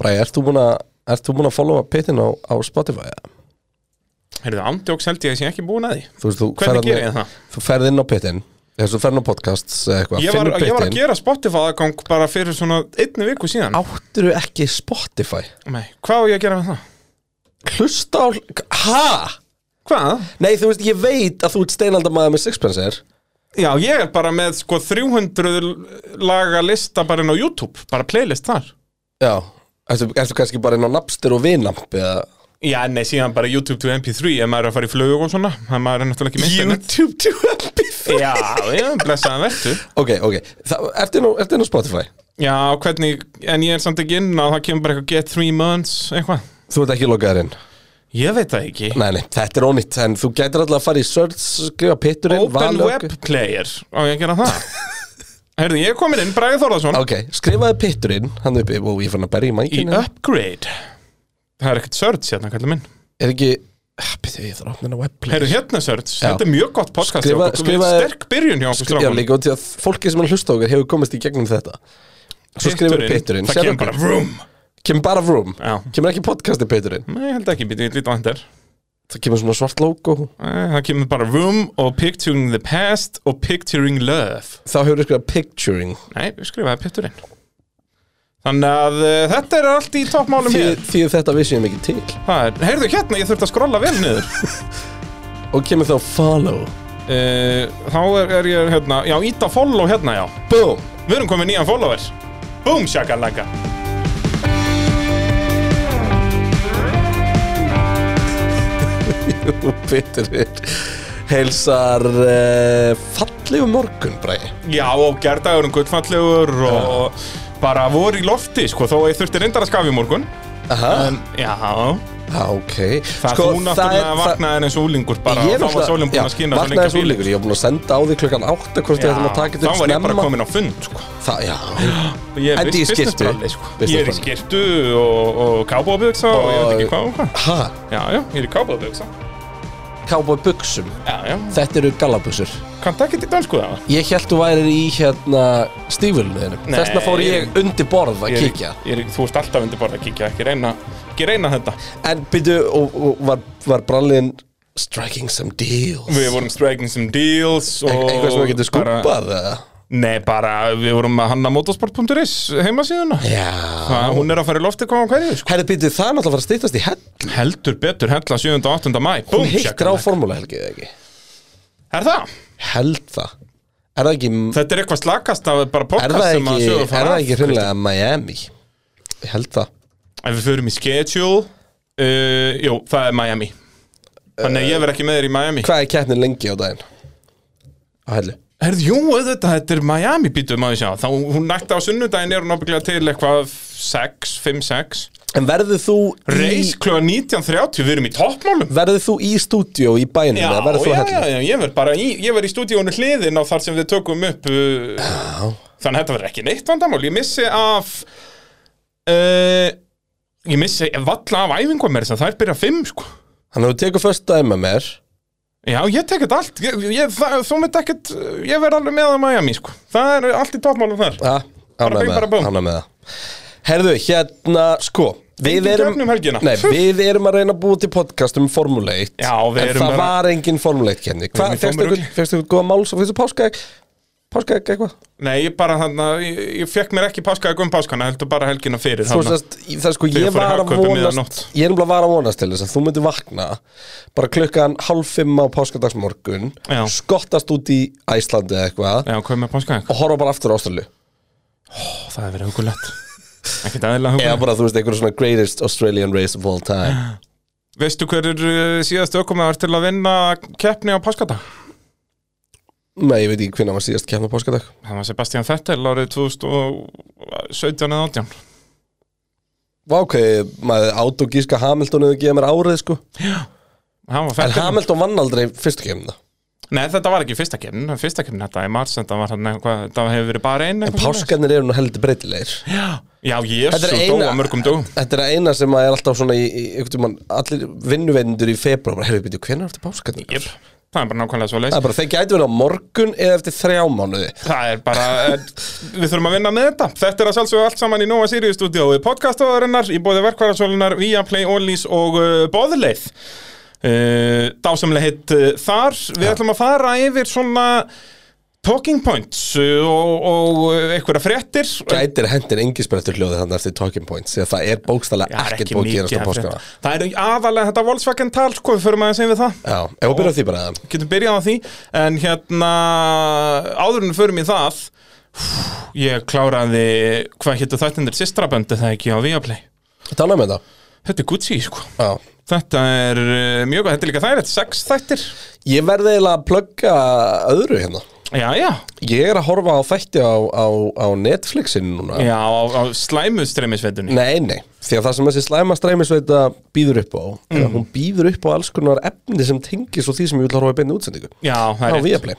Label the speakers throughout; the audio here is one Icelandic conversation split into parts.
Speaker 1: Bræði, ert þú búin að Ert þú búin að followa pittin á, á Spotify? eða?
Speaker 2: Heyrðu, ándjóks held ég að ég sé ekki búin að því
Speaker 1: Þú veist, þú
Speaker 2: Hvernig
Speaker 1: ferð
Speaker 2: geri
Speaker 1: þarna-
Speaker 2: ég það?
Speaker 1: Þú ferð inn á pittin Þess að þú ferð inn á podcast eða eitthvað
Speaker 2: Ég var,
Speaker 1: finnur
Speaker 2: ég var að
Speaker 1: pittin.
Speaker 2: gera Spotify aðgang bara fyrir svona einni viku síðan
Speaker 1: Áttirðu ekki Spotify?
Speaker 2: Nei, hvað á ég að gera með það?
Speaker 1: Hlusta á Ha?
Speaker 2: Hvað?
Speaker 1: Nei, þú veist, ég veit að þú ert steinaldamaður með Sixpence er
Speaker 2: Já, ég er bara með sko 300 l- laga lista bara inn á YouTube Bara playlist þar
Speaker 1: Já Ertu, ertu kannski bara inn á Napster og Vinamp eða
Speaker 2: Já, nei, síðan bara YouTube to MP3 ef maður er að fara í flug og svona ef maður er náttúrulega ekki með internet
Speaker 1: YouTube to MP3
Speaker 2: Já, já, blessaðan vertu
Speaker 1: Ok, ok Þa, Ertu inn á- ertu inn á Spotify?
Speaker 2: Já, hvernig, en ég er samt ekki inn á það kemur bara eitthvað get three months, eitthvað
Speaker 1: Þú ert ekki lokaður inn
Speaker 2: Ég veit það ekki
Speaker 1: Nei, nei, þetta er ónýtt En þú gætir alltaf að fara í search Skrifa pitturinn
Speaker 2: Open
Speaker 1: valið
Speaker 2: Web Player, á ég að gera það Herðu, ég er komin inn, Bragi Þórðarsson
Speaker 1: Ok, skrifaði pitturinn Hann uppi Og ég fann að berja í
Speaker 2: Í
Speaker 1: mækinu
Speaker 2: Upgrade Það er ekkert search hérna, kallum minn
Speaker 1: Er ekki Býttu, ég þarf að opna hennar webplay
Speaker 2: Herðu, hérna er search, þetta er mjög gott podcast
Speaker 1: Skrifa-
Speaker 2: hjá okkur.
Speaker 1: skrifaði-
Speaker 2: Sterk byrjun hjá okkur
Speaker 1: Já,
Speaker 2: strákum
Speaker 1: líka út til að fólki sem hann hlusta á okkur Hefur komist í gegnum þetta Svo skrifaði pitturinn
Speaker 2: Það
Speaker 1: sérðu
Speaker 2: kemur bara
Speaker 1: okkur?
Speaker 2: vroom
Speaker 1: Kemur bara vroom
Speaker 2: Já,
Speaker 1: Kemur ekki podcasti pitturinn
Speaker 2: nei, ég held ekki, býtum ég lítið á hendur
Speaker 1: Það kemur svona svart logo
Speaker 2: Eh, Það kemur bara room og picturing the past og picturing love
Speaker 1: Þá hefur við skrifað picturing
Speaker 2: Nei, við skrifaði pitturinn Þannig að uh, þetta er allt í toppmálum
Speaker 1: Því,
Speaker 2: hér
Speaker 1: því þetta vissi ég mikið til
Speaker 2: Það er, heyrðu hérna, ég þurfti að skrolla vel niður
Speaker 1: Og kemur þá follow
Speaker 2: uh, Þá er, er ég hérna, já, íta follow hérna, já
Speaker 1: Boom
Speaker 2: Við erum komið nýjan follower Boom, shakalaka
Speaker 1: Pitturinn Heilsar uh, fallegu morgun, Bræði
Speaker 2: Já, og gerðagur um guttfallegur og bara voru í lofti, sko, þó að ég þurfti reyndar að skafi í morgun
Speaker 1: Aha,
Speaker 2: Já,
Speaker 1: já, ok
Speaker 2: Um, það sko, þú náttúrulega vaknaðir eins og úlingur bara
Speaker 1: Ég
Speaker 2: og þá var
Speaker 1: náttúrulega-
Speaker 2: sólinn búin
Speaker 1: já,
Speaker 2: að skýna svo
Speaker 1: vaknaði
Speaker 2: lengi
Speaker 1: svo líkur, ég var búin að senda á því klukkan 8 hvort
Speaker 2: Já,
Speaker 1: ég ætlum að taka
Speaker 2: þá
Speaker 1: þetta upp
Speaker 2: var ég bara
Speaker 1: snemma
Speaker 2: komin á fund sko.
Speaker 1: Það, já,
Speaker 2: Ég er
Speaker 1: En
Speaker 2: business-
Speaker 1: í skyrtu.
Speaker 2: businessbralli, sko.
Speaker 1: Business
Speaker 2: Ég er í
Speaker 1: bralli.
Speaker 2: skirtu og, og kábóðbjöksa og ég veit ekki
Speaker 1: Og-
Speaker 2: hvað og hvað
Speaker 1: ha,
Speaker 2: Já, já, ég er í kábóðbjöksa
Speaker 1: kápa buksum
Speaker 2: Já, já,
Speaker 1: Þetta eru gallabuxur
Speaker 2: kann það ekki til dansku það
Speaker 1: Ég held þú værir í hérna stífulinu þinnum
Speaker 2: Nei.
Speaker 1: Þessna fór ég undir borð að
Speaker 2: Ég er í-
Speaker 1: kíkja
Speaker 2: ég er í- Þú ert alltaf undir bara að kíkja, ekki reyna ekki reyna þetta
Speaker 1: En byrju, og, og var, var brallin Striking some deals
Speaker 2: Við vorum striking some deals og
Speaker 1: Ein- Eitthvað sem þú getur
Speaker 2: bara,
Speaker 1: skúpað eða?
Speaker 2: Nei, bara við vorum að hanna motorsport.is heimasíðuna
Speaker 1: Já
Speaker 2: Það- Hún er að fara í lofti koma hverju sko.
Speaker 1: Herri, byrju, það er náttúrulega að fara að stýttast í hell
Speaker 2: Heldur betur, hella 7. og 8. mæ
Speaker 1: Hún hittir á formúla helgið eða ekki
Speaker 2: Er það?
Speaker 1: Held það Er það ekki,
Speaker 2: Þetta er eitthvað slakast af bara
Speaker 1: er
Speaker 2: podcast
Speaker 1: það
Speaker 2: sem að
Speaker 1: ekki,
Speaker 2: sögur
Speaker 1: er
Speaker 2: fara
Speaker 1: það
Speaker 2: af.
Speaker 1: ekki hreinlega Miami? Ég held það
Speaker 2: Ef við förum í schedule uh, Jú, það er Miami Þannig að ég verð ekki með þér í Miami
Speaker 1: Hvað er keppnin lengi á daginn? Á hellu
Speaker 2: Herð, jú, auðvitað, þetta er Miami býtum að sjá Þá hún nætti á sunnudaginn er hún ábygglega til eitthvað 6, 5, 6
Speaker 1: En verður þú
Speaker 2: Reis
Speaker 1: í,
Speaker 2: kluga 19.30, við erum í toppmálum
Speaker 1: verður þú í stúdíó í bænum?
Speaker 2: Já,
Speaker 1: eða
Speaker 2: já,
Speaker 1: verður þú hérna? á
Speaker 2: já,
Speaker 1: hellu?
Speaker 2: já, ég verð bara í, ég verð í stúdíónu hliðin á þar sem við tökum upp uh, Þannig að þetta verður ekki neitt vandamál Ég missi af uh, Ég missi valla af æfingum mér Það er byrja 5, sko
Speaker 1: Þannig að þú tekur först daginn með mér
Speaker 2: Já, ég tek þetta allt ég, ég, það, Þú mynd ekkert, uh, ég verð alveg með að Miami sko. Það er allt í toppmálum þar
Speaker 1: Ja,
Speaker 2: Bara
Speaker 1: ánægð
Speaker 2: bing,
Speaker 1: með
Speaker 2: bara
Speaker 1: það,
Speaker 2: búm.
Speaker 1: ánægð með það Herðu, hérna, sko Við
Speaker 2: Engin
Speaker 1: erum,
Speaker 2: keppni um helgina.
Speaker 1: nei, við erum að reyna að búa til podcast um Formule 1
Speaker 2: Já, við
Speaker 1: En
Speaker 2: erum
Speaker 1: það
Speaker 2: bara-
Speaker 1: var engin Formule 1 kenni
Speaker 2: erum
Speaker 1: Hvað,
Speaker 2: í
Speaker 1: fegstu
Speaker 2: tómu
Speaker 1: ykkur,
Speaker 2: rugli.
Speaker 1: fegstu ykkur góða máls og fegstu páskaegg? Páskaegg eitthvað?
Speaker 2: Nei, ég bara hann ég, ég fekk mér ekki páskaði um páskana Heldur bara helgina fyrir
Speaker 1: Þú
Speaker 2: þarna.
Speaker 1: veist, það er sko, ég
Speaker 2: ég fór í
Speaker 1: var að
Speaker 2: Hagkaupið miðja
Speaker 1: vonast Ég er umlega var að vonast til þess að þú myndir vakna Bara klukkan hálf fimm á páskadagsmorgun
Speaker 2: Já.
Speaker 1: Skottast út í Æslandi eða eitthvað
Speaker 2: Já, hvað með páskaði?
Speaker 1: Og horfa bara aftur á Ástralju
Speaker 2: Það er verið hugulegt Ekkert aðeinslega
Speaker 1: Eða
Speaker 2: hugulegt
Speaker 1: bara, þú veist, einhverjum svona greatest Australian race of all time
Speaker 2: Veistu hver er uh, síðast ökumæður til að vinna keppni á páskata?
Speaker 1: Nei, ég veit ekki hvernig var síðast kemna páskadag
Speaker 2: Það var Sebastian Vettel árið 2017 eða 18
Speaker 1: Vá, ok, maður át og gíska Hamilton eða geða mér árið, sko
Speaker 2: Það var
Speaker 1: En
Speaker 2: Vettel
Speaker 1: Hamilton vann aldrei fyrstu kemna
Speaker 2: Nei, þetta var ekki fyrsta keppnin Fyrsta keppnin þetta er mars Þetta var hann eitthvað Það hefur verið bara einn
Speaker 1: En páskarnir eru nú heldur breytilegir
Speaker 2: Já, jésu,
Speaker 1: Þetta er
Speaker 2: dóa
Speaker 1: eina-
Speaker 2: mörgum dögum
Speaker 1: Þetta er að eina sem að er alltaf svona í, í, í, í, allir vinnuveinindur í februar bara, heyrðu, byrju, hvernig er aftur páskarnir?
Speaker 2: Jep, það er bara nákvæmlega svo leys
Speaker 1: Það er bara, þeir gætu verið á morgun eða eftir þrjá mánuði
Speaker 2: Það er bara, eh, við þurfum að vinna með þetta Þetta er að sjálfsögðu allt saman í Nóa Sirius stúdíói podcastaðarinnar, í bóði verkvarasólunar Viaplay, Onlys og uh, Bóðleið uh, Dásamlega hitt uh, þar Við ætlum að fara yfir svona talking points uh, og, og uh, einhverja fréttir
Speaker 1: Gætir hendir engisbrettur hljóðið þannig eftir talking points Þegar það er
Speaker 2: Já,
Speaker 1: bókstælega
Speaker 2: það er
Speaker 1: ekkert hérna, búið að gerast á
Speaker 2: að
Speaker 1: páskana
Speaker 2: frétta. Það er aðalega þetta Volkswagen tal, sko, við förum aðeins yfir það
Speaker 1: Já, ef við byrjum á því bara eða?
Speaker 2: getum byrjað á því en hérna áður en við förum í það ég kláraði hvað hétu þættindir sýstraböndi það ekki á Viaplay
Speaker 1: Þetta ánægum með það
Speaker 2: þetta er Gucci sko
Speaker 1: Já
Speaker 2: þetta er eh, mjög gott, þetta er líka þær þetta er sex þættir
Speaker 1: Ég verði eiginlega að plugga öðru hérna
Speaker 2: já já
Speaker 1: Ég er að horfa á þætti á, á, á Netflixinu núna
Speaker 2: já á, á slæmu streymisveitunni
Speaker 1: Nei, nei, því að það sem þessi slæma streymisveita býður upp á,
Speaker 2: Mm.
Speaker 1: er að hún býður upp á alls konar efni sem tengir svo því sem ég vil horfa í beinni útsendingu
Speaker 2: já
Speaker 1: á
Speaker 2: það er rétt
Speaker 1: Viaplay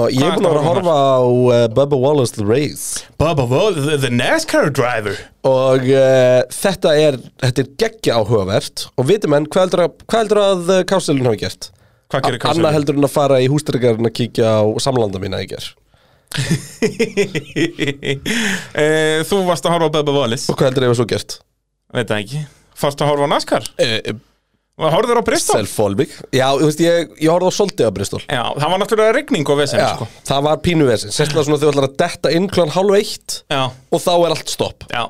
Speaker 1: og ég
Speaker 2: Hvað
Speaker 1: er búin að
Speaker 2: ertu
Speaker 1: vera
Speaker 2: að
Speaker 1: að horfa
Speaker 2: horfa
Speaker 1: á uh, Bubba Wallace The Race
Speaker 2: Bubba Wall, the, the NASCAR driver
Speaker 1: og uh, þetta er þetta er geggja áhugavert og vitum enn hvað heldur að, hvað heldur að uh, kásilin hafi gert
Speaker 2: hvað gerir
Speaker 1: A- annað heldur en að fara í hústyrkarinn að kíkja á samlanda mína í ger
Speaker 2: Eh, þú varst að horfa á Bubba Wallace
Speaker 1: og hvað heldur að ég var svo gert?
Speaker 2: veit það ekki fórst að horfa á NASCAR
Speaker 1: Uh,
Speaker 2: horfður á Bristol
Speaker 1: Self-fólmik Já, þú veist, ég, ég horfði á soldið á Bristol
Speaker 2: já það var náttúrulega rigning og vesend
Speaker 1: Já,
Speaker 2: sko
Speaker 1: það var pínuversin, sérstaklega svona þegar þú ætlar að detta inn klan hálf eitt
Speaker 2: já
Speaker 1: og þá er allt stopp
Speaker 2: Já,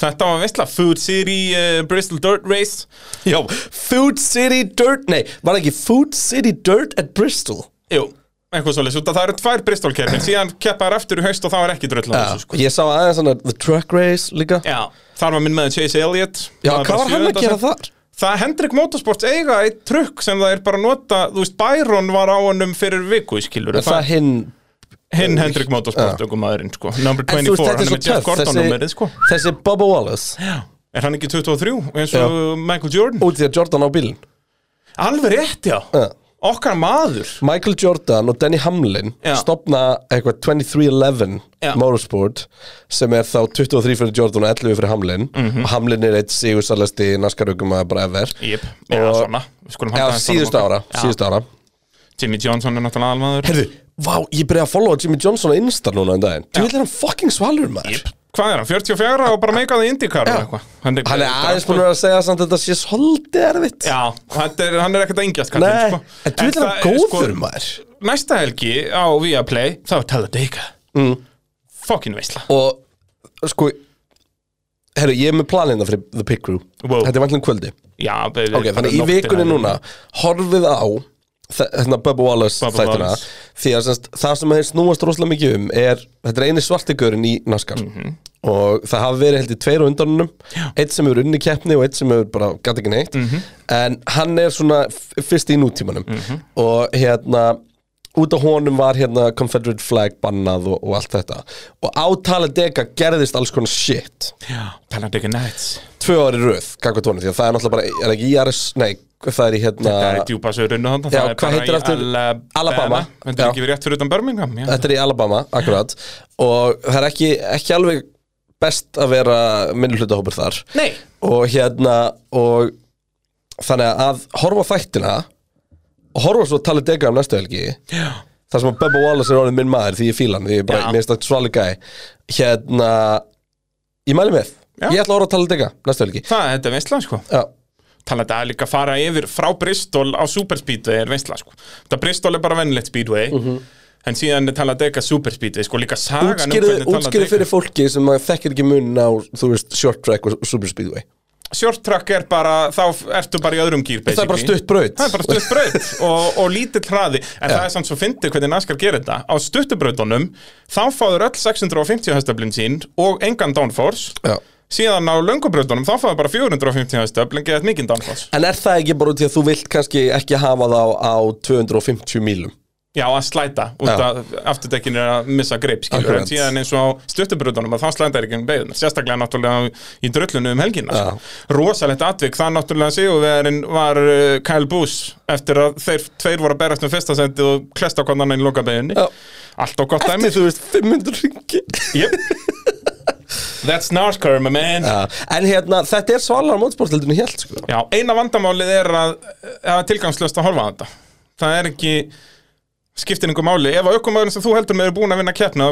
Speaker 2: þetta var veistla Food City, uh, Bristol Dirt Race
Speaker 1: Já, Food City Dirt, nei, var það ekki Food City Dirt at Bristol
Speaker 2: Jú, eitthvað svoleiðis út að það eru tvær Bristol keppin síðan keppa þær aftur í haust og það var ekki dröll á þessu sko
Speaker 1: Ég sá aðeins hann að The Truck Race líka Já,
Speaker 2: Já, þar var minn með Chase Elliott Það
Speaker 1: hvað var
Speaker 2: bara
Speaker 1: hann að
Speaker 2: sjöunda
Speaker 1: gera
Speaker 2: sæti.
Speaker 1: þar?
Speaker 2: Það er Hendrik Motorsports eiga eitt trukk sem það er bara að nota, þú veist, Byron var á honum fyrir viku, skilur
Speaker 1: Er það hinn
Speaker 2: hinn Hendrik Motorsports, okkur maðurinn, sko Number
Speaker 1: En þú veist, þetta er
Speaker 2: 24, hann
Speaker 1: svo
Speaker 2: er Jeff
Speaker 1: töff,
Speaker 2: Gordon númerið, sko
Speaker 1: þessi, þessi Bubba Wallace
Speaker 2: Er hann ekki 23, eins og Michael Jordan?
Speaker 1: Út í að Jordan á bílinn
Speaker 2: Alveg rétt, já
Speaker 1: Já.
Speaker 2: Okkar maður
Speaker 1: Michael Jordan og Danny Hamlin
Speaker 2: Já.
Speaker 1: stopna eitthvað 2311
Speaker 2: Já.
Speaker 1: Motorsport sem er þá 23 fyrir Jordan og 11 fyrir Hamlin
Speaker 2: Mhm.
Speaker 1: og Hamlin er eitt sigursarlegsti naskarugum að bara ever
Speaker 2: Jep, já,
Speaker 1: Og-
Speaker 2: svona Við skulum halda
Speaker 1: Já,
Speaker 2: aðeins
Speaker 1: síðust
Speaker 2: honum
Speaker 1: ára,
Speaker 2: okkar. Já.
Speaker 1: síðust ára
Speaker 2: Jimmy Johnson er náttúrulega almaður
Speaker 1: Herðu, vá, ég byrjaði að followa Jimmy Johnson á Insta núna en daginn Þú vil er hann fucking svalur maður
Speaker 2: Hvað er hann, 44 og bara meikaði IndyCar eða eitthvað Hann
Speaker 1: Hann er aðeins búin að vera að segja samt að þetta sé svolítið erfitt
Speaker 2: sko Já, þetta er, hann er ekkert að yngjast
Speaker 1: Nei,
Speaker 2: kallinn, sko.
Speaker 1: en þú vil er
Speaker 2: það
Speaker 1: hann
Speaker 2: er, sko,
Speaker 1: góður maður
Speaker 2: Næsta helgi á Viaplay þá er Talladega mm. Fokkin veisla
Speaker 1: Og sko, herru, ég er með planina fyrir The Pig Crew
Speaker 2: Wow.
Speaker 1: Þetta er vantlum kvöldi
Speaker 2: Já, baby,
Speaker 1: Ok, þannig í vikunni
Speaker 2: hérna.
Speaker 1: núna horfið á þe- hérna Bubba Wallace
Speaker 2: Bubba
Speaker 1: þættina
Speaker 2: Wallace.
Speaker 1: því að semst, það sem þeir snúast rosalega mikið um er, þetta er eini svartigörinn í naskar
Speaker 2: Mhm.
Speaker 1: og það hafa verið heldur tveir á undanunum, eitt sem er unni keppni og eitt sem er bara gæti ekki neitt
Speaker 2: Mhm.
Speaker 1: en hann er svona f- fyrst í nútímanum og hérna út á honum var hérna Confederate flag bannað og, og allt þetta og á Talladega gerðist alls konar shit
Speaker 2: Já, Talladega Nights
Speaker 1: tvö ári röð, kakvað tónum, því að það er náttúrulega bara, er ekki IRS, nei, það er í hérna
Speaker 2: Það er djúpa sörunni
Speaker 1: Já,
Speaker 2: þannig það er
Speaker 1: hvað
Speaker 2: bara
Speaker 1: heitir
Speaker 2: í
Speaker 1: aftur?
Speaker 2: Alabama.
Speaker 1: Alabama,
Speaker 2: Þetta er
Speaker 1: já.
Speaker 2: ekki verið rétt fyrir utan Birmingham já.
Speaker 1: þetta er í Alabama, akkurat og það er ekki, ekki alveg best að vera minnulutahópur þar
Speaker 2: Nei
Speaker 1: og hérna og þannig að horfa á þættina og horfa svo að tala dega um næstu helgi
Speaker 2: Já,
Speaker 1: þar sem að Bubba Wallace er orðin minn maður því ég fíla hann, því ég bara,
Speaker 2: Já.
Speaker 1: mér finnst það svali gæ hérna, ég mæli með
Speaker 2: Já.
Speaker 1: ég ætla að horfa á tala dega næstu helgi
Speaker 2: það þetta er veisla sko
Speaker 1: Já,
Speaker 2: talaði að líka fara yfir frá Bristol á Super Speedway er veistla sko. það Bristol er bara vennilegt Speedway
Speaker 1: Mhm.
Speaker 2: en síðan er talaði ekki Super Speedway sko líka sagan um
Speaker 1: útskýrið útskýrið fyrir fólki sem að þekkir ekki mun á, þú veist, short track og super speedway
Speaker 2: short track er bara, þá f- ertu bara í öðrum gýr
Speaker 1: Það er bara stutt braut
Speaker 2: það er bara stutt braut og, og lítill hraði en það er samt svo fyndið hvernig NASCAR gerir þetta á stuttubrautunum þá fáður öll 650 hestöflin sín og engan downforce
Speaker 1: Já.
Speaker 2: síðan á löngubrautunum þá fáður bara 450 hestöflin geðað mikinn downforce
Speaker 1: En er það ekki bara út í að þú vilt kannski ekki hafa þá á 250 mílum?
Speaker 2: Já, að slæta, út
Speaker 1: Já.
Speaker 2: að afturdekkin er að missa greip, skilur,
Speaker 1: Akkurat.
Speaker 2: en síðan eins og á stuttubröðunum að það slæta er ekki um beigðun sérstaklega náttúrulega í dröllunum um helgina sko. rosalegt atvik, það náttúrulega sigurvegarinn var uh, Kyle Boos eftir að þeir tveir voru að berast um fyrsta sendi og klesta á annan í loka beigunni
Speaker 1: Já.
Speaker 2: allt og gott dæmi
Speaker 1: Eftir þú veist 500 ringi
Speaker 2: yep. That's NASCAR, my man
Speaker 1: Já, En hérna, þetta er svalara mótsportildinu helt sko.
Speaker 2: eh, Já, eina vandamálið er að, að tilgangslöst að horfa á þetta það er ekki skiptir einhver máli ef að ökkumæðurinn sem þú heldur með er búin að vinna keppna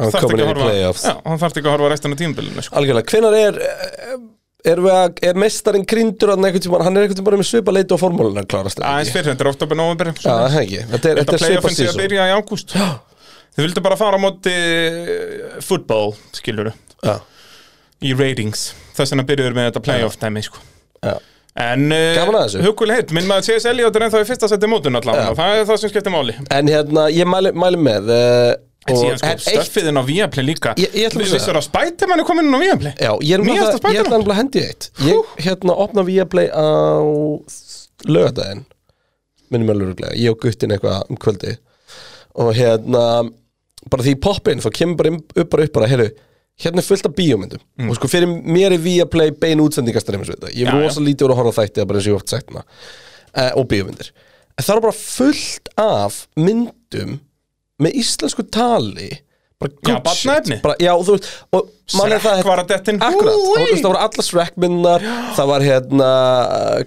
Speaker 1: Hann
Speaker 2: þarf
Speaker 1: komin
Speaker 2: ekki
Speaker 1: í
Speaker 2: að
Speaker 1: playoffs.
Speaker 2: horfa já, hann þarf ekki að horfa restan af tímabilinu sko.
Speaker 1: Algjörlega, hvenar er er, að, er mestarinn grindur hann, einhvern tímann, hann er einhvern tímann bara með svipa leiti og formúluna klárast er
Speaker 2: aðeins
Speaker 1: ekki?
Speaker 2: fyrir, þetta er oktober, november
Speaker 1: Já, það er ekki, þetta er, þetta
Speaker 2: þetta
Speaker 1: er svipa
Speaker 2: playoffin sé að
Speaker 1: sísón
Speaker 2: byrja í ágúst þau vildu bara fara á móti eh, football, skilur
Speaker 1: Já,
Speaker 2: í ratings, þess vegna byrjuður með þetta playoff dæmi sko.
Speaker 1: já,
Speaker 2: en
Speaker 1: Gaman að þessu.
Speaker 2: hugulegheit, minn maður CS Elliot er ennþá í fyrsta seti mótun allavega, það er það sem skiptir máli
Speaker 1: En hérna, ég mæli, mæli með uh,
Speaker 2: En síðan sko,
Speaker 1: en eitt,
Speaker 2: stöffiðin á Viaplay líka
Speaker 1: Ég- ég ætla að
Speaker 2: Við
Speaker 1: segja
Speaker 2: vissur að Spiderman er komin inn á Viaplay
Speaker 1: Já, ég er
Speaker 2: Nýjasta
Speaker 1: nefnilega- ég er
Speaker 2: Spider-Man.
Speaker 1: nefnilega að hendi í eitt Ég hérna opna Viaplay á lögadaginn minnum alveg rúglega, ég og guttin eitthvað um kvöldi og hérna bara því ég poppa inn, þá kemur bara inn- upp bara upp bara, heyrðu, hérna er fullt af bíómyndum og sko fyrir mér er Viaplay bein útsendingastreymis við þetta, ég er
Speaker 2: Mm. Já, já.
Speaker 1: rosa lítið úr að horfa á þætti, það er bara eins og ég hef oft sagt uh, og bíómyndir, en það er bara fullt af myndum með íslensku tali bara good
Speaker 2: Já,
Speaker 1: shit.
Speaker 2: barnaefni.
Speaker 1: bara, já, og þú veist, og mann er það
Speaker 2: Shrek var að dettin
Speaker 1: Akkurat, það voru- þú veist, það voru alla Shrek-minnar Það var hérna,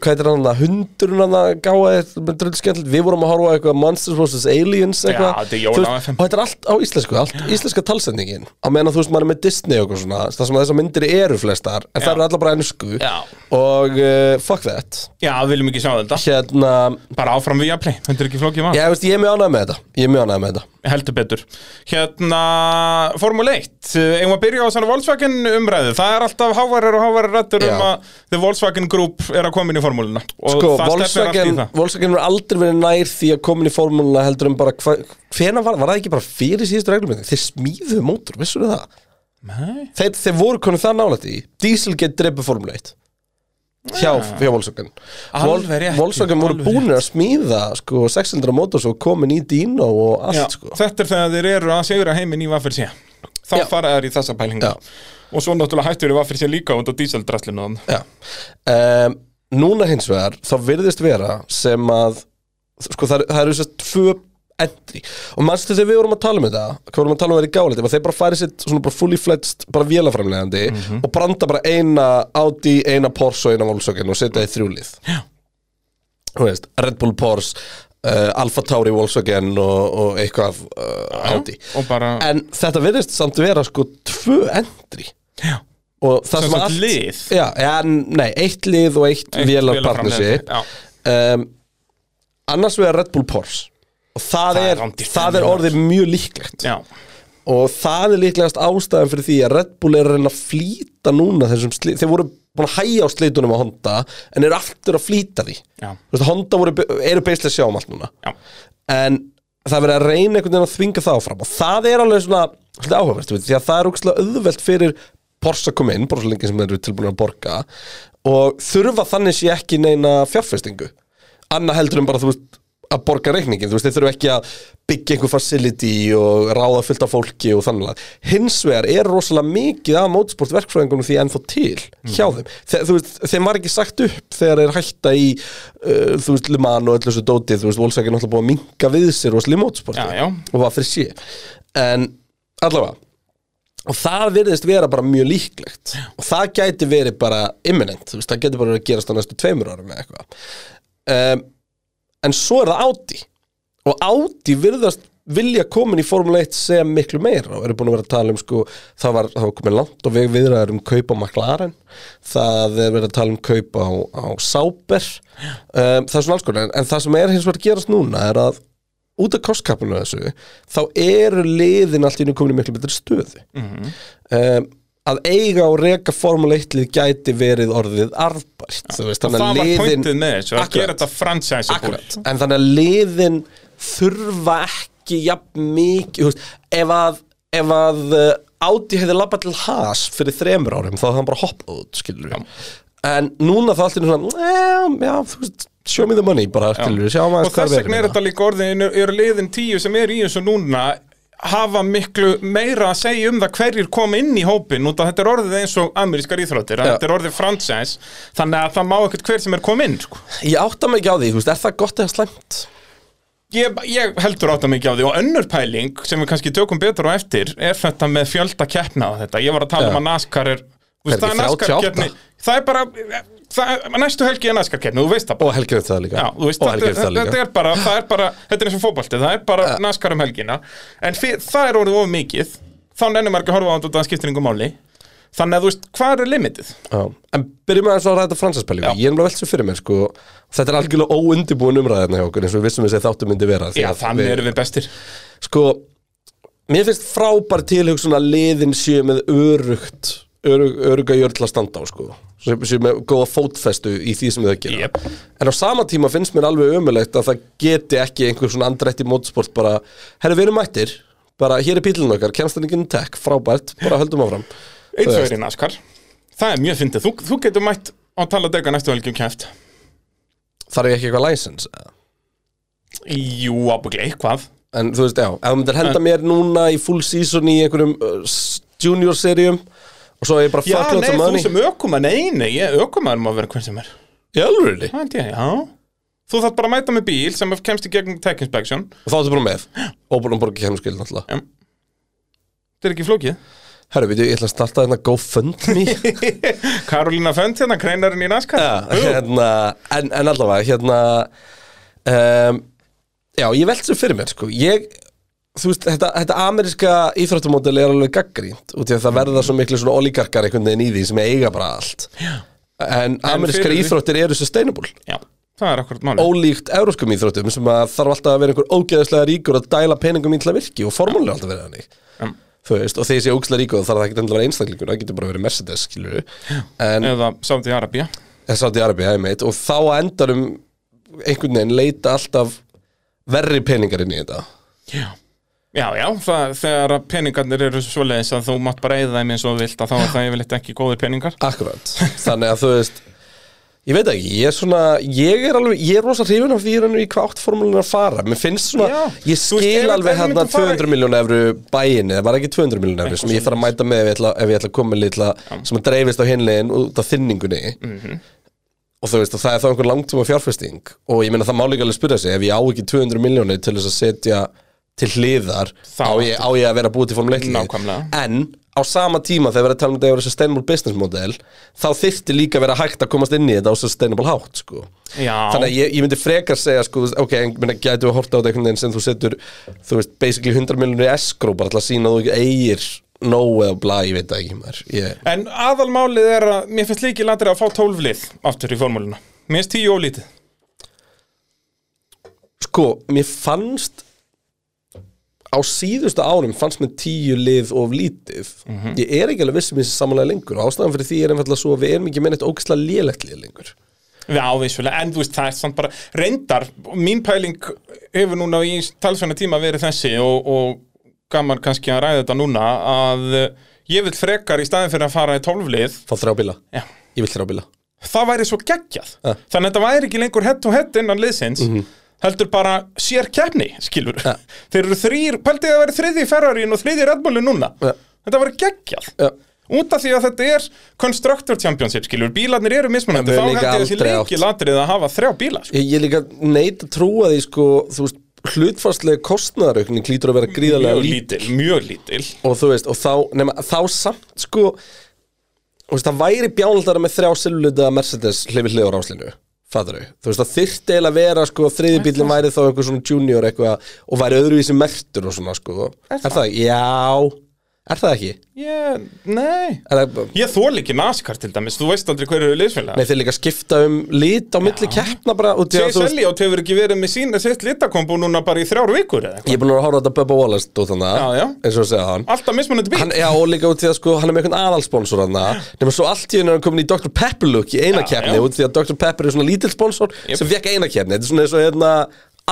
Speaker 1: hvað er hann Hundurinn hann gáði Drullskendl, við vorum að horfa á eitthvað Monsters vs. Aliens eitthvað
Speaker 2: Já, þetta er jól
Speaker 1: Þú
Speaker 2: á
Speaker 1: veist,
Speaker 2: FM.
Speaker 1: Og þetta er allt á íslensku, allt íslenska talsendingin Á meðan að þú veist, maður er með Disney og eitthvað svona Það sem að þessar myndir eru flestar En það eru allar bara ennsku
Speaker 2: Já.
Speaker 1: Og uh, fuck that
Speaker 2: Já, við viljum ekki sjá þetta
Speaker 1: Hérna,
Speaker 2: Bara áfram Viaplay, þetta er ekki flókið maður
Speaker 1: já, veist, ég er mjög ánægð með þetta Ég er mjög ánægð með þetta
Speaker 2: Heldur betur Hérna, Formule 1 eh, Eigum að byrja á svona Volkswagen umræðu Það er alltaf hávarar og hávarar rættur
Speaker 1: Já.
Speaker 2: um að The Volkswagen Group er að koma inn í formúluna Og
Speaker 1: Sko,
Speaker 2: það stefnir allt í
Speaker 1: Volkswagen,
Speaker 2: það
Speaker 1: Volkswagen er aldrei verið nær því að komin í formúluna heldur um bara hva, hvena var, var það ekki bara fyrir síðustu reglumynding þeir smíðu mótor, vissur það
Speaker 2: Nei,
Speaker 1: þeir, þeir voru konu það nálætt í Dieselgate dreipur formúlu 1 hjá, hjá Volkswagen Vol-
Speaker 2: Ah. Alveg rétt,
Speaker 1: Volkswagen voru
Speaker 2: alveg
Speaker 1: búnir að smíða sko, 600 mótor svo komin í Dino og allt
Speaker 2: Já,
Speaker 1: sko
Speaker 2: Þetta er þegar þeir eru að segra heimin í Vafir sé Þá
Speaker 1: Já.
Speaker 2: fara þær í þessa pælinga
Speaker 1: Já.
Speaker 2: Og svo náttúrulega hættur í Vafir sé líka út á díseldraslinu þarna.
Speaker 1: Já. Um, núna hins vegar þá virðist vera sem að sko, það, það eru þess að tvö endri og mannstu þegar við vorum að tala um þetta hvað vorum að tala um þetta í gáleiti þeir bara farið sitt svona bara fully fledged bara vélaframlegandi
Speaker 2: Mhm.
Speaker 1: og branda bara eina Audi, eina Porsche og eina Volkswagen og setja í þrjúlið
Speaker 2: Já.
Speaker 1: Þú veist, Red Bull Porsche uh, Alfa Tauri Volkswagen og, og eitthvað af, uh, Audi
Speaker 2: Og bara
Speaker 1: en þetta virðist samt vera sko tvö endri
Speaker 2: Já.
Speaker 1: og það
Speaker 2: Sem
Speaker 1: sem
Speaker 2: sagt
Speaker 1: allt
Speaker 2: lið.
Speaker 1: já, ja, nei, eitt lið og eitt, eitt vélarpartnership
Speaker 2: Já,
Speaker 1: um, annars vegar Red Bull Porsche og það,
Speaker 2: Það er
Speaker 1: er,
Speaker 2: rándýrt.
Speaker 1: það er orðið mjög líklegt
Speaker 2: já,
Speaker 1: og það er líklegast ástæðan fyrir því að Red Bull er að reyna að flýta núna þessum slit, þeir voru búin að hæja á slitunum á Honda en eru aftur að flýta því
Speaker 2: já,
Speaker 1: Þú veist, Honda voru, eru beislega sjá um allt núna
Speaker 2: já.
Speaker 1: en það er verið að reyna einhvern veginn að þvinga það áfram og það er alveg svona svolítið áhugavert þú veit, því að það er ógæslega auðvelt fyrir Porsche að koma inn, Porsche lengi sem þeir eru tilbúin að borga og þurfa þannig sé ekki neina fjárfestingu annað heldur en bara þú veist að borga reikningin, þú veist, þeir þurfa ekki að byggja einhver facility og ráða fullt af fólki og þannig að hins vegar er rosalega mikið af motorsport verkfræðingunum því ennþá til hjá
Speaker 2: Mm.
Speaker 1: þeim Þe, þú veist, þeim var ekki sagt upp þegar þeir hætta í uh, þú veist, Liman og öllu þessu dótið, þú veist, Volkswagen er náttúrulega búið að minka við sér rosalega í motorsporti
Speaker 2: Já, já.
Speaker 1: og var fyrir sé en allavega og það virðist vera bara mjög líklegt og það gæti verið bara imminent, þú veist, það gæti bara verið að gerast á næstu tveimur árum eða eitthvað um, en svo er það Audi og Audi virðast vilja komin í Formule 1 sem miklu meira og eru búin að vera að tala um sko það var, það var komin langt og við viðraður um kaupa á McLaren, það er verið að tala um kaupa á, á Sauber um, það er svona alls konar en, en það sem er hins vegar að gerast núna er að út af kostkapunum þessu þá eru liðin allt í nú komin í miklu betri stöðu
Speaker 2: Mhm.
Speaker 1: um, að eiga og reka Formule 1 lið gæti verið orðið arðbært þú veist,
Speaker 2: Og
Speaker 1: þannig að
Speaker 2: það var
Speaker 1: liðin
Speaker 2: pointið með þessu, að
Speaker 1: Akkurat.
Speaker 2: gera þetta franchise
Speaker 1: Akkurat, en þannig að liðin þurfa ekki jafn mikið, þú veist, ef að ef að uh, Audi hefði labbað til Haas fyrir þremur árum þá hefði hann bara hoppað út, skilur við en núna þá allt er svona "Eh, já, þú veist, show me the money bara, skilur við, hérna." sjá
Speaker 2: Og
Speaker 1: maður
Speaker 2: þess vegna er þetta líka orðin, eru liðin tíu sem er í þessu núna hafa miklu meira að segja um það hverjir kom inn í hópin út að þetta er orðið eins og amerískar íþróttir að
Speaker 1: Já.
Speaker 2: þetta er orðið franchise þannig að það má ekkert hver sem er kom inn sko.
Speaker 1: ég átta mig ekki á því, þú veist, er það gott eða slæmt?
Speaker 2: ég, ég heldur átt að mikið á því og önnur pæling sem við kannski tökum betur á eftir er þetta með fjölda keppna á þetta ég var að
Speaker 1: Já.
Speaker 2: tala um að NASCAR er, þú
Speaker 1: Er ekki
Speaker 2: það NASCAR
Speaker 1: 38?
Speaker 2: keppni það er bara það, næstu helgi er næskarkeppni, þú veist það bara
Speaker 1: Og helgir þetta líka
Speaker 2: Já, þú veist,
Speaker 1: Og
Speaker 2: þetta,
Speaker 1: helgir þetta
Speaker 2: þetta,
Speaker 1: líka
Speaker 2: er bara, það er bara, þetta er eins og fótbolti, það er bara naskar um helgina En fyr, það er orðið of mikið, þá nennir maður ekki að horfa á þetta, það skiptir yngur máli Þannig að þú veist, hvað er limitið?
Speaker 1: Já, en byrjum aðeins að ræða þetta fransaspælingu Ég er mjög velt svo fyrir mér sko Þetta er algjörlega óundibúin umræðina hjá okkur eins og við vissum við segja þáttu myndi vera því
Speaker 2: Já,
Speaker 1: að
Speaker 2: þannig
Speaker 1: við-
Speaker 2: erum við bestir
Speaker 1: Sko, mér finnst frábær tilhugsun að liðin séu með örugt örug, öruga jörn til að standa á sko séu séu með góða fótfestu í því sem þau gera
Speaker 2: Jep.
Speaker 1: En á sama tíma finnst mér alveg ömulegt að það geti ekki einhver svona andrætti mótsport bara, herru við erum mættir bara hér er pílun okkar, kemstaningin tech frábært, bara höldum áfram
Speaker 2: Eins
Speaker 1: Þú
Speaker 2: og
Speaker 1: veist.
Speaker 2: er í naskar Það er mjög fyndið, þú, þú getur mætt á tala dega næstu helgi um kæft
Speaker 1: Þarf ég ekki eitthvað license? eða?
Speaker 2: Jú, ábygglega eitthvað
Speaker 1: En þú veist, já, ef þú myndir henda mér núna í full season í einhverjum uh, s- junior serium og svo er ég bara
Speaker 2: Já,
Speaker 1: fuck
Speaker 2: nei,
Speaker 1: lots of
Speaker 2: þú
Speaker 1: money
Speaker 2: sem ökumann, nei, nei, ég- ökumaður má vera hvern sem er
Speaker 1: Já, alveg
Speaker 2: Það held ég, já Þú þarf bara að mæta með bíl sem kemst í gegnum tech inspection
Speaker 1: Og þá ertu bara með Og búin að borga kemurskil náttúrulega
Speaker 2: Þetta er ekki flókið
Speaker 1: Herru, veitu, ég ætla að starta þetta GoFundMe
Speaker 2: Karolina Fönd hérna, kreinarinn í naskar
Speaker 1: Já, hérna, en, en allavega, hérna um, Já, ég velt sem fyrir mér, sko Ég, þú veist, þetta, þetta ameríska íþróttumódel er alveg gaggrínt Út í að það verða svo miklu svona oligarkar einhvern veginn í því sem eiga bara allt Já En amerískar
Speaker 2: fyrir því-
Speaker 1: íþróttir eru sustainable
Speaker 2: Já, það er akkurat máli
Speaker 1: Ólíkt euróskum íþróttum sem að þarf alltaf að vera einhver ógeðislega ríkur að dæla peningum í til að virki og formúlega alltaf verið þannig
Speaker 2: um,
Speaker 1: þú veist, og þeir séu ógstlega ríku og það þarf ekki endilega að vera einstaklingur, það getur bara verið Mercedes skilur en
Speaker 2: Eða Saudi Arabia
Speaker 1: þess að Arabi, ég meit og þá á endanum einhvern veginn leita alltaf verri peningar inn í þetta
Speaker 2: Já Já, já, það, þegar að peningarnir eru svoleiðis að þú mátt bara eða þeim eins og þú vilt að þá er það yfirleitt ekki góðir peningar
Speaker 1: akkurat, þannig að þú veist ég veit ekki, ég er svona ég er alveg, ég er rosa hrifin af því hérna í hvað átt formúlinu að fara, mér finnst svona
Speaker 2: Já,
Speaker 1: ég
Speaker 2: þú veist, ef-
Speaker 1: skil
Speaker 2: ef
Speaker 1: alveg
Speaker 2: við
Speaker 1: hérna
Speaker 2: myndum fara í-
Speaker 1: 200 miljónu evru bæinni, það var ekki 200 miljónu evru sem ég þarf að mæta með ef ég ætla, ef ég ætla að koma með litla sem að dreifist á hinlegin út af þinningunni
Speaker 2: Mhm.
Speaker 1: og þú veist, og það er þá einhver langtíma fjárfesting og ég meina það má líka alveg spyrja sig ef ég á ekki 200 miljónir til þess að setja til hliðar,
Speaker 2: Þá
Speaker 1: á ég, á ég að vera búið til formuleikli,
Speaker 2: Nákvæmlega.
Speaker 1: en á sama tíma þegar við erum að tala um þetta að vera sustainable business model, þá þyrfti líka að vera hægt að komast inn í þetta á sustainable hátt sko.
Speaker 2: Já,
Speaker 1: þannig að ég, ég myndi frekar segja sko, þú veist, ok, en meina, gætu við horta á þetta einhvern veginn sem þú setur, þú veist, basically 100 miljónir í eskró, bara til að sína að þú ekki eigir nóg eða bla, ég veit það ekki maður ég,
Speaker 2: en aðalmálið er að mér finnst líki landrið að fá tólflið aftur í formúluna Mér finnst tíu ólítið
Speaker 1: Sko, mér fannst á síðustu árum fannst mér tíu lið of lítið ég er ekki alveg vissum í þessi samanlega lengur og ástæðan fyrir því er einfallega svo að við erum ekki með eitt ógæslega lélegt lið lengur
Speaker 2: Já, vissulega, en þú veist, það er samt bara reyndar, mín pæling hefur núna í talsvæna tíma verið þessi og, og gaman kannski að ræða þetta núna að ég vil frekar í staðin fyrir að fara í tólflið
Speaker 1: Fá þrjá bíla,
Speaker 2: Já.
Speaker 1: ég vil þrjá bíla
Speaker 2: það væri svo geggjað
Speaker 1: Ja. Mhm.
Speaker 2: þannig að þetta væri ekki lengur head to head innan liðsins heldur bara sér keppni skilur, þeir eru þrýr pæltið að það væri þriði í Ferrarín og þriði í Red Bullin núna
Speaker 1: Ja.
Speaker 2: þetta væri geggjað
Speaker 1: Ja.
Speaker 2: út af því að þetta er Constructor Championship skilur, bílarnir eru
Speaker 1: En
Speaker 2: mismunandi
Speaker 1: við
Speaker 2: þá
Speaker 1: líka
Speaker 2: held ég þessi
Speaker 1: aldrei átt.
Speaker 2: leiki latrið að hafa þrjá bíla sko.
Speaker 1: Ég, ég líka neitt að trúa því sko, þú veist, hlutfarslega kostnaðaraukning lítur að vera gríðarlega
Speaker 2: mjög
Speaker 1: lít
Speaker 2: lítil, mjög lítil
Speaker 1: og þú veist, og þá, nema, þá samt sko, þú veist, það væri bjánaldara með þrjá silulita Mercedes hlifi hlið á ráslinu, fattar þau þú veist, það þyrfti eiginlega að vera, sko, þriðibílinn væri þá einhver svona junior eitthvað og væri öðruvísi mertur og svona, sko er það, já, er það ekki
Speaker 2: ég, nei
Speaker 1: er það,
Speaker 2: ég þól ekki NASCAR til dæmis, þú veist aldrei hverju liðsfélag
Speaker 1: nei, þeir líka skipta um lit á milli keppna bara, og
Speaker 2: Chase
Speaker 1: þú veist
Speaker 2: Elliot hefur ekki verið með sína sitt litakombo núna bara í þrjár vikur eða eitthvað
Speaker 1: ég er búin að horfa á þetta Bubba Wallace, þú þannig
Speaker 2: Já, já.
Speaker 1: eins og að segja hann
Speaker 2: alltaf mismunandi bíl
Speaker 1: Hann, já, og líka út því að sko, hann er með einhvern aðalsponsor hann nema svo allt í henni er hann komin í Dr. Pepper look í eina
Speaker 2: Já,
Speaker 1: keppni
Speaker 2: já.
Speaker 1: út því að Dr. Pepper er svona lítill sponsor
Speaker 2: Jep.
Speaker 1: sem fekk eina keppni, þetta er svona eins og hérna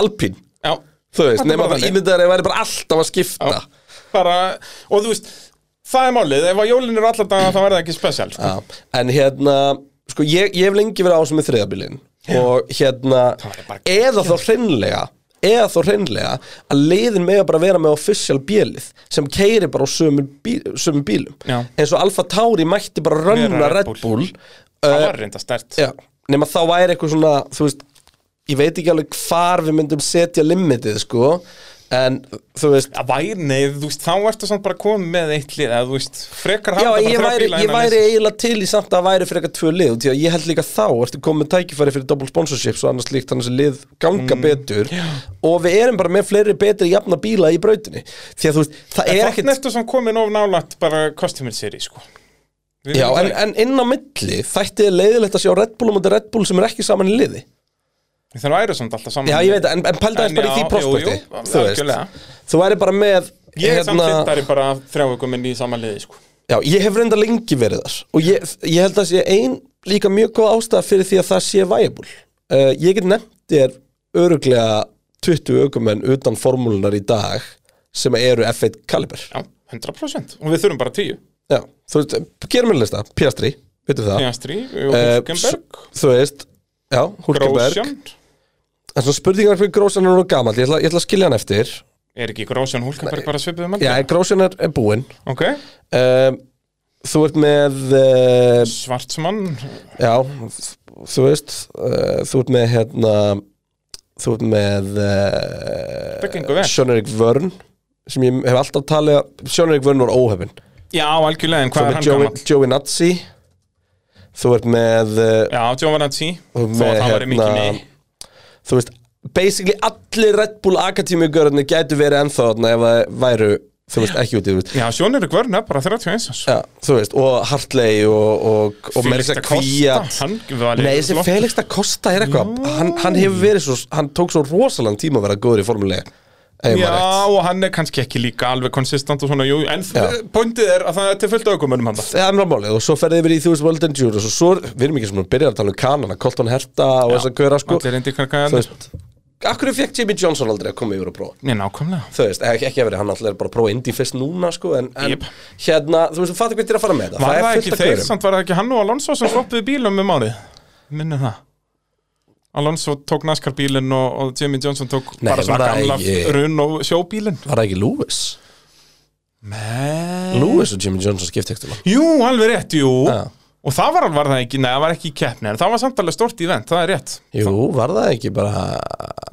Speaker 1: Alpín,
Speaker 2: Já,
Speaker 1: þú veist,
Speaker 2: Þetta er
Speaker 1: nema
Speaker 2: bara
Speaker 1: bara
Speaker 2: þannig.
Speaker 1: ímyndaður að væri bara alltaf að skipta
Speaker 2: Já. bara, og þú veist það er málið, ef að jólin eru allar daga þá verður það ekki spesial sko.
Speaker 1: já. en hérna, sko, ég, ég hef lengi verið á sem er þriðabilin og hérna,
Speaker 2: Það er bara
Speaker 1: eða þá hreinlega eða þá hreinlega að leiðin með að bara vera með official bílið sem keiri bara á sömur, bíl, sömur bílum
Speaker 2: Já.
Speaker 1: eins og Alfa Tauri mætti bara rönna
Speaker 2: Vera Red
Speaker 1: Red
Speaker 2: Bull.
Speaker 1: Bull, uh,
Speaker 2: það var reynda stert
Speaker 1: Eh, Já, nema þá væri eitthvað svona, þú veist, ég veit ekki alveg hvar við myndum setja limitið, sko, en þú veist
Speaker 2: Það væri, nei, þú veist, þá ertu samt bara komið með eitt lið, eða þú veist, frekar
Speaker 1: Já,
Speaker 2: halda bara
Speaker 1: ég
Speaker 2: þrjá
Speaker 1: væri,
Speaker 2: bíla hérna
Speaker 1: ég
Speaker 2: innan
Speaker 1: væri
Speaker 2: eins.
Speaker 1: eiginlega til í samt að það væri fyrir eitthvað tvö lið út í að ég held líka þá ertu komið með tækifæri fyrir double sponsorships og annars líkt þannig að lið ganga
Speaker 2: Mm,
Speaker 1: betur og við erum bara með fleiri betri jafna bíla í brautinni því að þú veist, það er
Speaker 2: Þannig
Speaker 1: ekkit
Speaker 2: ertu svona komin of nálægt bara Costumer Series, sko Við
Speaker 1: Já,
Speaker 2: vitum
Speaker 1: en,
Speaker 2: það.
Speaker 1: en inn á milli þætti er leiðilegt að sjá Red Bull og mútið Red Bull sem er ekki saman í liði
Speaker 2: Það væri samt alltaf saman
Speaker 1: Já, ég veit, það, en, en pælda
Speaker 2: En
Speaker 1: eins bara í
Speaker 2: já,
Speaker 1: því prospekti
Speaker 2: jú, jú,
Speaker 1: Þú
Speaker 2: algjörlega.
Speaker 1: veist, þú væri bara með hérna-
Speaker 2: Ég er samt hittari bara þrjá ykkur minn í saman liði, sko
Speaker 1: Já, ég hef reynda lengi verið þar og ég, ég held að sé ein líka mjög góð ástæða fyrir því að það sé viable uh, Ég get nefnt þér öruglega 20 aukumenn utan formúlunar í dag sem eru F1 kaliber
Speaker 2: Já, 100% Og við þurfum bara tíu
Speaker 1: Já, þú veist, gerum við lista, Piastri, veitum það
Speaker 2: Piastri,
Speaker 1: Eh,
Speaker 2: Hulkenberg,
Speaker 1: s- Þú veist, já, Hulkenberg
Speaker 2: Grósjan
Speaker 1: En svona spurningar fyrir Grósjan er nú gamall ég ætla, ég ætla að skilja hann eftir
Speaker 2: Er ekki Grósjan Hulkenberg bara svipið um
Speaker 1: Já,
Speaker 2: aldrei?
Speaker 1: Grósjan er, er búinn
Speaker 2: Ok,
Speaker 1: um, Þú ert með uh,
Speaker 2: Svartsmann
Speaker 1: Já, þú veist uh, Þú ert með hérna Þú ert með
Speaker 2: Það
Speaker 1: uh,
Speaker 2: gengur vel.
Speaker 1: Sjónarik Vörn sem ég hef alltaf talið að Sjónarik Vörn var óhefin
Speaker 2: Já, algjörlega, en
Speaker 1: Þú
Speaker 2: hvað er
Speaker 1: ert
Speaker 2: hann
Speaker 1: með Joey,
Speaker 2: gammal?
Speaker 1: Joey Nazi Þú ert með uh,
Speaker 2: Já, Giovanazzi
Speaker 1: Og
Speaker 2: Þó að
Speaker 1: með,
Speaker 2: það væri mikið
Speaker 1: hérna,
Speaker 2: nei
Speaker 1: þú veist, basically allir Red Bull Akademíugörðinni gætu verið ennþá þarna ef það væru, þú veist, ekki út í þú veist
Speaker 2: Já, Sjón eru kvörna, bara 31 árs.
Speaker 1: Já, þú veist, og Hartley og, og, og meira
Speaker 2: Felix
Speaker 1: þess
Speaker 2: da
Speaker 1: að
Speaker 2: Costa,
Speaker 1: kvíat
Speaker 2: hann var
Speaker 1: Nei, þessi Felix da Costa er eitthvað hann, hann hefur verið svo, hann tók svo rosalega tíma að vera góður í E. formulega
Speaker 2: Já, og hann er kannski ekki líka alveg konsistant og svona, jú, en eh,
Speaker 1: Já. Sko-
Speaker 2: pointið er að það er til fullt aukumönnum hann
Speaker 1: Það er mjög málið og svo ferðið yfir í þú veist World Endurance og svo, við erum ekki svona að byrja að tala um kanana, Colton Herta og þess að gauðra sko
Speaker 2: Allir reyndi hvað hann
Speaker 1: Þú
Speaker 2: er
Speaker 1: veist, akkur fekk Jimmy Johnson aldrei að koma yfir og prófa
Speaker 2: hérna. Nei, nákvæmlega
Speaker 1: þú veist, ekki, ekki að vera, hann alltaf er bara að prófa indie fyrst núna sko, en, en
Speaker 2: Jep.
Speaker 1: hérna, þú veist, þú fattir hvað þér að fara með það
Speaker 2: Var það
Speaker 1: er
Speaker 2: ekki þeir, samt var það ekki hann og Alonso sem floppuði bílum um árið Minni það Alonso tók NASCAR bílinn og, og Jimmy Johnson tók
Speaker 1: Nei,
Speaker 2: bara svona
Speaker 1: var það
Speaker 2: gamla
Speaker 1: ekki-
Speaker 2: runn og sjóbílinn
Speaker 1: Var það ekki Lewis?
Speaker 2: Men...
Speaker 1: Lewis og Jimmy Johnson skipti ekki til hann
Speaker 2: Jú, alveg rétt, jú
Speaker 1: Já.
Speaker 2: Og það var, var það ekki, nei, það var ekki í keppni En það var samt alveg stort event, það er rétt
Speaker 1: Jú, var það ekki bara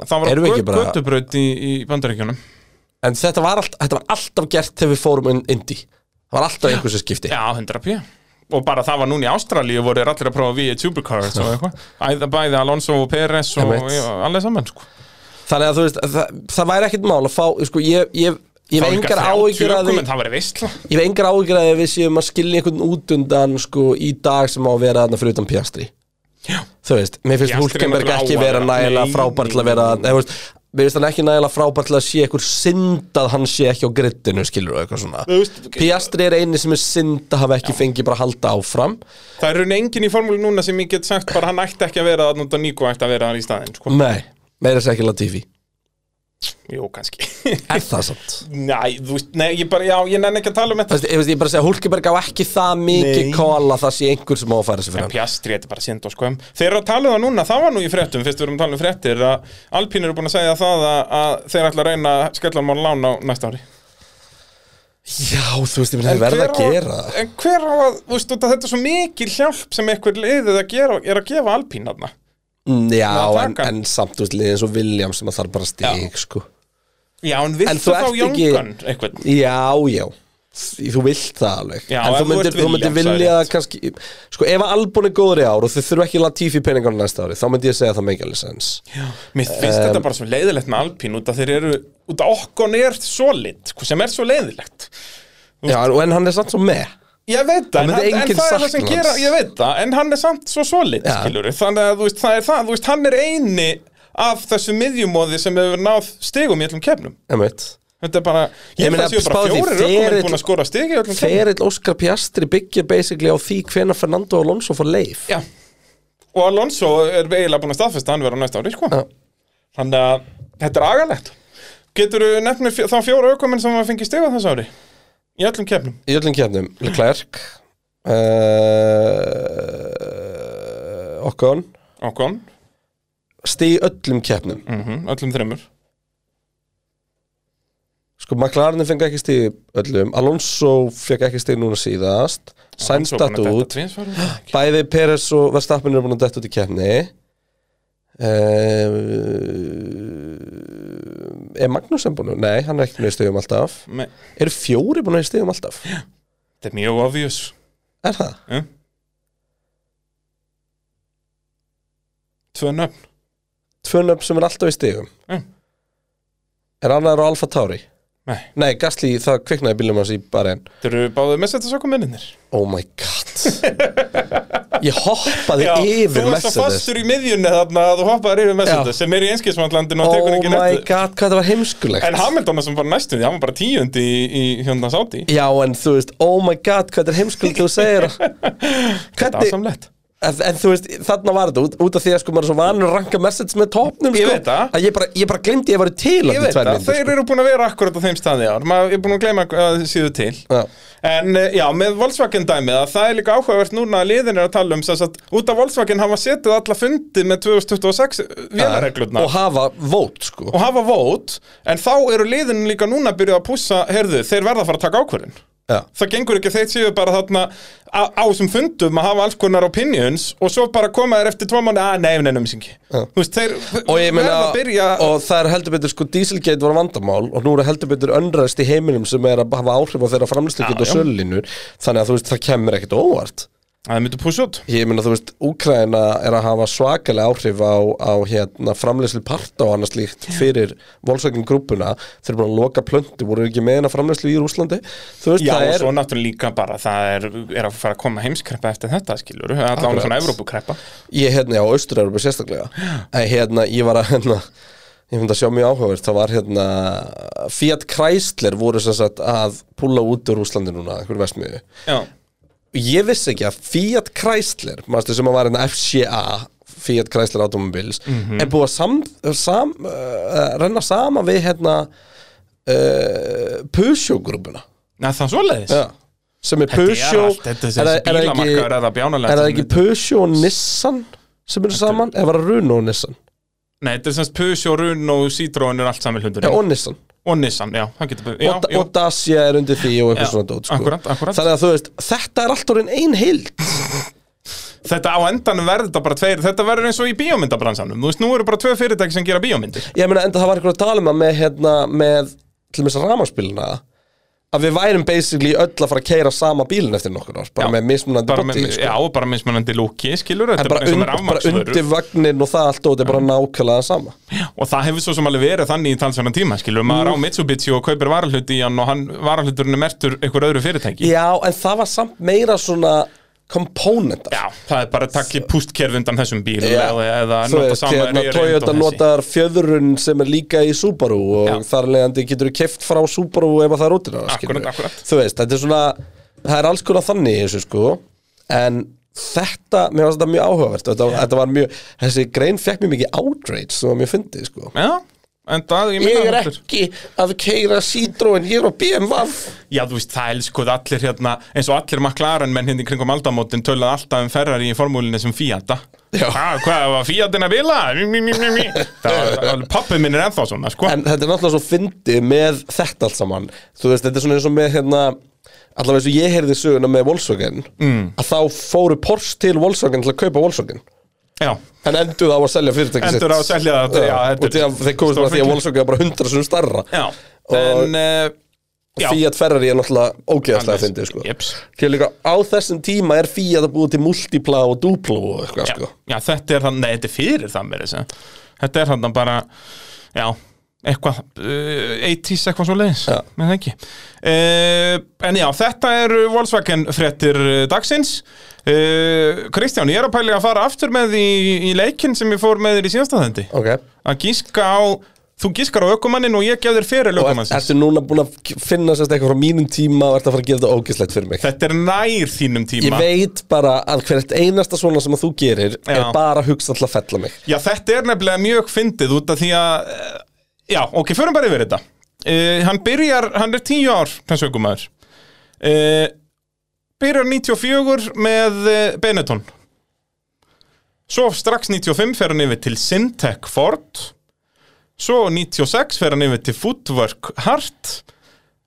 Speaker 2: Það var
Speaker 1: Erum við ekki bara-
Speaker 2: göttubraut í, í bandaríkjunum
Speaker 1: En þetta var, allt, þetta var alltaf gert þegar við fórum inn indie Það var alltaf einhversu skipti
Speaker 2: Já, 100 p Og bara það var núna í Ástralíu voru þeir allir að prófa V8 Supercars og eitthvað Æða bæði Alonso og Perez og
Speaker 1: Einmitt.
Speaker 2: já, allir saman sko.
Speaker 1: Þannig að þú veist, það, það væri ekkit mál að fá sko, Ég, ég, ég
Speaker 2: Það
Speaker 1: hef
Speaker 2: var líka
Speaker 1: engar
Speaker 2: 30
Speaker 1: áhyggjur að því
Speaker 2: ökumenn, Það var veistla
Speaker 1: Ég hef engar áhyggjur að því við séum að skilja einhvern út undan sko, í dag sem á að vera þarna fyrir utan Piastri
Speaker 2: Já,
Speaker 1: þú veist, mér finnst
Speaker 2: Piastri
Speaker 1: Hulkenberg
Speaker 2: náttúrulega
Speaker 1: ekki
Speaker 2: á að
Speaker 1: vera
Speaker 2: vera-
Speaker 1: nægilega
Speaker 2: Nei,
Speaker 1: frábær til að
Speaker 2: nei,
Speaker 1: vera,
Speaker 2: nei.
Speaker 1: eða þú veist mér finnst hann ekki nægilega frábær til að sé einhver synd að hann sé ekki á grittinu, skilur þú eitthvað svona
Speaker 2: veist,
Speaker 1: Piastri er eini sem er synd að hafa ekki fengið bara að halda áfram
Speaker 2: Það er raun engin í formúli núna sem ég get sagt bara hann ætti ekki að vera það núnda Nico ætti að vera það í staðinn sko.
Speaker 1: nei, meira þess ekki Latifi
Speaker 2: Jú, kannski
Speaker 1: er það samt?
Speaker 2: Nei, þú veist, nei, ég bara, já, ég nenni ekki að tala um
Speaker 1: Þú
Speaker 2: þetta
Speaker 1: veist, ég veist, ég bara að segja, Hulkenberg á ekki það mikið
Speaker 2: Nei.
Speaker 1: kóla það sé einhver sem á að færa sig fyrir hann
Speaker 2: Piastri, þetta er bara sind og skoðum Þeir eru að tala um það núna, það var nú í fréttum Fyrst við erum að tala um fréttir að Alpín eru búin að segja það að, að þeir ætla að reyna að skella hann á lán á næsta ári
Speaker 1: já, þú veist, ég myndi verða
Speaker 2: hver
Speaker 1: að
Speaker 2: á
Speaker 1: gera það.
Speaker 2: En hver á að, þú veist, út af þetta er svo mikil hjálp sem einhver liðið að gera, er að gefa Alpín þarna
Speaker 1: Mm, já,
Speaker 2: Ná að
Speaker 1: en,
Speaker 2: taka hann.
Speaker 1: en samt, þú veist, liðið eins og Williams sem að þarf bara stig, sko
Speaker 2: Já, en
Speaker 1: En
Speaker 2: viltu
Speaker 1: þú
Speaker 2: þá
Speaker 1: ert ekki-
Speaker 2: Jóngan einhvern
Speaker 1: Já, já Þú vilt það alveg En
Speaker 2: Já, ef
Speaker 1: þú
Speaker 2: þú
Speaker 1: myndir,
Speaker 2: ert
Speaker 1: þú myndir
Speaker 2: Williams, það er
Speaker 1: vilja það
Speaker 2: rétt.
Speaker 1: kannski Sko, ef að Albon er góður í ár og þau þurfa ekki Latifi peningarna næsta ári þá myndi ég segja að það make alveg sens
Speaker 2: Mér finnst þetta bara svo leiðilegt með Alpín út að þeir eru, út að okkon er svo lit, sem er svo leiðilegt
Speaker 1: Já, en- en hann er samt svo með
Speaker 2: Ég veit það, en,
Speaker 1: myndi
Speaker 2: hann, en
Speaker 1: enginn
Speaker 2: það er það
Speaker 1: sakna
Speaker 2: sem
Speaker 1: hans.
Speaker 2: gera, ég veit það, en hann er samt svo solid,
Speaker 1: Já.
Speaker 2: skilur þannig að þú veist, það er það, þú veist, hann er eini af þessu miðjumóði sem hefur náð stigum í öllum kefnum.
Speaker 1: Emmeit
Speaker 2: Þetta er bara,
Speaker 1: Ég
Speaker 2: ég held
Speaker 1: meina,
Speaker 2: að séu bara
Speaker 1: spáðu því,
Speaker 2: fjórir ökumenn
Speaker 1: ferill-
Speaker 2: búin að skora stig í öllum kefnum.
Speaker 1: Ferill Óskar Piastri byggja basically á því hvena Fernando Alonso fór leif
Speaker 2: Já, og Alonso er eiginlega búin að staðfesta að hann vera á næsta ári, sko.
Speaker 1: Já.
Speaker 2: Þannig að þetta er agalegt. Getur þú nefnt mér fjó- þá fjóra ökumenn sem að fengi stiga þessu ári? Í öllum kefnum.
Speaker 1: Í öllum kefnum Leclerc eh, uh, Okkon
Speaker 2: Okon,
Speaker 1: Stig í öllum kefnum
Speaker 2: mm öllum þreymur.
Speaker 1: Sko, McLaren fengi ekki stig í öllum Alonso fekk ekki stig núna síðast Sainz datt út Bæði Peres og Verstappen eru búin að detta út í kefni uh, Eh, er Magnús búin að, nei, hann er ekki búin að stegum alltaf
Speaker 2: Me-
Speaker 1: Eru fjóri búin að stegum alltaf?
Speaker 2: Þetta er mjög obvious
Speaker 1: Er það?
Speaker 2: ja. Tvö nöfn
Speaker 1: Tvö nöfn sem er alltaf í stegum
Speaker 2: Mm.
Speaker 1: Er annar á Alfa Tauri?
Speaker 2: Nei,
Speaker 1: Nei, Gasly, það kviknaði bílum hans í barinn
Speaker 2: þetta eru báðið með þetta sökum minninir
Speaker 1: Oh my god Ég hoppaði
Speaker 2: þú
Speaker 1: yfir
Speaker 2: varst að
Speaker 1: Mercedes
Speaker 2: fastur í miðjunni þarna að þú hoppaðir yfir Mercedes sem er í einskilsmannlandinu og
Speaker 1: Oh
Speaker 2: tekur ekki
Speaker 1: my
Speaker 2: nættu
Speaker 1: god, hvað það var heimskulegt
Speaker 2: En Hamilton sem var næstuði, hann var bara tíundi í, í hérna sáti
Speaker 1: Já, en þú veist, oh my god, hvað það er heimskulegt þú segir það. Hvernig,
Speaker 2: Dásamlegt
Speaker 1: en, en þú veist, þarna var þetta út, út af því að sko maður er svo vanur að ranka Mercedes með topnum
Speaker 2: Ég
Speaker 1: sko,
Speaker 2: veit það.
Speaker 1: að ég bara, ég bara glemdi ég var til
Speaker 2: Ég veit
Speaker 1: það,
Speaker 2: það, þeir eru búin að vera akkurat á þeim staði ár Maður er búin að gleyma að síðu til
Speaker 1: Já.
Speaker 2: En eh, já, með Volkswagen dæmið að það er líka áhugavert núna að liðin er að tala um sem sagt, út af Volkswagen hafa setið alla fundi með 2026 vélareglurna
Speaker 1: sko. Og hafa vót sko
Speaker 2: og hafa vót en þá eru liðin líka núna að byrja að pússa herðu, þeir verða að fara að taka ákvörðin
Speaker 1: Já,
Speaker 2: það gengur ekki að þeir séu bara þarna á, á sem fundum að hafa alls konar opinions og svo bara koma þeir eftir tvo mánu að nei, nei, nei, misingi þú veist, þeir
Speaker 1: og ég meina
Speaker 2: verða að byrja
Speaker 1: og það er heldur betur sko Dieselgate var vandamál og nú er heldur betur önræðst í heiminum sem er að hafa áhrif á þeirra framlýsleikit
Speaker 2: Já,
Speaker 1: og
Speaker 2: já.
Speaker 1: söllinur þannig að þú veist það kemur ekkert á óvart
Speaker 2: að þeir myndu pússa út
Speaker 1: ég meina þú veist Úkraina er að hafa svakalega áhrif á, á hérna, framlýsli parta og annars líkt fyrir volsveikin grúpuna þeir eru búin að loka plöntu voru ekki með hérna framlýsli í Rúslandi þú veist
Speaker 2: Já,
Speaker 1: það
Speaker 2: og
Speaker 1: er
Speaker 2: svo náttúrulega líka bara það er, er að fara að koma heimskreppa eftir þetta, skilur allan
Speaker 1: Akkurat.
Speaker 2: svona Evrópukreppa
Speaker 1: ég hérna á Austur-Európa sérstaklega að hérna ég var að hérna ég finn það sjá mjög áhugavert það var hérna Fiat Chrysler voru sem sagt að púla út úr Úslandi núna einhver vestmiðu
Speaker 2: Já,
Speaker 1: ég vissi ekki að Fiat Chrysler manstu sem að var hérna FCA Fiat Chrysler Automobiles
Speaker 2: Mhm.
Speaker 1: er búið að sam, sam, uh, renna sama við hérna uh, Peugeot grúpuna
Speaker 2: Na, það er svoleiðis
Speaker 1: ja. sem er
Speaker 2: Þetta er
Speaker 1: Peugeot
Speaker 2: allt, þetta er þessi
Speaker 1: það- það
Speaker 2: bílamarkaður er það bjánalegt
Speaker 1: er það
Speaker 2: sem
Speaker 1: ekki
Speaker 2: þetta-
Speaker 1: Peugeot og Nissan sem eru saman, eða var það Runo og Nissan
Speaker 2: Nei, þetta er semst Peugeot, Renault, Citroen er allt saman hundur
Speaker 1: Já, og Nissan
Speaker 2: og Nissan, já, það getur já,
Speaker 1: og,
Speaker 2: já,
Speaker 1: og Dacia er undir því og eitthvað
Speaker 2: Já,
Speaker 1: svona dót sko.
Speaker 2: akkúrat, akkúrat.
Speaker 1: Þannig að þú veist, þetta er allt orðin ein heild
Speaker 2: Þetta á endanum verður þetta bara tveir Þetta verður eins og í bíómyndabransanum Þú veist, nú eru bara tvö fyrirtæki sem gera bíómyndir
Speaker 1: Ég meina, enda það var eitthvað að tala um það með, hérna, með til þess að ramaspilina að við værum basically öll að fara að keira sama bílinn eftir nokkur ár, bara
Speaker 2: Já,
Speaker 1: með mismunandi
Speaker 2: bara
Speaker 1: body,
Speaker 2: með,
Speaker 1: sko.
Speaker 2: Já, og bara mismunandi lúki, skilur Þetta
Speaker 1: en
Speaker 2: er
Speaker 1: bara,
Speaker 2: bara eins og
Speaker 1: und,
Speaker 2: með Mm.
Speaker 1: bara undir
Speaker 2: rafmaksvöru
Speaker 1: vagnin og það allt og þetta er bara nákvæmlega það sama
Speaker 2: Og það hefur svo sem alveg verið þannig í talsverðan tíma Skilur, maður á
Speaker 1: Mm.
Speaker 2: Mitsubishi og kaupir varahlut í hann Og hann varahluturinn er mertur einhver öðru fyrirtæki
Speaker 1: Já, en það var samt meira svona komponentar
Speaker 2: Já, það er bara að takki pústkerfi undan þessum bíl
Speaker 1: Já.
Speaker 2: Eða, eða
Speaker 1: Þú
Speaker 2: nota
Speaker 1: veist,
Speaker 2: sama
Speaker 1: hérna,
Speaker 2: reyrund og
Speaker 1: Toyota
Speaker 2: þessi.
Speaker 1: notar fjöðrun sem er líka í Subaru og
Speaker 2: Já.
Speaker 1: þar leiðandi getur þú keft frá Subaru ef að það er útilega
Speaker 2: Akkúrat, akkúrat.
Speaker 1: Þú veist, þetta er svona, það er alls konar þannig í þessu sko En þetta, mér varst þetta mjög áhugavert Þetta, þetta var mjög, þessi grein fekk mjög mikið outrage sem var mjög fyndið sko
Speaker 2: Já, en það, ég meina
Speaker 1: Ég er
Speaker 2: þetta
Speaker 1: ekki að keira Citroen hér á BMW
Speaker 2: Já, þú veist, það elskuð allir hérna eins og allir McLaren menn hérna í kringum aldamótin töluð alltaf um Ferrari í formúlinni sem Fiat ah.
Speaker 1: Já.
Speaker 2: Hvað, hvað var Fiatin að bila? Mí, mí, mí, mí, mí. Það var, pappi minn er ennþá svona, sko
Speaker 1: En þetta er náttúrulega svo fyndið með þetta allt saman Þú veist, þetta er svona eins og með hérna Allavega eins og ég heyrði söguna með Volkswagen mm. Að þá fóru Porsche til Volkswagen til að kaupa Volkswagen
Speaker 2: Já,
Speaker 1: En endur á að selja fyrirtæki
Speaker 2: Enduðu á að selja þetta, já, þetta er
Speaker 1: Og því að þeir komast bara að því að
Speaker 2: stórfengilegt.
Speaker 1: Volkswagen er bara hundra sem starra
Speaker 2: já
Speaker 1: Og-
Speaker 2: En, uh, já
Speaker 1: Fiat Ferrari er náttúrulega ógeðaslega
Speaker 2: Alveg,
Speaker 1: fyndið sko
Speaker 2: jeps.
Speaker 1: Því að líka á þessum tíma er Fiat að búið til Multipla og Duplo og eitthvað
Speaker 2: já,
Speaker 1: sko
Speaker 2: já, þetta er þannig, nei, þetta er fyrir það mér þessi Þetta er þannig bara, já, eitthvað, uh, 80s eitthvað svo leiðis,
Speaker 1: Já.
Speaker 2: menn ekki uh, En já, þetta eru Volkswagen fréttir uh, dagsins uh, Kristján, ég er að pæli að fara aftur með í, í leikinn sem ég fór með þér í síðasta þendi
Speaker 1: Ok
Speaker 2: Að gíska á, þú gískar á ökumannin og ég gef þér
Speaker 1: Og
Speaker 2: fyrir
Speaker 1: ert-
Speaker 2: ökumannsins
Speaker 1: ertu núna búin að finna sérst eitthvað frá mínum tíma og ert að fara að gera þetta ógeðslegt fyrir mig
Speaker 2: Þetta er nær þínum
Speaker 1: Ég
Speaker 2: tíma
Speaker 1: veit bara að hvert einasta svona sem að þú gerir er
Speaker 2: Já.
Speaker 1: bara að hugsa alltaf að fella mig
Speaker 2: Já, þetta er nefnilega mjög fyndið út af því að eh, Já, ok, förum bara yfir þetta uh, Hann byrjar, hann er tíu ár þessu ökumæður uh, Byrjar 94 með eh, Benetton Svo strax 95 fer hann yfir til Syntec Ford Svo 96 fer hann yfir til Footwork Hart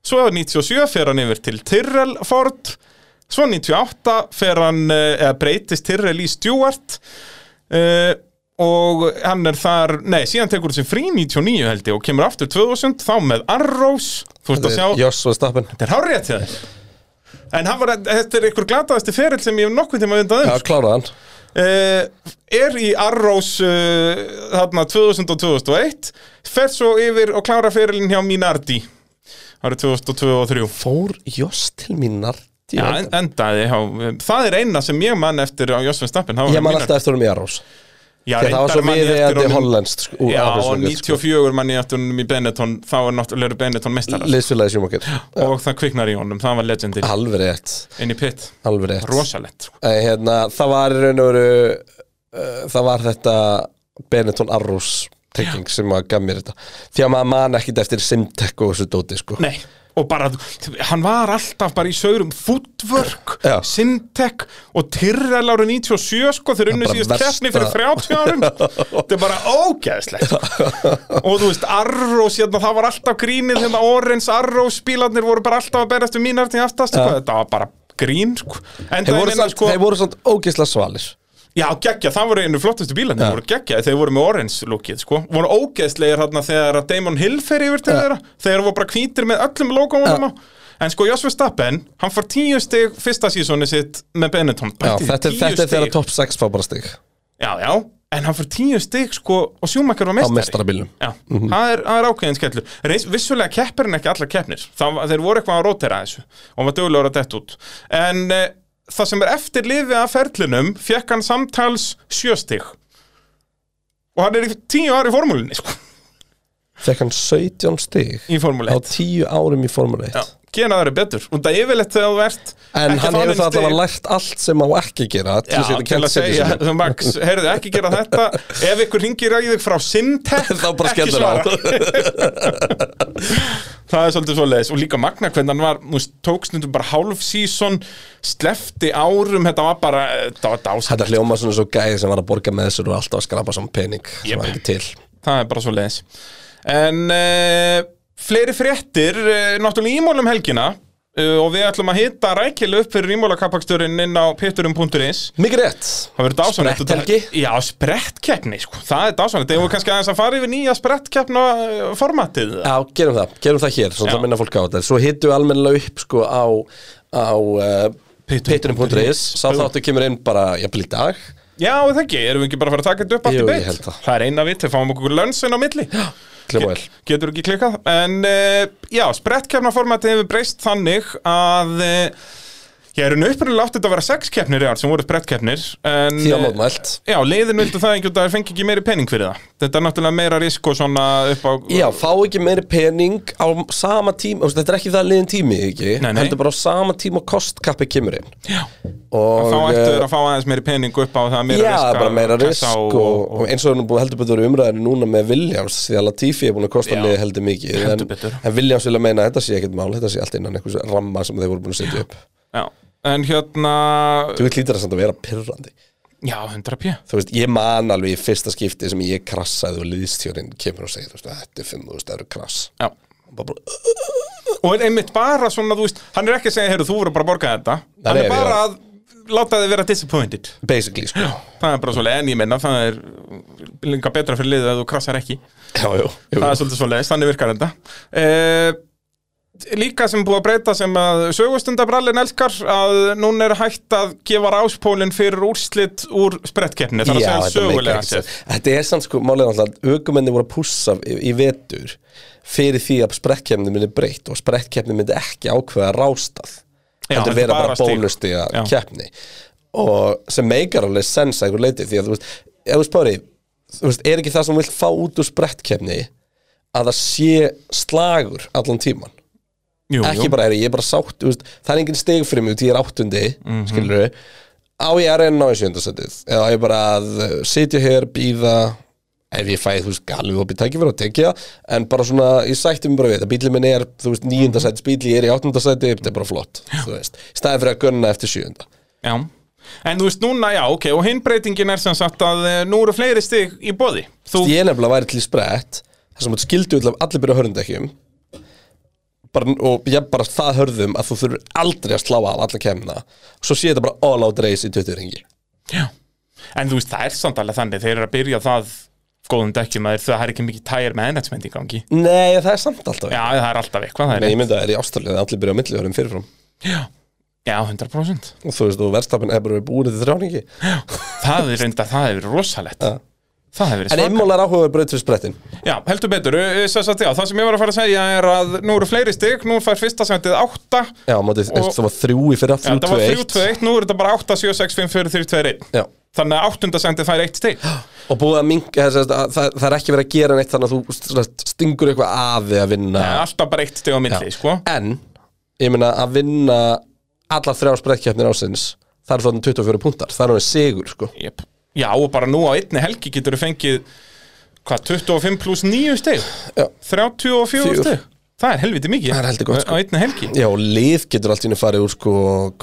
Speaker 2: Svo 97 fer hann yfir til Tyrrell Ford Svo 98 fer hann, eh, eða breytist Tyrrell í Stewart Eh, og hann er þar, nei, síðan tekur þessi frí 99 held ég og kemur aftur 2000 þá með Arrows, þú veist að sjá
Speaker 1: Joss og Stappen
Speaker 2: þetta er hárið til þér en hann var, þetta er ykkur glataðasti ferill sem ég hef nokkuð tíma vindað um
Speaker 1: Já,
Speaker 2: ja.
Speaker 1: kláraðan
Speaker 2: er í Arrows uh, þarna 2000 og 2001 fer svo yfir og klára ferillin hjá Minardi árið 2002 og 2003
Speaker 1: Fór Joss til mín narti
Speaker 2: Já, en, endaði, já, það er eina sem ég mann eftir á Jósfinn Stappin
Speaker 1: Ég man alltaf eftir honum í Arrows
Speaker 2: já,
Speaker 1: Þegar það var
Speaker 2: reyndar
Speaker 1: svo
Speaker 2: man ég
Speaker 1: miðið
Speaker 2: eftir
Speaker 1: að þið
Speaker 2: honum-
Speaker 1: hollenskt sko, úr
Speaker 2: Já, og
Speaker 1: Arrows-sögu, sko.
Speaker 2: 94 mann ég eftir honum í Benetton þá er náttúrulega Benetton meistarar
Speaker 1: Liðsfélagi sjómakir
Speaker 2: og það kviknar í honum, það var legendir
Speaker 1: Alveg rétt,
Speaker 2: inn í pitt,
Speaker 1: alveg rétt
Speaker 2: rosalett sko.
Speaker 1: Eh, hérna, Það var í raun og veru uh, Það var þetta Benetton Arrows trygging sem að gaf mér þetta Því að maður man ekkit eftir Simtek og þessu dóti sko
Speaker 2: Nei, og bara, hann var alltaf bara í sögurum Footwork,
Speaker 1: Já.
Speaker 2: Syntec og Tyrrell árið 97 sko, þeir unnu
Speaker 1: bara
Speaker 2: síðust keppni fyrir
Speaker 1: versta-
Speaker 2: 30 árum þetta er bara ógeðslegt og þú veist, Arrows, hérna, það var alltaf grínið þegar Orange Arrows bílarnir voru bara alltaf að berast við mínar til aftast sko. þetta var bara grín sko. en
Speaker 1: Þeir
Speaker 2: það
Speaker 1: voru,
Speaker 2: er sko,
Speaker 1: samt, þeir voru samt ógisla svalir
Speaker 2: Já, geggja, það voru einu flottustu bílarnir, ja. voru geggja, þeir voru með orange lookið, sko, voru ógeðslegir þarna þegar að Damon Hill fer yfir til þeirra, þeir voru bara hvítir með öllum logomunum á, en sko, Joshua Stappen, hann fór tíu stig fyrsta sísoni sitt með Benetton,
Speaker 1: Já,
Speaker 2: Bætti því
Speaker 1: þetta, er-
Speaker 2: tíu
Speaker 1: þetta er
Speaker 2: stig.
Speaker 1: þeirra top 6 fábarastig
Speaker 2: Já, já, en hann fór tíu stig, sko, og Schumacher var
Speaker 1: á
Speaker 2: mestari.
Speaker 1: mestarabílum
Speaker 2: Já, það, er, það er ákveðin skellur Reis, Vissulega keppir hann ekki allar keppnir það, var- Þeir voru eitthvað að rótera þessu Og var duglegur að detta út En e, það sem er eftir liðið af ferlinum Fekk hann samtals sjöstig Og hann er í tíu ári í formúlinni sko,
Speaker 1: Fekk hann 17 stig
Speaker 2: Í formúli
Speaker 1: á
Speaker 2: 1
Speaker 1: 10 árum í Formule 1
Speaker 2: Gera það eru betur Og það er yfirleitt þegar þú ert
Speaker 1: En
Speaker 2: ekki
Speaker 1: hann
Speaker 2: fá
Speaker 1: hefur
Speaker 2: nein
Speaker 1: það
Speaker 2: stig.
Speaker 1: allavega lært allt sem á ekki gera til
Speaker 2: Já,
Speaker 1: að setja
Speaker 2: til að
Speaker 1: kennt sér
Speaker 2: segja,
Speaker 1: sinni
Speaker 2: Max, heyrðu ekki gera þetta Ef ykkur hringir að þig frá Syntec
Speaker 1: Þá bara
Speaker 2: ekki
Speaker 1: skellur á.
Speaker 2: Það er svolítið svo leiðis Og líka magna hvernig hann var þú veist, Tók snundum bara hálf sísón Slefti árum, þetta var bara eh, Þetta var dásætt,
Speaker 1: Þetta hljóma svona svo gæði sem var að borga með þessu og alltaf að skrapa saman pening
Speaker 2: Jep.
Speaker 1: sem var ekki til
Speaker 2: það er bara svo leiðis En uh, fleiri fréttir uh, Náttúrulega ímólum helgina uh, Og við ætlum að hitta rækilu upp fyrir ímólakappaksturinn Inn á pitturum.is
Speaker 1: Mikið rétt
Speaker 2: Það verður dásanlegt
Speaker 1: Spretthelgi?
Speaker 2: Þetta- Já, sprettkeppni, sko Það er dásanlegt Þegar við kannski aðeins að fara yfir nýja sprettkeppna eh, formatið
Speaker 1: Já, gerum það, gerum það hér, svona
Speaker 2: Já.
Speaker 1: það minna fólk á þetta Svo hittum við almennilega upp sko á, á uh,
Speaker 2: Pitturinn.is.
Speaker 1: pitturinn.is Sá þáttu kemur inn bara, ég í dag
Speaker 2: Já, er það ekki Erum við ekki bara að fara að taka þetta upp allt
Speaker 1: Jú,
Speaker 2: í
Speaker 1: ég
Speaker 2: beitt?
Speaker 1: held það.
Speaker 2: er eina vitt Þegar fáum okkur lönsin á milli
Speaker 1: Hljóma vel
Speaker 2: Getur ekki klikkað En uh, já, sprettkeppna formatið hefur breyst þannig að uh, Ég er upprunalega átt þetta að vera sex keppnir í ár sem voru sprettkeppnir en,
Speaker 1: Því að
Speaker 2: eh,
Speaker 1: mótmælt
Speaker 2: Já, leiðin vildu það ekki og það fengi ekki meiri pening fyrir það Þetta er náttúrulega meira risk og svona upp á
Speaker 1: Já, fá ekki meiri pening á sama tíma, þú veist, þetta er ekki það liðin tími, ekki?
Speaker 2: Nei, nei.
Speaker 1: Heldur bara á sama tíma og kostkappi kemur inn.
Speaker 2: Já.
Speaker 1: Og,
Speaker 2: þá ættu
Speaker 1: eh,
Speaker 2: þeir að fá aðeins meiri pening upp á það meira
Speaker 1: Já,
Speaker 2: risk
Speaker 1: bara
Speaker 2: að
Speaker 1: meira risk
Speaker 2: kassa
Speaker 1: og, og, eins og hann er búin heldur betur umræðinu núna með Williams því að Latifi er búin að kosta
Speaker 2: Já,
Speaker 1: liðið heldur mikið
Speaker 2: heldur
Speaker 1: en,
Speaker 2: betur.
Speaker 1: en Williams vilja meina að þetta sé ekkert mál þetta sé allt innan einhvers ramma sem þeir voru búin að setja upp
Speaker 2: Já, en hérna
Speaker 1: Þú veit lítur það samt að vera pyrrandi
Speaker 2: Já, 100 pjö
Speaker 1: Þú veist, ég man alveg í fyrsta skipti sem ég krassaði og liðstjórinn kemur og segir þú veist, þetta er 5.000 eru krass
Speaker 2: Já
Speaker 1: Og bara bara,
Speaker 2: Og einmitt bara svona, þú veist, hann er ekki að segja, heyrðu, þú voru bara að borga þetta Hann
Speaker 1: nei,
Speaker 2: er bara
Speaker 1: já.
Speaker 2: að láta þið vera disappointed
Speaker 1: Basically, sko
Speaker 2: Það er bara svolítið, en ég menna, það er líka betra fyrir liðið að þú krassar ekki
Speaker 1: Já, jú, jú.
Speaker 2: Það er svolítið svolítið, þannig virkar þetta eh, Líka sem búið að breyta sem að sögustendabrallin elskar að núna er hægt að gefa ráspólinn fyrir úrslit úr sprettkeppni, þar að
Speaker 1: Já,
Speaker 2: segja um
Speaker 1: þetta meikar
Speaker 2: sögulega
Speaker 1: ekki
Speaker 2: sér
Speaker 1: sens. Þetta er sann sko, málega alltaf að aukumenni voru að pússa í, í vetur fyrir því að sprettkefni myndi breytt og sprettkefni myndi ekki ákveða rástað
Speaker 2: Já,
Speaker 1: heldur
Speaker 2: þetta
Speaker 1: vera
Speaker 2: bara
Speaker 1: bara
Speaker 2: stig.
Speaker 1: bónusti að
Speaker 2: Já.
Speaker 1: keppni og sem meikar alveg sens að einhver leiti því að þú veist, ef þú spári þú veist, er ekki það sem þú vilt fá út úr sprettkefni að það sé slagur allan tíman
Speaker 2: Jú,
Speaker 1: ekki bara, heyrðu, ég er bara sátt þú veist, það er engin stig fyrir mig, út í ég er áttundi mm
Speaker 2: Mhm.
Speaker 1: -hmm. skilur við, á ég að reyna á í sjöndasætið, eða á ég bara að uh, sitja hér, býða ef ég fæði, þú veist, galvið opið tækifæri og tekja en bara svona, ég sætti mig bara við að bílið minn er, þú veist,
Speaker 2: Mhm.
Speaker 1: níundasætis bíli ég er í áttundasæti, þetta er bara flott þú veist, staðið fyrir að gunna eftir sjönda
Speaker 2: Já, en þú veist núna, já, ok, og hinn breytingin er sem sagt að eh, nú eru fleiri stig í boði Þú,
Speaker 1: ég er nefnilega væri til í sprett þar sem þú skildu öll af allir byrja hörndekkjum bara, og ég bara það hörðum að þú þurfur aldrei að slá af alla kemna svo sé þetta bara all out race í 20 ringi
Speaker 2: já En þú veist, það er samt alveg þannig Þeir eru að byrja á það góðum dekkjum að þeir- það er ekki mikið tæjar með ennatsmend í gangi
Speaker 1: Nei, það er samt alltaf
Speaker 2: Já, það er alltaf eitthvað það
Speaker 1: Nei,
Speaker 2: er
Speaker 1: ég myndi að það er í ástallið að allir byrja á millihörum fyrirfram
Speaker 2: Já, 100%
Speaker 1: og þú veist, og verðstapin er bara búin til þrjáningi
Speaker 2: Það er reynda, það hefur verið rosalett
Speaker 1: Já.
Speaker 2: Það hefur verið
Speaker 1: En
Speaker 2: svaka
Speaker 1: einmálar áhugaður braut fyrir sprettin
Speaker 2: Já, heldur betur, Ö, ö, sem sagt, já, það sem ég var að fara að segja er að nú eru fleiri stig, nú fær fyrsta sendið 8
Speaker 1: Já, mótið,
Speaker 2: Og-
Speaker 1: það var þrjú í fyrra,
Speaker 2: Já, þetta var
Speaker 1: 3-2-1
Speaker 2: 3-2-1, nú eru þetta bara 8, 7, 6, 5, 4, 3, 2, 1
Speaker 1: Já.
Speaker 2: Þannig að áttunda sendið fær eitt stig
Speaker 1: Og búið að minka, það, það, það, það er ekki verið að gera neitt þannig að þú svona stingur eitthvað af því að vinna
Speaker 2: ja. Alltaf bara eitt stig á milli, sko
Speaker 1: En, ég meina að vinna allar þrjá sprettkeppnir ásins það eru þannig 24 púntar, það eru hann sigur sko.
Speaker 2: yep. Já, og bara nú á einni helgi getur þú fengið Hvað, 25 pluss 9 stig?
Speaker 1: Já.
Speaker 2: 34
Speaker 1: Fjögur.
Speaker 2: stig? Það er helviti mikið
Speaker 1: Það er heldur gott, sko.
Speaker 2: Á einni helgi
Speaker 1: Já, og lið getur allt í henni farið úr sko,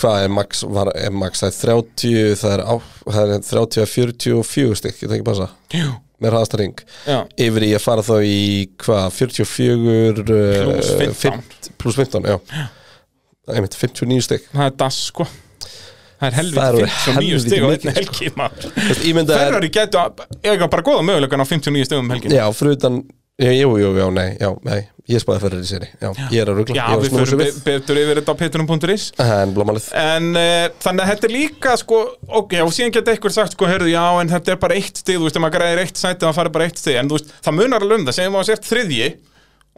Speaker 1: hvað er max, var, er max það er 30, það er, á, það er 30 að 44 stykk, ég það ekki passa
Speaker 2: Jú,
Speaker 1: með hraðasta ring
Speaker 2: já,
Speaker 1: yfir í að fara þá í hvað 44
Speaker 2: Plús 15.
Speaker 1: eh, plus 15 já. Einmitt, 59 stygg
Speaker 2: það er das, sko Það er
Speaker 1: Það
Speaker 2: helviti
Speaker 1: eru
Speaker 2: 59 stig á
Speaker 1: helviti
Speaker 2: einni
Speaker 1: mikið,
Speaker 2: helgi, maður
Speaker 1: ímynda er
Speaker 2: Ferrari gætu að, eiga bara góða mögulegan á 59 stöðum helgin
Speaker 1: já, fyrir utan já, jú, jú, já, nei, já, nei ég spáði fyrir í séri já, ég er að rugla
Speaker 2: Já,
Speaker 1: ég var að
Speaker 2: við
Speaker 1: snúa
Speaker 2: förum
Speaker 1: þessu
Speaker 2: be- betur yfir þetta á petunum.is
Speaker 1: en blómalið
Speaker 2: En uh, þannig að þetta er líka sko, ok, og síðan geta einhver sagt sko, heyrðu, já, en þetta er bara eitt stig, þú veist, ef maður græðir eitt sæti, þá farið bara eitt stig, en þú veist, það munar alveg um það, segjum að það sért þriðji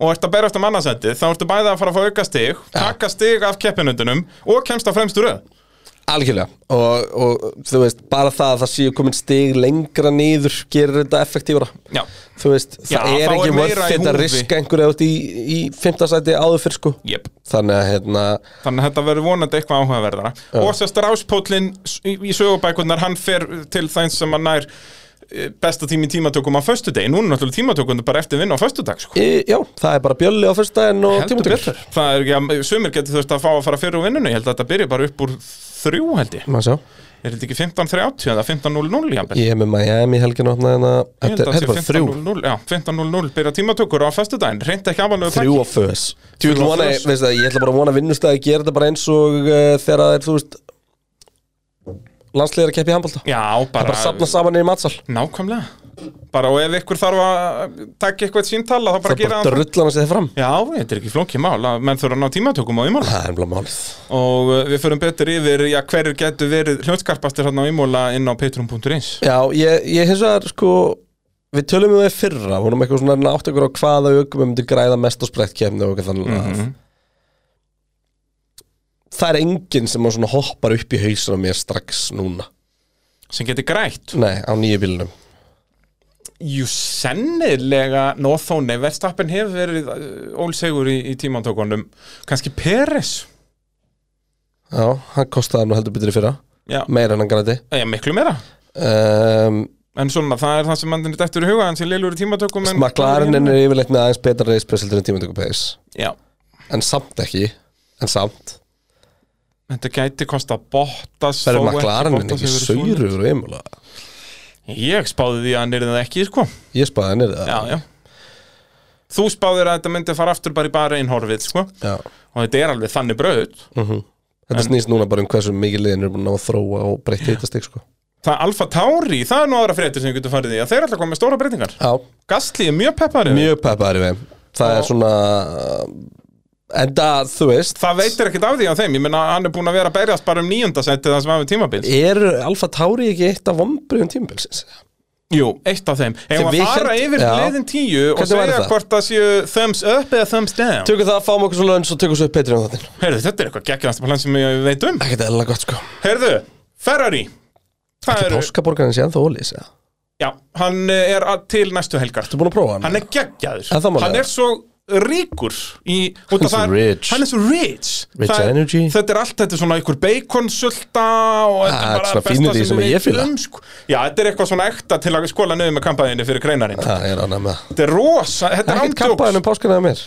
Speaker 2: og ert að berast um annarsætið, þá ertu bæði að fara að fá auka stig, taka stig af keppinundunum og kemst á fremstu röð.
Speaker 1: algjörlega og, og þú veist, bara það að það séu komin stig lengra niður gerir þetta effektífara
Speaker 2: Já,
Speaker 1: þú veist,
Speaker 2: Já,
Speaker 1: það
Speaker 2: þá
Speaker 1: er
Speaker 2: er
Speaker 1: ekki
Speaker 2: meira
Speaker 1: vörð
Speaker 2: í
Speaker 1: þetta
Speaker 2: húfi.
Speaker 1: riska einhverju átt í, í fimmtasæti áður fyrr sko
Speaker 2: jep.
Speaker 1: þannig að hérna
Speaker 2: Þannig að þetta verður vonandi eitthvað áhugaverðara Og sérst ráspótlinn s- í, í sögubækurnar Hann fer til þeim sem hann nær eh, Besta tími í tímatökum á föstudegi Núna er náttúrulega tímatökundu bara eftir vinna á föstudag sko.
Speaker 1: e, já, það er bara bjölli á fyrsta en og
Speaker 2: Heldur
Speaker 1: tímatökur
Speaker 2: betur. Það er ekki að Sumir getur þurft að fá að fara fyrir úr vinnunni Ég held að þetta byrja bara upp úr þrjú held ég
Speaker 1: maður sjá
Speaker 2: Er þetta ekki 15.30 eða 15.00 jafnvel?
Speaker 1: Ég er með Miami helgin opnað hérna
Speaker 2: Ég held
Speaker 1: Þetta
Speaker 2: að
Speaker 1: er þetta er bara
Speaker 2: sé
Speaker 1: þrjú
Speaker 2: 15.00, Já, 15.00 byrja tímatökur á föstudaginn Reyndi ekki afalegu
Speaker 1: Þrjú á föðs Ég
Speaker 2: Þrjú á fös.
Speaker 1: ætla bara að vona að vinnustæði gera þetta bara eins og uh, þegar það er, þú veist landslegar að keppi í handbólta
Speaker 2: Já,
Speaker 1: Bara safna saman í matsal
Speaker 2: Nákvæmlega Bara og ef ykkur þarf að taka eitthvað síntala þá bara
Speaker 1: Það er
Speaker 2: gera
Speaker 1: bara
Speaker 2: það
Speaker 1: drullana sér fram
Speaker 2: Já, þetta er ekki flókið mál að menn þurfa að ná tímatökum á ímóla
Speaker 1: Það er bara málið
Speaker 2: og uh, við förum betur yfir já, hverjir getur verið hljótskarpastir hann á ímóla inn á patreon.is
Speaker 1: Já, ég, ég hins vegar sko Við tölum um það í fyrra, vorum eitthvað svona að átt okkur á hvaða aukum við myndum græða mest á sprekt kemni og eitthvað þannig mm
Speaker 2: Mhm.
Speaker 1: Það er enginn sem að svona hoppar upp í hausinu á mér strax núna
Speaker 2: sem getur grætt
Speaker 1: Nei, á nýju bílunum
Speaker 2: Jú, sennilega nóþóni, verðstappin hefur verið uh, ólsegur í, í tímatökunum kannski Peres
Speaker 1: Já, hann kostaði nú heldur betur í fyrra
Speaker 2: Já,
Speaker 1: Meira en hann græti
Speaker 2: já miklu meira
Speaker 1: um,
Speaker 2: En svona, það er það sem mann er dættur í huga hann sem lélur í tímatökum en-
Speaker 1: Maklarinn er yfirleitt með aðeins betra race special en tímatöku pace
Speaker 2: Já,
Speaker 1: En samt ekki En samt
Speaker 2: þetta gæti kosta
Speaker 1: Það
Speaker 2: Bottas þó
Speaker 1: eru
Speaker 2: ekki
Speaker 1: maklarinn
Speaker 2: Bottas
Speaker 1: ekki
Speaker 2: hefur verið svona.
Speaker 1: saurugur og einmála
Speaker 2: Ég spáði því að hann er það ekki, sko
Speaker 1: Ég spáði henni það
Speaker 2: já, já. Þú spáðir að þetta myndi fara aftur bara í bara einn horfið, sko
Speaker 1: Já.
Speaker 2: Og þetta er alveg þannig bröð
Speaker 1: Þetta snýst núna bara um hversu mikið liðin er búin að ná að þróa og breytta hittastig sko
Speaker 2: Það er Alfa Tauri, það er nú aðra fréttir sem við getum farið í að Þeir er alltaf komið stóra breytingar
Speaker 1: Já,
Speaker 2: Gastli er mjög peppari
Speaker 1: mjög peppaður í þeim Það
Speaker 2: Já.
Speaker 1: er svona Enda, þú veist
Speaker 2: Það veitir ekkert af því á þeim Ég menna hann er búin að vera að berjast bara um nýjunda seti það sem hafið tímabil
Speaker 1: Eru Alfa Tauri ekki eitt af vombriðum tímabilsins?
Speaker 2: Jú, eitt af þeim Ef
Speaker 1: Sem
Speaker 2: að
Speaker 1: við
Speaker 2: fara
Speaker 1: hélt-
Speaker 2: yfir
Speaker 1: Já.
Speaker 2: leiðin tíu og
Speaker 1: Hvernig væri
Speaker 2: segja
Speaker 1: það?
Speaker 2: hvort það séu thumbs up eða thumbs down
Speaker 1: Tökum það, fáum okkur svo löns og tökum svo upp betri um þáttinn
Speaker 2: Heyrðu, þetta er eitthvað geggjast plan sem ég veit um
Speaker 1: Ekkert eðla gott sko
Speaker 2: Heyrðu, Ferrari Það
Speaker 1: Þetta
Speaker 2: eru,
Speaker 1: páskaborgarinn sé ennþá ólýs eða?
Speaker 2: já, hann er að- til næstu helgar
Speaker 1: Ertu búin að prófa hann?
Speaker 2: hann er geggjaður
Speaker 1: Er það málið?
Speaker 2: hann er svo ríkur í, hann,
Speaker 1: er svo rich.
Speaker 2: hann er svo rich,
Speaker 1: Rich
Speaker 2: Það er-
Speaker 1: energy.
Speaker 2: þetta er allt þetta er svona einhver baconsulta og þetta
Speaker 1: Ah,
Speaker 2: er bara
Speaker 1: svona
Speaker 2: besta
Speaker 1: fínu því
Speaker 2: sem,
Speaker 1: sem
Speaker 2: við
Speaker 1: ég fíla.
Speaker 2: vitum, sko. já, þetta er eitthvað svona ekta til að skóla nöðu með kampaðinni fyrir greinarinn
Speaker 1: Það er annað með það
Speaker 2: þetta er rosa, þetta er
Speaker 1: Ekkert kappaðin
Speaker 2: ándjóks
Speaker 1: um páskana að mér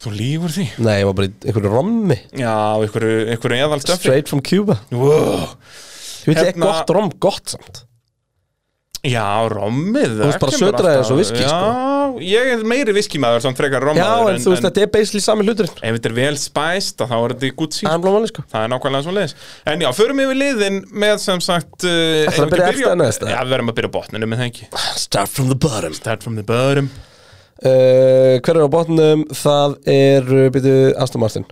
Speaker 2: þú lífur því
Speaker 1: Nei, ég var bara í einhverju rommi
Speaker 2: já, einhverju, einhverju eðalstöfi
Speaker 1: Straight from Cuba
Speaker 2: wow.
Speaker 1: Þú veit,
Speaker 2: Hérna-
Speaker 1: er gott rom, gott samt
Speaker 2: Já, rommið Þú
Speaker 1: veist, bara sötraði þessu viskí, sko.
Speaker 2: Já, ég er meiri viskímaður samt frekar
Speaker 1: Já,
Speaker 2: rommaður
Speaker 1: en þú veist, þetta er basically sami hluturinn
Speaker 2: Ef þetta er vel spæst, þá er þetta í gútt sín
Speaker 1: Amblómanni, sko
Speaker 2: Það er nákvæmlega svo leiðis En já, förum yfir liðin með sem sagt uh, eigum við
Speaker 1: að byrja
Speaker 2: ekki
Speaker 1: efst eða neðst,
Speaker 2: Já,
Speaker 1: eða?
Speaker 2: við verðum að byrja á botninu með það ekki
Speaker 1: Start from the bottom
Speaker 2: Start from the bottom
Speaker 1: uh, Hver er á botnum? Það er, byrju, Aston Martin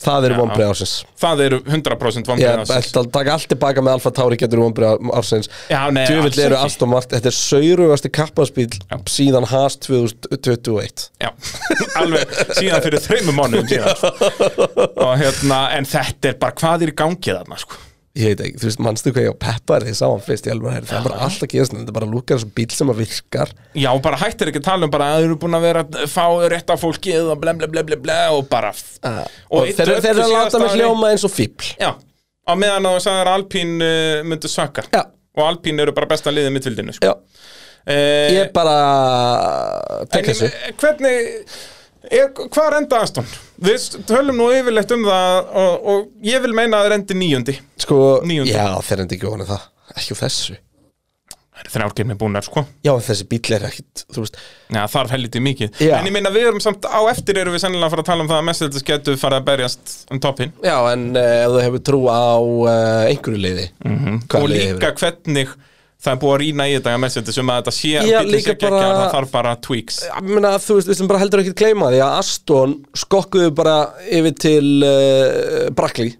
Speaker 1: Það
Speaker 2: Já.
Speaker 1: eru vonbreið ársins
Speaker 2: Það eru 100%
Speaker 1: Ég
Speaker 2: vombrið
Speaker 1: ætla að taka allt tilbaka með Alfa Tauri getur vonbreið ársins
Speaker 2: Já, nei, alls
Speaker 1: Djövill eru
Speaker 2: ekki.
Speaker 1: Aston Martin Þetta er saurugasti kappaspíl síðan Haas 2021
Speaker 2: Já, alveg síðan fyrir þreymum mánuðum síðan sko. og hérna, en þetta er bara hvað er í gangi þarna, sko
Speaker 1: Ég veit ekki, þú veist, mannstu hvað ég á peppaði þegar ég sá hann fyrst Ég alveg, það er bara allt að gerast hérna. Þetta er bara lúkar þessu bíl sem að virkar
Speaker 2: Já, bara hættir ekki að tala um bara að þeir eru búin að vera að fá rétt af fólkið og ble, ble, ble, ble, ble og bara
Speaker 1: Ah.
Speaker 2: Og
Speaker 1: Og
Speaker 2: eitt
Speaker 1: þeir
Speaker 2: öll
Speaker 1: þeir eru að
Speaker 2: síðasta
Speaker 1: láta mig
Speaker 2: ári.
Speaker 1: hljóma eins og fíbl
Speaker 2: Já, á meðan að þú sagðir að Alpín uh, myndu sökka
Speaker 1: Já.
Speaker 2: og Alpín eru bara besta liðið mittvildinu, sko
Speaker 1: Já,
Speaker 2: Eh,
Speaker 1: ég bara
Speaker 2: en
Speaker 1: Tek þessu
Speaker 2: ég- Hvernig, er, hvað enda Aston? Við tölum nú yfirleitt um það og, og ég vil meina að þeir endi níundi
Speaker 1: Sko,
Speaker 2: Níundi.
Speaker 1: já, þeir endi ekki ofan í það Ekki úr þessu
Speaker 2: Það er þrjárkefni búnar, sko
Speaker 1: Já, en þessi bíl er ekkit, þú veist
Speaker 2: Já, þarf helviti mikið
Speaker 1: Já.
Speaker 2: En ég meina við erum samt á eftir erum við sennilega að fara að tala um það að Mercedes getur farið að berjast um toppinn
Speaker 1: Já, en uh, ef þú hefur trú á uh, einhverju liði mm -hmm.
Speaker 2: Og Mhm, líka hvernig það er búið að rýna í þetta að Mercedes um að þetta sé
Speaker 1: Já,
Speaker 2: bíllinn
Speaker 1: líka
Speaker 2: sé geggjaður,
Speaker 1: bara-
Speaker 2: Það þarf bara tweaks
Speaker 1: Menna, þú veist, við sem bara heldur ekkert gleyma því að Aston skokkuðu bara yfir til uh, Brackley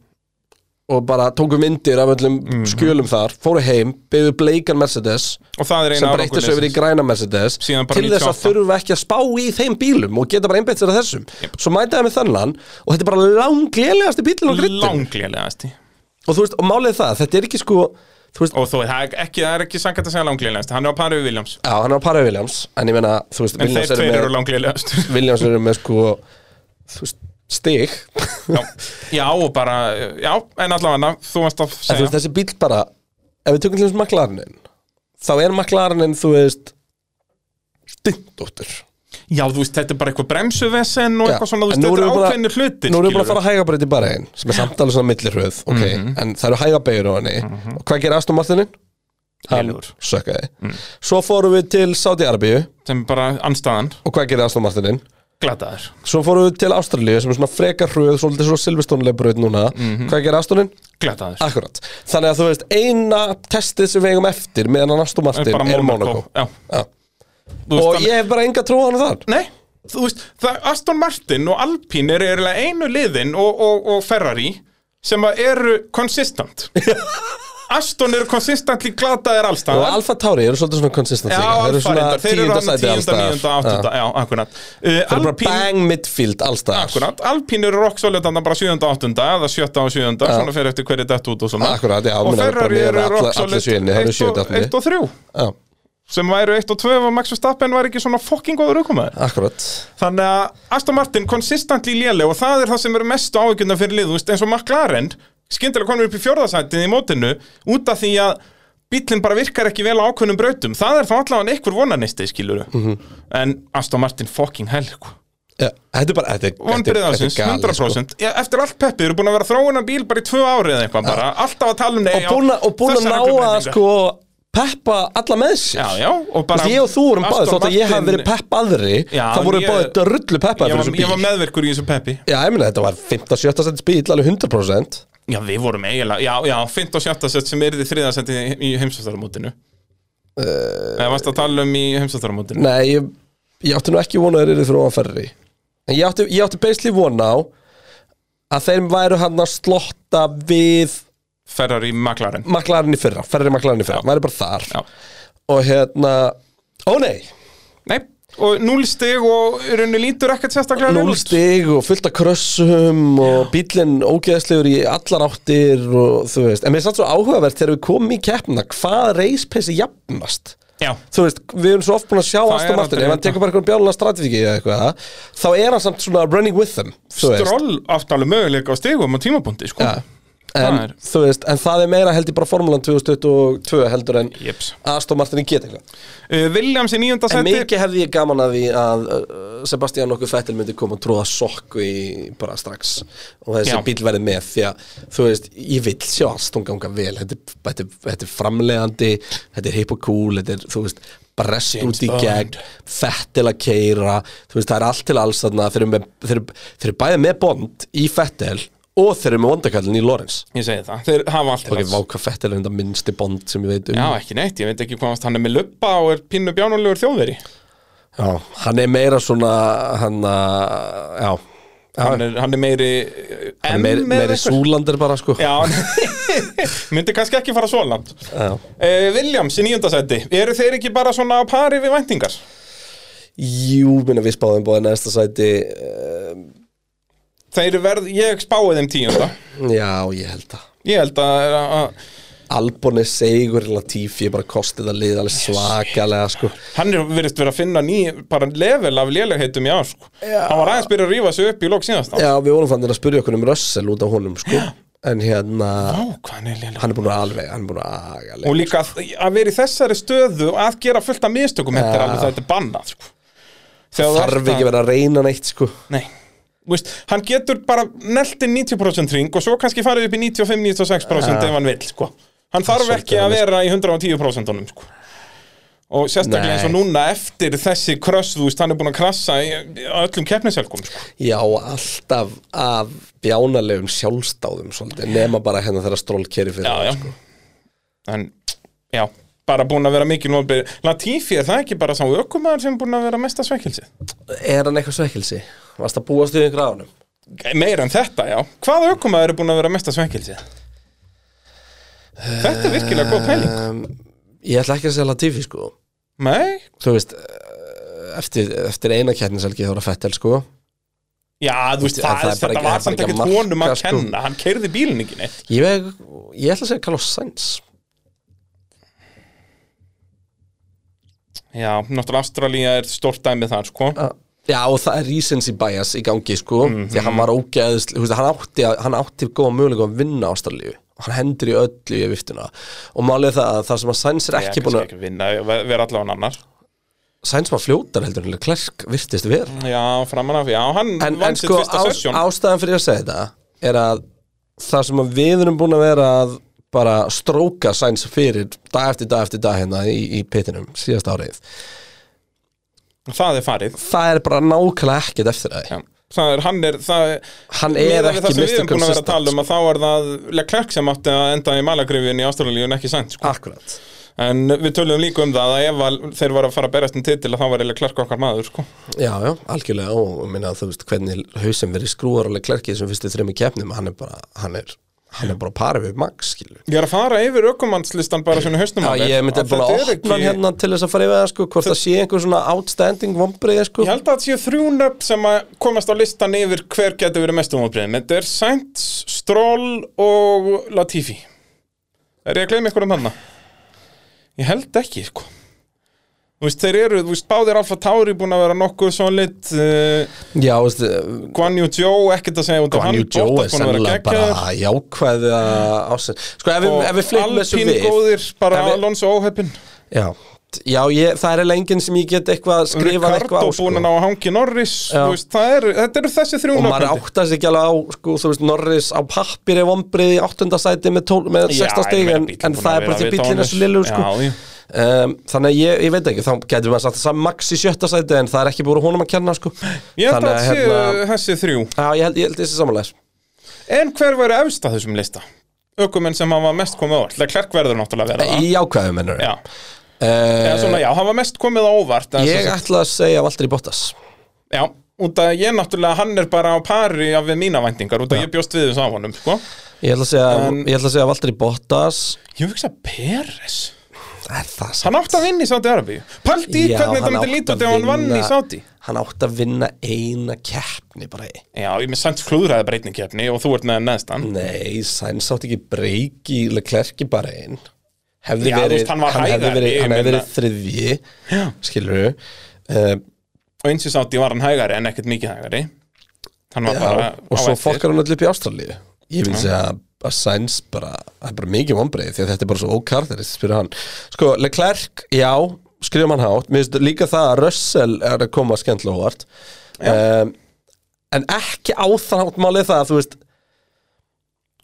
Speaker 1: og bara tóku myndir af öllum
Speaker 2: Mhm.
Speaker 1: skjölum þar, fóru heim, byggðu bleikan Mercedes
Speaker 2: Og það er
Speaker 1: sem
Speaker 2: eina
Speaker 1: breytti svo yfir í
Speaker 2: árangur
Speaker 1: græna Mercedes
Speaker 2: Síðan bara
Speaker 1: til þess að
Speaker 2: 98.
Speaker 1: þurfa ekki að spá í þeim bílum og geta bara einbeitt sér að þessum svo mætaði með þennan og þetta er bara langlélegasti bílinn á grittinu
Speaker 2: Langlélegasti
Speaker 1: og þú veist, og málið er það, þetta er ekki sko þú veist,
Speaker 2: Og þó, það er ekki, það er ekki sannkvæmt að segja langlélegasti Hann er á pari við Williams
Speaker 1: já, hann er á parið Williams en ég meina, þú veist,
Speaker 2: En
Speaker 1: Williams
Speaker 2: þeir
Speaker 1: eru
Speaker 2: tveir
Speaker 1: með,
Speaker 2: eru langlélegast
Speaker 1: Williams eru með sko, þú veist, stig
Speaker 2: já. já, og bara, já, en allavega Þú varst að
Speaker 1: En þú veist,
Speaker 2: segja
Speaker 1: þessi bíl bara Ef við tökum til þessu maklarinin Þá er maklarinin, þú veist Stundóttur
Speaker 2: Já, þú veist, þetta er bara eitthvað bremsuvesen og eitthvað svona, þú veist,
Speaker 1: nú
Speaker 2: þetta
Speaker 1: erum
Speaker 2: er
Speaker 1: við bara-
Speaker 2: ákveðnir
Speaker 1: Nú
Speaker 2: hlutir
Speaker 1: erum við bara
Speaker 2: skilurðu. Mhm.
Speaker 1: að fara að hægabraut í bara einn Sem er samt alveg svona millirhauð okay. En það eru hægabegur á henni Og hvað gerir Aston Martinin? Hann
Speaker 2: Lélegur.
Speaker 1: sökkaði
Speaker 2: Mm.
Speaker 1: Svo fórum við til Saudi Arabíu
Speaker 2: sem er bara anstaðan,
Speaker 1: Og hvað gerir Aston Martinin?
Speaker 2: glataður
Speaker 1: Svo fórum við til Ástralíu sem er svona frekar hröð Svolítið svo Silvestónlega braut núna
Speaker 2: Mhm.
Speaker 1: Hvað gerir Astonin?
Speaker 2: glataður,
Speaker 1: Akkurat Þannig að þú veist, eina testið sem við eigum eftir Meðan að Aston Martin
Speaker 2: bara
Speaker 1: er Monaco
Speaker 2: Já,
Speaker 1: Já.
Speaker 2: þú veist,
Speaker 1: og
Speaker 2: þannig-
Speaker 1: ég hef bara enga trú á hann þar
Speaker 2: nei, þú veist, það, Aston Martin og Alpine eru eiginlega einu liðin og, og, og Ferrari sem að eru konsistant Aston eru konsistantli glataðir
Speaker 1: og
Speaker 2: allstaðar
Speaker 1: Alfa Tauri eru svolítið svona konsistent
Speaker 2: Já,
Speaker 1: þeir eru
Speaker 2: Alfa
Speaker 1: svona
Speaker 2: reyndar, þeir eru
Speaker 1: tíunda
Speaker 2: hann
Speaker 1: sæti
Speaker 2: tíunda, níunda,
Speaker 1: allstað
Speaker 2: áttunda, já, akkurat uh,
Speaker 1: þeir eru bara bang midfield allstað
Speaker 2: Akkurat, Alpín eru rocksolid þannig bara 7. og 8. eða 7. og 7. svona fyrir eftir hverju dætt út og svona
Speaker 1: Akkurat, já,
Speaker 2: og
Speaker 1: meina, bara
Speaker 2: Ferrari
Speaker 1: miðað við
Speaker 2: eru
Speaker 1: alla- alla
Speaker 2: rocksolid
Speaker 1: sjöunni, það eru
Speaker 2: 1
Speaker 1: sjöunda,
Speaker 2: og,
Speaker 1: áttunda.
Speaker 2: 1 og 3 sem væru 1 og 2 og Max Verstappen var ekki svona fucking góður aukomaður
Speaker 1: akkurat
Speaker 2: þannig að Aston Martin konsistantli léleg og það er það sem eru mestu áhugjörna fyrir lið þú veist, eins og McLaren skyndilega konum upp í fjórðasættin í mótinu út af því að bíllinn bara virkar ekki vel á ákveðnum brautum það er þá allavega einhver vonanisti skilur
Speaker 1: Mhm.
Speaker 2: en Aston Martin fucking hell sko.
Speaker 1: Já, þetta er bara þetta er- þetta er-
Speaker 2: vonbrið
Speaker 1: þetta er
Speaker 2: ásins,
Speaker 1: galið, sko.
Speaker 2: 100% Já, eftir allt peppið, eru búin að vera að þróuna bíl bara í tvö ári eða eitthvað bara, alltaf að tala um nei,
Speaker 1: sko. og búin að- og búin að
Speaker 2: þessar
Speaker 1: ná að
Speaker 2: reglubreitingar.
Speaker 1: sko peppa alla með sér
Speaker 2: já, já, og
Speaker 1: Þú
Speaker 2: bara
Speaker 1: veist, ég og þú vorum báðið,
Speaker 2: Aston
Speaker 1: þótt að ég hafi
Speaker 2: Martin-
Speaker 1: verið pepp aðri
Speaker 2: Já,
Speaker 1: þá vorum
Speaker 2: en
Speaker 1: við
Speaker 2: ég-
Speaker 1: báðið drullu peppað
Speaker 2: ég
Speaker 1: fyrir
Speaker 2: var,
Speaker 1: þessum
Speaker 2: ég var
Speaker 1: bíl
Speaker 2: meðverkur í þessu peppi
Speaker 1: Já, ég meina þetta var 15-17 cents bíl alveg 100%
Speaker 2: já, við vorum eiginlega, já, já, 15 og 17 set sem er því þriðasetti í, í heimsvæstaramótinu
Speaker 1: Eh,
Speaker 2: eða varst að tala um í heimsvæstaramótinu
Speaker 1: Nei, ég, ég átti nú ekki vona að þeir eru fyrir ofan ferri En ég átti, ég átti basically vona á að þeir væru hann að slotta við
Speaker 2: Ferrari McLaren
Speaker 1: maklarinn í fyrra, ferri maklarinn í fyrra, væri bara þar
Speaker 2: já.
Speaker 1: Og hérna, ó nei,
Speaker 2: nei, og 0 stig og í rauninni lítur ekkert sérstaklega vel
Speaker 1: núl
Speaker 2: út.
Speaker 1: stig og fullt af krössum og bílinn ógeðslegur í allar áttir og þú veist En mér er samt svo áhugavert þegar við komum í keppna, hvað reispeysi jafnast?
Speaker 2: já,
Speaker 1: þú veist, við erum svo oft búin að sjá Aston Martin,
Speaker 2: er aldrei hérna.
Speaker 1: ef hann
Speaker 2: þetta.
Speaker 1: tekur bara eitthvað bjálulega strategið eða eitthvað, þá er hann samt svona running with them, þú veist
Speaker 2: Stroll átt alveg möguleika á stigum á tímabundi sko.
Speaker 1: Ja. en,
Speaker 2: Það er-
Speaker 1: þú veist, en það er meira held ég bara Formúlan 2022 heldur en
Speaker 2: Jeps.
Speaker 1: Aston Martin geta eitthvað
Speaker 2: Uh, Williams í nýjönda
Speaker 1: En
Speaker 2: seti
Speaker 1: mikið hefði ég gaman að því að uh, Sebastian okkur Fettil myndi koma og tróða sokku í bara strax og þessi
Speaker 2: Já.
Speaker 1: bíl verði með því að þú veist, ég vil sjá Aston ganga vel þetta, er- þetta, er- þetta er framlegandi þetta er hip og cool, þetta er þú veist brest út í
Speaker 2: Bond.
Speaker 1: gegn, Fettil að keira þú veist, það er allt til alls þarna þeir eru með- þeir eru- þeir eru bæði með Bond í Fettil og þeir eru með vondakallin í Lorenz
Speaker 2: Ég segi það, þeir hafa allt til
Speaker 1: Ok,
Speaker 2: alls.
Speaker 1: vá hvað Fettil er þetta minnsti Bond sem ég veit um
Speaker 2: Já, ekki neitt, ég veit ekki hvað hann er með luppa og er pinnu bjánulegur þjóðveri
Speaker 1: Já, hann er meira svona hann að, já
Speaker 2: hann er, hann er meiri
Speaker 1: hann er meiri, meiri súlandir bara sko
Speaker 2: Já, myndi kannski ekki fara svo langt
Speaker 1: Já.
Speaker 2: uh, Williams í nýjönda seti Eru þeir ekki bara svona á pari við væntingar?
Speaker 1: Jú, minna við spáðum bóðið næsta sæti eh,
Speaker 2: Þeir verð, ég spáði þeim tíunda
Speaker 1: Já, ég held að
Speaker 2: Ég held að, að
Speaker 1: Albon er segur Latifi er bara kostið að liða alveg svakalega sko
Speaker 2: hann er verið verið að finna ný bara level af lélegheitum í ár sko. Hann var aðeins byrjað að rífa sig upp í lók síðast
Speaker 1: Já, við vorum fannir að spyrja okkur um Russell út af honum sko En hérna,
Speaker 2: Ó, hvað hann er léleg
Speaker 1: hann er búin að alveg, hann er búin að aga
Speaker 2: og líka að, að vera í þessari stöðu og að gera fullt af mistökum þetta er
Speaker 1: Ja.
Speaker 2: alveg þetta er bannað sko.
Speaker 1: Þarf ekki verið að reyna neitt sko
Speaker 2: nei Þú Veist, hann getur bara neltið 90% ring og svo kannski farið upp í 95-96% ef hann vill sko. hann
Speaker 1: er
Speaker 2: þarf ekki
Speaker 1: svolítið
Speaker 2: að
Speaker 1: alveg-
Speaker 2: vera í 110% honum, sko. og sérstaklega
Speaker 1: Nei.
Speaker 2: eins og núna eftir þessi kröss þú veist, hann er búin að krassa í í öllum keppniselgum sko.
Speaker 1: Já, alltaf af bjánalegum sjálfstáðum svolítið, nema bara hérna þegar stról keri fyrir
Speaker 2: já,
Speaker 1: hann,
Speaker 2: já. en já, bara búin að vera mikil vonbrigði. Latifi, er það ekki bara sá ökumæður sem er búin að vera mesta svekkelsið?
Speaker 1: Er hann eitthvað svekkelsi? Varst að búast við einhver á honum?
Speaker 2: Meir en þetta, já. Hvaða aukumæður er búin að vera mesta svengilsi? Þetta er virkilega góð pæling.
Speaker 1: um, Ég ætla ekki að segja Latifi sko
Speaker 2: Nei?
Speaker 1: Þú veist, eh, eftir, eftir eina kjærniselgi þá er að Fettel sko
Speaker 2: Já, þú veist,
Speaker 1: En
Speaker 2: það,
Speaker 1: það er bara
Speaker 2: þetta
Speaker 1: ekki-
Speaker 2: var
Speaker 1: þetta er
Speaker 2: samt
Speaker 1: ekki
Speaker 2: ekkert
Speaker 1: marka,
Speaker 2: honum að
Speaker 1: sko.
Speaker 2: kenna. Hann keirði bílinn ekki neitt.
Speaker 1: Ég, veg, ég ætla að segja Carlos Sainz
Speaker 2: Já, náttúrulega Ástralía er stórt dæmið þar, sko.
Speaker 1: Ah, Já, og það er recency bias í gangi sko
Speaker 2: Mhm.
Speaker 1: Því að hann var ógeðsl veist, hann, átti, að- hann átti góða mögulega að vinna ástralíu Hann hendur í öllu í viftuna Og málið er það að það sem að Sainz er
Speaker 2: Já,
Speaker 1: ekki
Speaker 2: kannski
Speaker 1: búin að
Speaker 2: Ekki vinna, ver- vera allavega annar.
Speaker 1: Sainz var fljótar heldur en Klerk virtist vera
Speaker 2: Já, framan af, já, hann
Speaker 1: en, en
Speaker 2: Mm, vann sitt
Speaker 1: sko
Speaker 2: fyrsta
Speaker 1: ás,
Speaker 2: sessjón.
Speaker 1: ástæðan fyrir að segja þetta er að það sem að við erum búin að vera að bara stróka sæns fyrir dag eftir dag eftir dag hérna í, í pitinum síðast árið
Speaker 2: Það er farið.
Speaker 1: það er bara nákvæmlega ekkert eftir það
Speaker 2: Já. Það er, hann er, það er,
Speaker 1: Hann er
Speaker 2: miðað við
Speaker 1: ekki sko.
Speaker 2: það sem við
Speaker 1: Mr.
Speaker 2: erum búin að vera að
Speaker 1: Consistent,
Speaker 2: tala um að þá er það Leclerc sem átti að enda í malagriðin í Ástralíu en ekki sænt, sko.
Speaker 1: Akkurat
Speaker 2: En við töluðum líka um það að ef að þeir voru að fara að berjast um titil að þá var eða klarka okkar maður, sko.
Speaker 1: Já, já, algjörlega og ég minna að þú veist hvernig hausinn verið skrúarulega klerkið sem fyrstu þrejum í kefnum hann er bara, hann er, hann er bara parið við Max, skilur
Speaker 2: Ég er að fara yfir ökumannslistan bara svona í hausnum á
Speaker 1: Já,
Speaker 2: þér.
Speaker 1: ég myndi
Speaker 2: Að
Speaker 1: bara
Speaker 2: þetta
Speaker 1: að
Speaker 2: er
Speaker 1: opna hann hérna til þess að fara yfir það sko, hvort það sé einhver svona outstanding vombriði sko
Speaker 2: Ég held að það séu þrjú nöfn sem að komast á listan yfir hver getur verið mestum ábreyðin. Þetta er Sainz, Stroll og Latifi. Er ég að gleyma ykkur um hana? Ég held ekki, sko. Þú veist, þeir eru, þú veist, báðir Alfa Tauri búin að vera nokkuð solid, uh,
Speaker 1: Já, veist,
Speaker 2: Guan Yu Zhou, ekkert að segja út af
Speaker 1: Guanyu Joe er
Speaker 2: Bottas búinn að vera
Speaker 1: sennilega
Speaker 2: geggjaður.
Speaker 1: bara jákvæða ásinn Sko, ef við, ef við flyttum þessu
Speaker 2: Alpín
Speaker 1: við
Speaker 2: góðir, bara
Speaker 1: Ef við-
Speaker 2: Alonso óheppin
Speaker 1: Já, já ég, það er eiginlega enginn sem ég get eitthvað skrifað
Speaker 2: Ricardo
Speaker 1: eitthvað á sko.
Speaker 2: búin að ná að hangi Norris
Speaker 1: Já.
Speaker 2: þú veist, það er, Þetta eru þessi þrjú
Speaker 1: Og maður
Speaker 2: nöfnindi.
Speaker 1: áttast ekki alveg á, sko, þú veist, Norris á pappir er vombrið í áttundasæti með, tól, með 16
Speaker 2: Já, ég
Speaker 1: stig
Speaker 2: meina,
Speaker 1: en,
Speaker 2: bíllinn
Speaker 1: en
Speaker 2: búinn að
Speaker 1: það er
Speaker 2: vera
Speaker 1: bara því
Speaker 2: við
Speaker 1: bíllinn er
Speaker 2: Thomas.
Speaker 1: svo lillur sko.
Speaker 2: Já, já.
Speaker 1: um, Þannig að ég, ég veit ekki, þá getum við að satt saman Max í sjötta sæti en það er ekki búin honum að kenna sko.
Speaker 2: Ég held
Speaker 1: Þannig
Speaker 2: að séu
Speaker 1: hérna,
Speaker 2: þessi þrjú
Speaker 1: Já, ég held, ég held þessi samanlega
Speaker 2: En hver verður efst að þessum lista? Ökumenn sem hafa mest komið á óvart Leclerc verður náttúrulega að vera það
Speaker 1: Í ákvæðum mennur
Speaker 2: Já, eða svona, já, hafa mest komið á óvart en
Speaker 1: Ég
Speaker 2: sem sagt-
Speaker 1: ætla að segja Valtteri Bottas
Speaker 2: Já, út að ég náttúrulega, hann er bara á pari af við mína væntingar, út að ég bjóst við þessu á honum, sko
Speaker 1: Ég ætla að segja,
Speaker 2: En-
Speaker 1: ég ætla að segja Valtteri Bottas
Speaker 2: Ég hugsa Peres
Speaker 1: Er það
Speaker 2: Hann átti að vinna í Sáti Arabíu Paldi í
Speaker 1: Já,
Speaker 2: hvernig þetta
Speaker 1: hann
Speaker 2: myndi
Speaker 1: átti
Speaker 2: líta
Speaker 1: að
Speaker 2: út ef hann vann í
Speaker 1: vinna-
Speaker 2: Sáti
Speaker 1: Hann átti að vinna eina keppni bara í
Speaker 2: Já, ég með samt klúðraði breytningkeppni og þú ert með neðstan
Speaker 1: Nei, Sainz átti ekki breyki Lega klerki bara einn Hefði
Speaker 2: Já, þú
Speaker 1: verið,
Speaker 2: veist, hann var
Speaker 1: hefði
Speaker 2: hægari,
Speaker 1: verið,
Speaker 2: ég
Speaker 1: hann hefði
Speaker 2: meina-
Speaker 1: verið þriðji Skilur við uh,
Speaker 2: og eins og sátti var hann hægari en ekkert mikið hægari hann var bara
Speaker 1: Og
Speaker 2: á
Speaker 1: svo
Speaker 2: eftir.
Speaker 1: fokkar hann allir upp í Ástralíu Ég vil segja að Sainz bara, það er bara mikið vombrið því að þetta er bara svo ókarterist, spyrir hann sko, Leclerc, já, skrifum hann hátt mér finnst líka það að Russell er að koma skemmtilega hóvart um, en ekki á þann hátt málið það að þú veist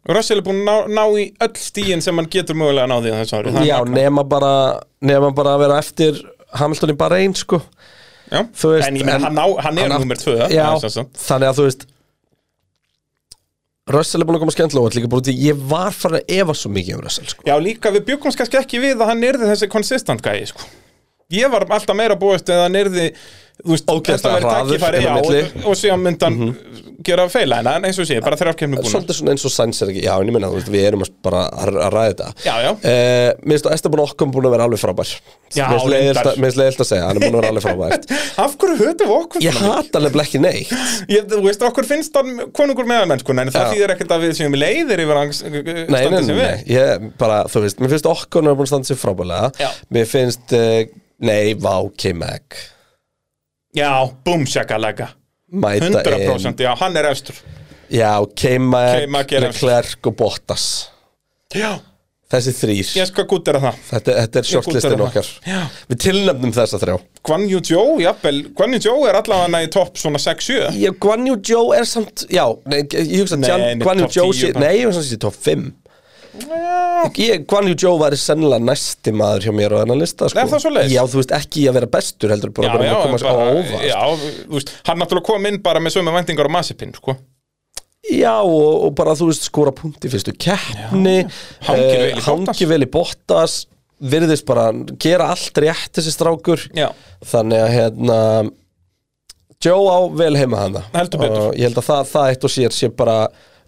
Speaker 2: Russell er búin að ná, ná í öll stíin sem hann getur mögulega að ná því á þessu ári Það er
Speaker 1: já,
Speaker 2: magnað.
Speaker 1: nema bara, nema bara að vera eftir Hamilton í bara einn, sko
Speaker 2: já.
Speaker 1: þú veist,
Speaker 2: En ég menn,
Speaker 1: en-
Speaker 2: hann, ná- hann er
Speaker 1: átt-
Speaker 2: nummer tvö
Speaker 1: já,
Speaker 2: það er svo-
Speaker 1: þannig að þú veist Russell er búin að koma skemmtilega hóvart líka bara út í ég var farin að efa svo mikið um Russell, sko
Speaker 2: Já, líka við bjökumst kannski ekki við að hann erði þessi consistent gæi, sko Ég var alltaf meira búist eða hann erði Þú veist,
Speaker 1: Ógeðslega
Speaker 2: þetta væri
Speaker 1: hraður
Speaker 2: tækifæri,
Speaker 1: inn á
Speaker 2: já, og,
Speaker 1: milli. Mhm.
Speaker 2: og síðan mynd hann gera feila en eins og sé, bara þegar afkemni búin
Speaker 1: Svolítið svona eins og Sainz er ekki, já en ég minna, við erum að bara að að ræða þetta
Speaker 2: Já, já.
Speaker 1: Eh, Mér finnst að Esteban Okkon búin að vera alveg frábær
Speaker 2: Já,
Speaker 1: Mér finnst leiðilt
Speaker 2: reyndar.
Speaker 1: að- mér finnst leiðilt að segja, hann er búin að vera alveg frábær
Speaker 2: Af hverju höfum við okkur
Speaker 1: Ég
Speaker 2: svona mikið?
Speaker 1: hata nefnilega ekki neitt
Speaker 2: Ég, þú veist, okkur finnst hann konungur meðal mennskuna en það
Speaker 1: Já.
Speaker 2: þýðir ekkert að við séum leiðir yfir hans eh,
Speaker 1: Nei, nei,
Speaker 2: standi
Speaker 1: nei,
Speaker 2: sem
Speaker 1: nei,
Speaker 2: við
Speaker 1: ég bara, þú veist, mér finnst Okkon er búin að standa sér frábærlega
Speaker 2: Já.
Speaker 1: Mér finnst, eh, nei, vá, K-Mag
Speaker 2: Já, búm, sjakalega
Speaker 1: Mæta inn
Speaker 2: 100% já, hann er efstur
Speaker 1: Já,
Speaker 2: K-Mag
Speaker 1: K-Mag,
Speaker 2: er-
Speaker 1: Leclerc og Bottas
Speaker 2: Já,
Speaker 1: Þessi þrýr
Speaker 2: ég sko gútt er að það
Speaker 1: Þetta, þetta er
Speaker 2: gúddera
Speaker 1: shortlistin
Speaker 2: það.
Speaker 1: okkar
Speaker 2: Já.
Speaker 1: Við tilnefnum þessa þrjá
Speaker 2: Guan Yu Zhou, jafnvel, Guan Yu Zhou er allavega í topp svona 6-7
Speaker 1: Já, Guan Yu Zhou er samt Já, nei, ég hugsa
Speaker 2: Nei,
Speaker 1: að Jan-
Speaker 2: nei,
Speaker 1: Guan Yu
Speaker 2: topp
Speaker 1: Zhou
Speaker 2: 10
Speaker 1: sé
Speaker 2: bara.
Speaker 1: Nei, ég hugsa að sé top 5
Speaker 2: Já,
Speaker 1: ég, Guan Yu Zhou væri sennilega næsti maður hjá mér á þennan lista sko.
Speaker 2: Er það svoleiðis?
Speaker 1: Já, þú veist, ekki að vera bestur heldur bara bara að komast á óvart Já,
Speaker 2: já, þú veist, hann náttúrulega kom inn bara með sömu væntingar á Masipin, sko
Speaker 1: og, og bara þú veist skora punkt í fyrstu keppni
Speaker 2: Hangir vel í Bottas.
Speaker 1: Hangi vel í Bottas Virðist bara gera allt rétt þessi strákur
Speaker 2: Já,
Speaker 1: Þannig að hérna Joe á vel heima hana
Speaker 2: Heldur betur.
Speaker 1: Og ég held að það, það eitt og sér sé bara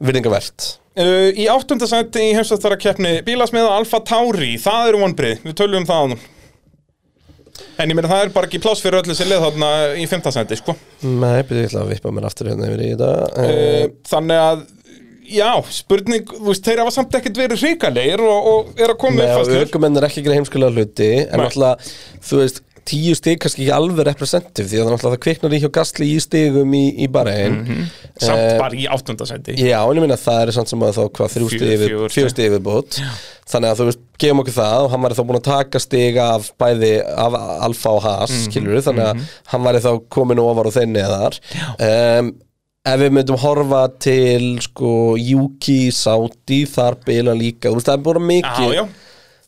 Speaker 1: virðingavert
Speaker 2: uh, í áttundasæti í heimsvættara keppni bílasmiða Alfa Tauri, það eru vonbrið, við tölum um það ánum En ég meina það er bara ekki pláss fyrir öllu sem lið þarna í fimmtasæti, sko
Speaker 1: Nei, byrju, ég ætla að vippa mér aftur hérna yfir í þetta
Speaker 2: uh,
Speaker 1: uh,
Speaker 2: Þannig að, já, spurning, þú veist, þeir hafa samt ekkert verið hrikalegir og, og er að koma
Speaker 1: Nei,
Speaker 2: upp
Speaker 1: og
Speaker 2: fastur
Speaker 1: aukumenn er ekki að gera heimskulega hluti En
Speaker 2: Nei.
Speaker 1: náttúrulega, þú veist, tíu stig kannski ekki alveg representiv Því að náttúrulega það kviknar í hjá gasli í stigum í, í bara einn
Speaker 2: Samt bara í áttundasæti
Speaker 1: Já, en eh, ég minna það er samt sem að þá hvað þrjú
Speaker 2: Fjö-
Speaker 1: stig yfir,
Speaker 2: fjögur
Speaker 1: fjögur
Speaker 2: stig.
Speaker 1: stig yfirbót Þannig að þú veist, gefum okkur það og hann væri þá búin að taka stig af bæði af Alfa og Haas,
Speaker 2: Mhm,
Speaker 1: mm þannig að hann væri þá komin ofar og þeir neðar um, Ef við myndum horfa til sko Juki, Saudi, þar bila líka, þú veist, það er bara
Speaker 2: Já,
Speaker 1: mikið
Speaker 2: já,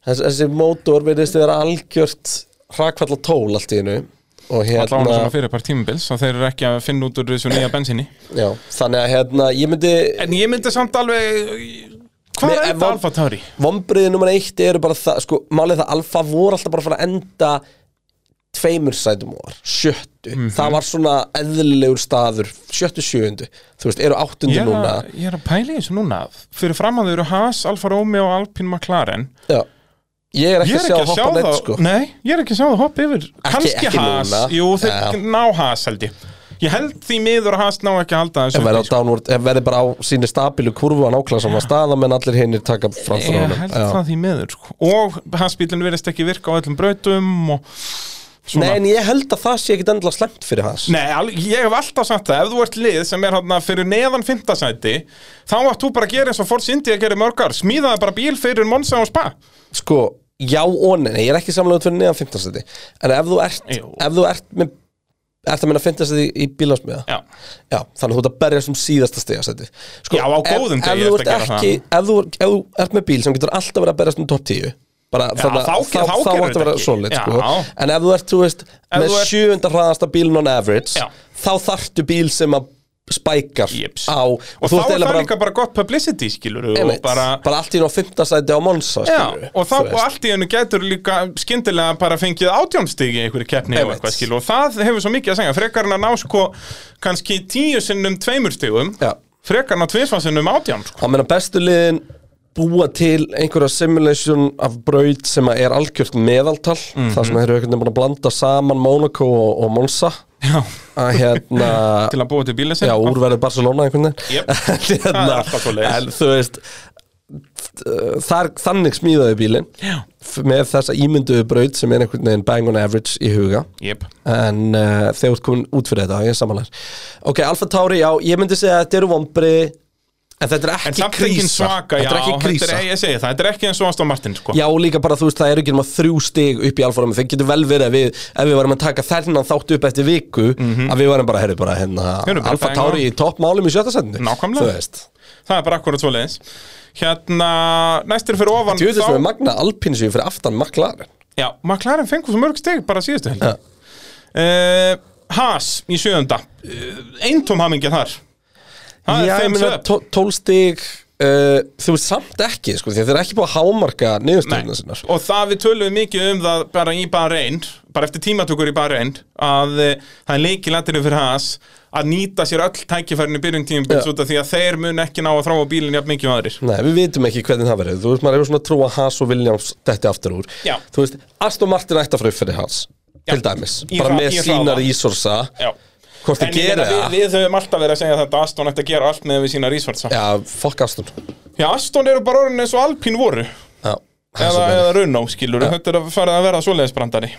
Speaker 1: Þess, Þessi mótor verðist vera algjört hrakvall og tól allt í hennu og
Speaker 2: allavega svona
Speaker 1: hérna,
Speaker 2: fyrir par tímabils og þeir eru ekki að finna út úr þessu nýja bensinni
Speaker 1: já, þannig að hérna, ég myndi
Speaker 2: En ég myndi samt alveg Hvað
Speaker 1: Nei,
Speaker 2: er
Speaker 1: en
Speaker 2: þetta
Speaker 1: von-
Speaker 2: Alfa Tauri?
Speaker 1: Vombriðið nummer eitt eru bara það sko, Málið það Alfa voru alltaf bara að fara að enda Tveimur sætum og var Sjöttu,
Speaker 2: Mhm.
Speaker 1: það var svona eðlilegur staður Sjöttu sjöundu Þú veist, eru áttundu
Speaker 2: Ég er,
Speaker 1: núna
Speaker 2: að, ég er að pæla í þessu núna Fyrir fram að þau eru Haas, Alfa Romeo og Alpine McLaren
Speaker 1: Já. Ég er ekki að
Speaker 2: Ég er
Speaker 1: sjá
Speaker 2: ekki
Speaker 1: að
Speaker 2: að sjá
Speaker 1: hoppa
Speaker 2: það
Speaker 1: neitt sko
Speaker 2: Nei, ég er ekki að sjá það hoppa yfir Kanski
Speaker 1: ekki
Speaker 2: Haas,
Speaker 1: núna.
Speaker 2: jú þeir
Speaker 1: Já.
Speaker 2: ná Haas held ég Ég held því miður að Haas ná ekki að halda
Speaker 1: En
Speaker 2: þessu sko.
Speaker 1: verði, á
Speaker 2: uppi,
Speaker 1: downward, en verði bara á síni stabilu kurvu að nákvæmlega saman staða menn allir hinnir taka frá
Speaker 2: sko. Ég held
Speaker 1: þrónum
Speaker 2: það því miður sko. Og Haas bílinn verðist ekki virka á öllum brautum og svona
Speaker 1: Nei, en ég held að það sé ekkit endilega slemt fyrir hans
Speaker 2: Nei, al- ég hef alltaf sagt það, ef þú ert lið sem er hann fyrir neðan fimmtasæti þá átt þú bara að gera eins og Force India gerir mörg ár, smíðaði bara bíl fyrir Monsa og Spa
Speaker 1: sko, já og nei, nei ég er ekki samlega út fyrir neðan 15 seti en ef þú ert,
Speaker 2: Jú.
Speaker 1: ef þú ert með ert að minna 15 seti í bílansmiða
Speaker 2: Já,
Speaker 1: já, þannig að þú ert að berjast um síðasta stiga seti sko,
Speaker 2: Já, á góðum degi
Speaker 1: ef, ef
Speaker 2: ertu að
Speaker 1: þú ert
Speaker 2: gera það.
Speaker 1: ekki, ef þú, ef þú ert með bíl sem getur alltaf verið að berjast um top 10 bara,
Speaker 2: Já,
Speaker 1: þannig að
Speaker 2: þá-
Speaker 1: þá
Speaker 2: þá gerir
Speaker 1: áttu að
Speaker 2: þetta
Speaker 1: vera
Speaker 2: ekki.
Speaker 1: solid
Speaker 2: Já.
Speaker 1: sko. en ef þú ert, þú veist, með
Speaker 2: þú ert-
Speaker 1: sjöunda hraðasta bílun on average,
Speaker 2: Já.
Speaker 1: þá þarftu bíl sem að spækar
Speaker 2: Jeps.
Speaker 1: á og,
Speaker 2: og,
Speaker 1: þú ert
Speaker 2: þá er það
Speaker 1: eiginlega bara,
Speaker 2: líka bara gott publicity skilur og
Speaker 1: einmitt,
Speaker 2: bara,
Speaker 1: bara, allt í nú 15 seti á Monsa skilurðu,
Speaker 2: já, og, þá,
Speaker 1: þú veist.
Speaker 2: og allt í hennu getur líka skyndilega bara fengið átjónstig í einhverju keppni og
Speaker 1: Einmitt.
Speaker 2: eitthvað skilur og það hefur svo mikið að segja, frekar en að ná sko kannski tíu sinnum tveimur stigum
Speaker 1: Já.
Speaker 2: frekar en að tvisfa sinnum átjón sko.
Speaker 1: Það meina bestu liðin búa til einhverja simulation af braut sem að er algjört meðaltal
Speaker 2: Mhm.
Speaker 1: þar sem þeir eru einhvern veginn búin að blanda saman Monaco og, og Monza
Speaker 2: Já,
Speaker 1: að hérna
Speaker 2: til að búa til bíla
Speaker 1: já,
Speaker 2: sinna
Speaker 1: úrverðu Barcelona einhvern veginn
Speaker 2: Jep.
Speaker 1: en,
Speaker 2: Það er
Speaker 1: hérna,
Speaker 2: alltaf svoleiðis.
Speaker 1: en þú veist þar, þannig smíðaði bílinn
Speaker 2: Já.
Speaker 1: f- með þessa ímynduðu braut sem er einhvern veginn bang on average í huga
Speaker 2: Jep.
Speaker 1: en uh, þegar þú ert komin út fyrir þetta, ég er samanlega ok, Alfa Tauri, já, ég myndi segja að þetta eru vombri En þetta er
Speaker 2: En
Speaker 1: ekki
Speaker 2: samt engin
Speaker 1: krísa
Speaker 2: svaka, já,
Speaker 1: Þetta er ekki krísa
Speaker 2: þetta er, ég segi það, þetta er ekki eins og Aston Martin, sko
Speaker 1: Já, og líka bara, þú veist, það eru ekki nema þrjú stig upp í alfórum Það getur vel verið að við, ef við varum að taka þennan þátt upp eftir viku Að við varum bara, herri, bara,
Speaker 2: Heyrðu,
Speaker 1: hérna
Speaker 2: Mhm. bara
Speaker 1: Alfa
Speaker 2: bang
Speaker 1: Tauri í toppmálum í sjötta sendinu
Speaker 2: Nákvæmlega.
Speaker 1: Þú veist,
Speaker 2: Það er bara akkurat svo leiðis Hérna, næstir fyrir ofan
Speaker 1: djúðist með magna alpinsu fyrir aftan maklar
Speaker 2: Já, McLaren fengur svo mörg steg bara síðustu helgi
Speaker 1: Já.
Speaker 2: ja. Eh, Haas í sjöunda uh, Eintóm hamingja þar Það
Speaker 1: Já,
Speaker 2: er
Speaker 1: ég
Speaker 2: þeim
Speaker 1: meina,
Speaker 2: söp
Speaker 1: tó- tólf stig uh, Þú veist, samt ekki, sko, því að þeir eru ekki búið að hámarka niðurstöðuna sinnar
Speaker 2: Og það við tölum mikið um það bara í Bahrein bara eftir tímatökur í Bahrein að eh, það er leikilættinu fyrir Haas að nýta sér öll tækifærin í byrjun tímabils
Speaker 1: Já.
Speaker 2: út af því að þeir mun ekki ná að þráa bílinn jafn mikið og aðrir
Speaker 1: Nei, við vitum ekki hvernig það verður Þú veist, maður hefur svona trú að Haas og Williams Þetta aftur úr
Speaker 2: Já.
Speaker 1: Þú veist, Aston Martin ætti að fara upp fyrir Haas
Speaker 2: Já.
Speaker 1: Til dæmis,
Speaker 2: Í
Speaker 1: bara
Speaker 2: hra-
Speaker 1: með
Speaker 2: í
Speaker 1: sína
Speaker 2: hraða.
Speaker 1: resursa
Speaker 2: Já
Speaker 1: Hvort
Speaker 2: En
Speaker 1: þið
Speaker 2: ég meina,
Speaker 1: gerir það
Speaker 2: við, við höfum alltaf verið að segja þetta að Aston ætti að gera allt með við sína researcha Já,
Speaker 1: Já, fokk Aston
Speaker 2: Aston eru bara orðin eins og Alpín voru
Speaker 1: Já, það er
Speaker 2: eða,
Speaker 1: svo
Speaker 2: eða
Speaker 1: verið.
Speaker 2: Runó, skilur þetta er að fara að vera svoleiðis brandari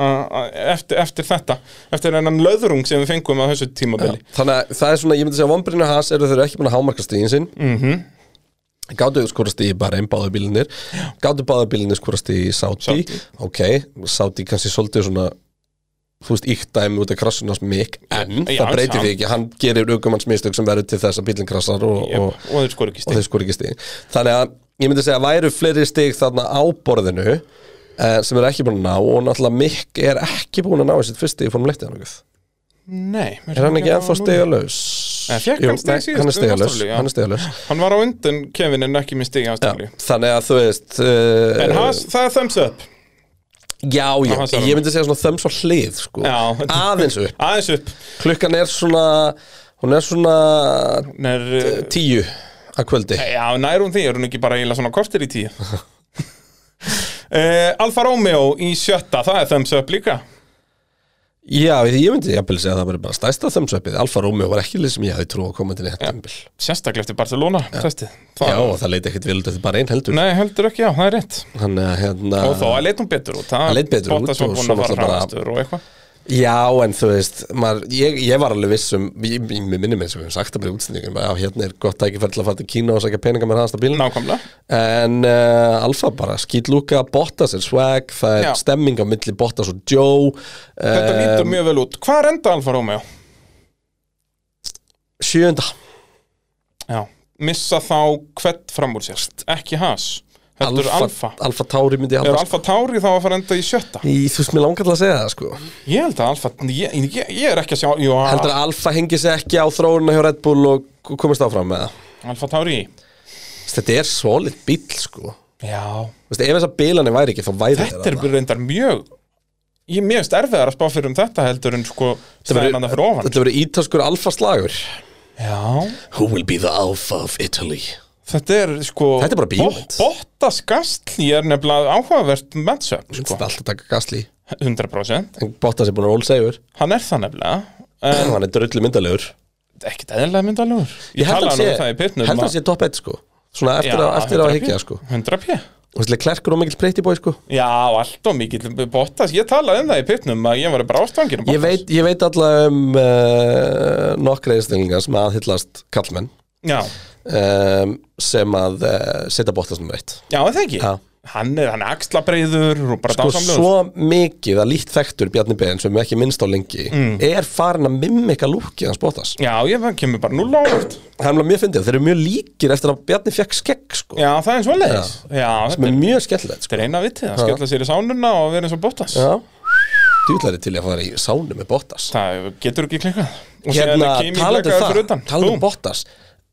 Speaker 2: Uh, uh, eftir, eftir þetta eftir hennan löðrung sem við fengum á þessu tímabili
Speaker 1: Þannig að það er svona, ég myndi segja Vombrinu Haas eru þeir ekki búin að hámarka stíðin sinn mm
Speaker 2: Mhm.
Speaker 1: -hmm. Gáttu skora stíði bara einn báðu bílinir Gáttu báðu bílinir skora stíði í Saudi.
Speaker 2: Saudi.
Speaker 1: Ok, Saudi kannski svolítið svona Þú veist, íkt dæmi út af krassunars mikk En
Speaker 2: Já,
Speaker 1: það breytir
Speaker 2: samt.
Speaker 1: því ekki, hann gerir aukumanns mistök sem verður til þess að bílinn krassar og,
Speaker 2: yep.
Speaker 1: og,
Speaker 2: og, og þeir skor ekki
Speaker 1: og
Speaker 2: stig
Speaker 1: þeir skor ekki stig þannig að ég myndi segja að væru fleiri stig þarna á borðinu eh, sem eru ekki búin að ná og náttúrulega Mikk er ekki búin að ná í sitt fyrst stig í formuleitt er
Speaker 2: Nei,
Speaker 1: hann ekki ennþá stigalaus
Speaker 2: Nei, fékk hann stig síðust
Speaker 1: hann er
Speaker 2: um
Speaker 1: stigalaus
Speaker 2: Ástralíu, já.
Speaker 1: hann er stigalaus
Speaker 2: Hann var á undan Kevin en ekki með stig í
Speaker 1: Já,
Speaker 2: ástæðli
Speaker 1: þannig að þú veist
Speaker 2: En
Speaker 1: uh,
Speaker 2: Haas, það er thumbs up
Speaker 1: já, já,
Speaker 2: Haas er
Speaker 1: ég myndi segja svona þöms á hlið sko.
Speaker 2: Já.
Speaker 1: aðeins upp
Speaker 2: Aðeins upp
Speaker 1: klukkan er svona hún er svona
Speaker 2: Hún er, uh,
Speaker 1: tíu að kvöldi
Speaker 2: eh, Já, nær hún því, er hún ekki bara eiginlega svona kortir í tíu uh, Alfa Romeo í sjötta, það er thumbs up líka
Speaker 1: já, ég ég myndi jafnvel segja að það var bara stæsta thumbs upið Alfa Romeo var ekki lið sem ég hafi trú að koma til í þetta umbil
Speaker 2: Sérstaklega eftir Barcelona, testið
Speaker 1: Já, og það leit ekkert vel út eftir bara einn heldur
Speaker 2: Nei, heldur ekki, já, það er rétt
Speaker 1: Hann er hérna
Speaker 2: Og þá að leit hún betur út Það
Speaker 1: Hann leit betur út
Speaker 2: Bottas var
Speaker 1: og
Speaker 2: búinn
Speaker 1: svo
Speaker 2: að fara
Speaker 1: náttúrulega bara-
Speaker 2: hraðastur og eitthvað
Speaker 1: Já, en þú veist, maður, ég, ég var alveg viss um Ég, ég mér minnir mig sem við höfum sagt að mér útsendingum Já, hérna er gott tækifæri til að fara til Kína og sækja peninga með hraðasta bílinn
Speaker 2: Nákvæmlega
Speaker 1: En uh, Alfa bara, skýtlúka, Bottas er swag Það er
Speaker 2: Já.
Speaker 1: stemming á milli Bottas og Joe eh,
Speaker 2: Þetta lítur mjög vel út Hvað er enda Alfa Romeo?
Speaker 1: Sjöunda
Speaker 2: Já Missa þá hvert fram úr sér Ekki Haas Þetta er Alfa
Speaker 1: Alfa Tauri myndi ég
Speaker 2: Er
Speaker 1: halda sko.
Speaker 2: Alfa Tauri þá að fara enda í sjötta?
Speaker 1: Í, Þú veist, mér langar til að segja það, sko
Speaker 2: Ég held að Alfa Ég, ég, ég er ekki að sjá Jú,
Speaker 1: Heldur að Alfa hengi sig ekki á þróunina hjá Red Bull og komist áfram með það
Speaker 2: Alfa Tauri
Speaker 1: Þetta er solid bíl, sko
Speaker 2: Já
Speaker 1: Þú veist, ef þessar bílanir væri ekki, þá væri
Speaker 2: Þetta er
Speaker 1: þarna.
Speaker 2: reyndar mjög Ég er mjög erfiðar að spá fyrir um þetta heldur en sko
Speaker 1: verður-
Speaker 2: stæðan að fyrir ofan
Speaker 1: Þetta verður ítalskur alfa slagur
Speaker 2: Já
Speaker 1: Who will be the alpha of Italy
Speaker 2: Þetta er sko
Speaker 1: Þetta er bara bíómynd.
Speaker 2: Bottas Gastli er nefnilega áhugavert matchup
Speaker 1: Þetta
Speaker 2: sko,
Speaker 1: er alltaf að taka gasli
Speaker 2: 100%
Speaker 1: En Bottas er búin að roll segur
Speaker 2: Hann er það nefnilega en
Speaker 1: Hann er drullu myndalegur
Speaker 2: ekkit eðlilega myndalur Ég,
Speaker 1: held að hann
Speaker 2: talaði nú
Speaker 1: sé-
Speaker 2: um það í pitnum
Speaker 1: Held að hann sé top 1 sko Svona eftir, að, eftir á að higgja sko
Speaker 2: 100p
Speaker 1: Þú veist, klerkur og mikill breyti bói sko
Speaker 2: Já, allt og mikill Bottas Ég talaði um það í pitnum að ég var bara ástfangir um
Speaker 1: Ég veit, ég veit alla um uh, nokkra einstaklingar sem aðhyllast kallmenn
Speaker 2: Já,
Speaker 1: um, sem að uh, setja Bottas nummer 1
Speaker 2: já það ekki
Speaker 1: Já.
Speaker 2: Hann er, hann er axlabreiður og bara
Speaker 1: sko
Speaker 2: dásamlegur
Speaker 1: svo mikið að lítt þekktur Bjarni Ben sem við ekki minnst á lengi
Speaker 2: Mm.
Speaker 1: er farin að mimmika lúkið hans Bottas
Speaker 2: Já, ég það kemur bara núl á óvart
Speaker 1: það er alveg mjög fyndið, þeir eru mjög líkir eftir að Bjarni fekk skegg sko,
Speaker 2: Já, það er svo leiðis Já,
Speaker 1: sem
Speaker 2: þetta
Speaker 1: er
Speaker 2: er,
Speaker 1: mjög skellilegt sko.
Speaker 2: þetta er eina vitið að skella sér í sánuna og vera eins og Bottas
Speaker 1: já, djúðlæri til í að fara í sánu með Bottas
Speaker 2: Það getur ekki klikkað Og síðan
Speaker 1: hérna,
Speaker 2: er Kimi
Speaker 1: talandi
Speaker 2: glöggaður
Speaker 1: um það,
Speaker 2: fyrir utan.
Speaker 1: talandi
Speaker 2: Búm.
Speaker 1: um Bottas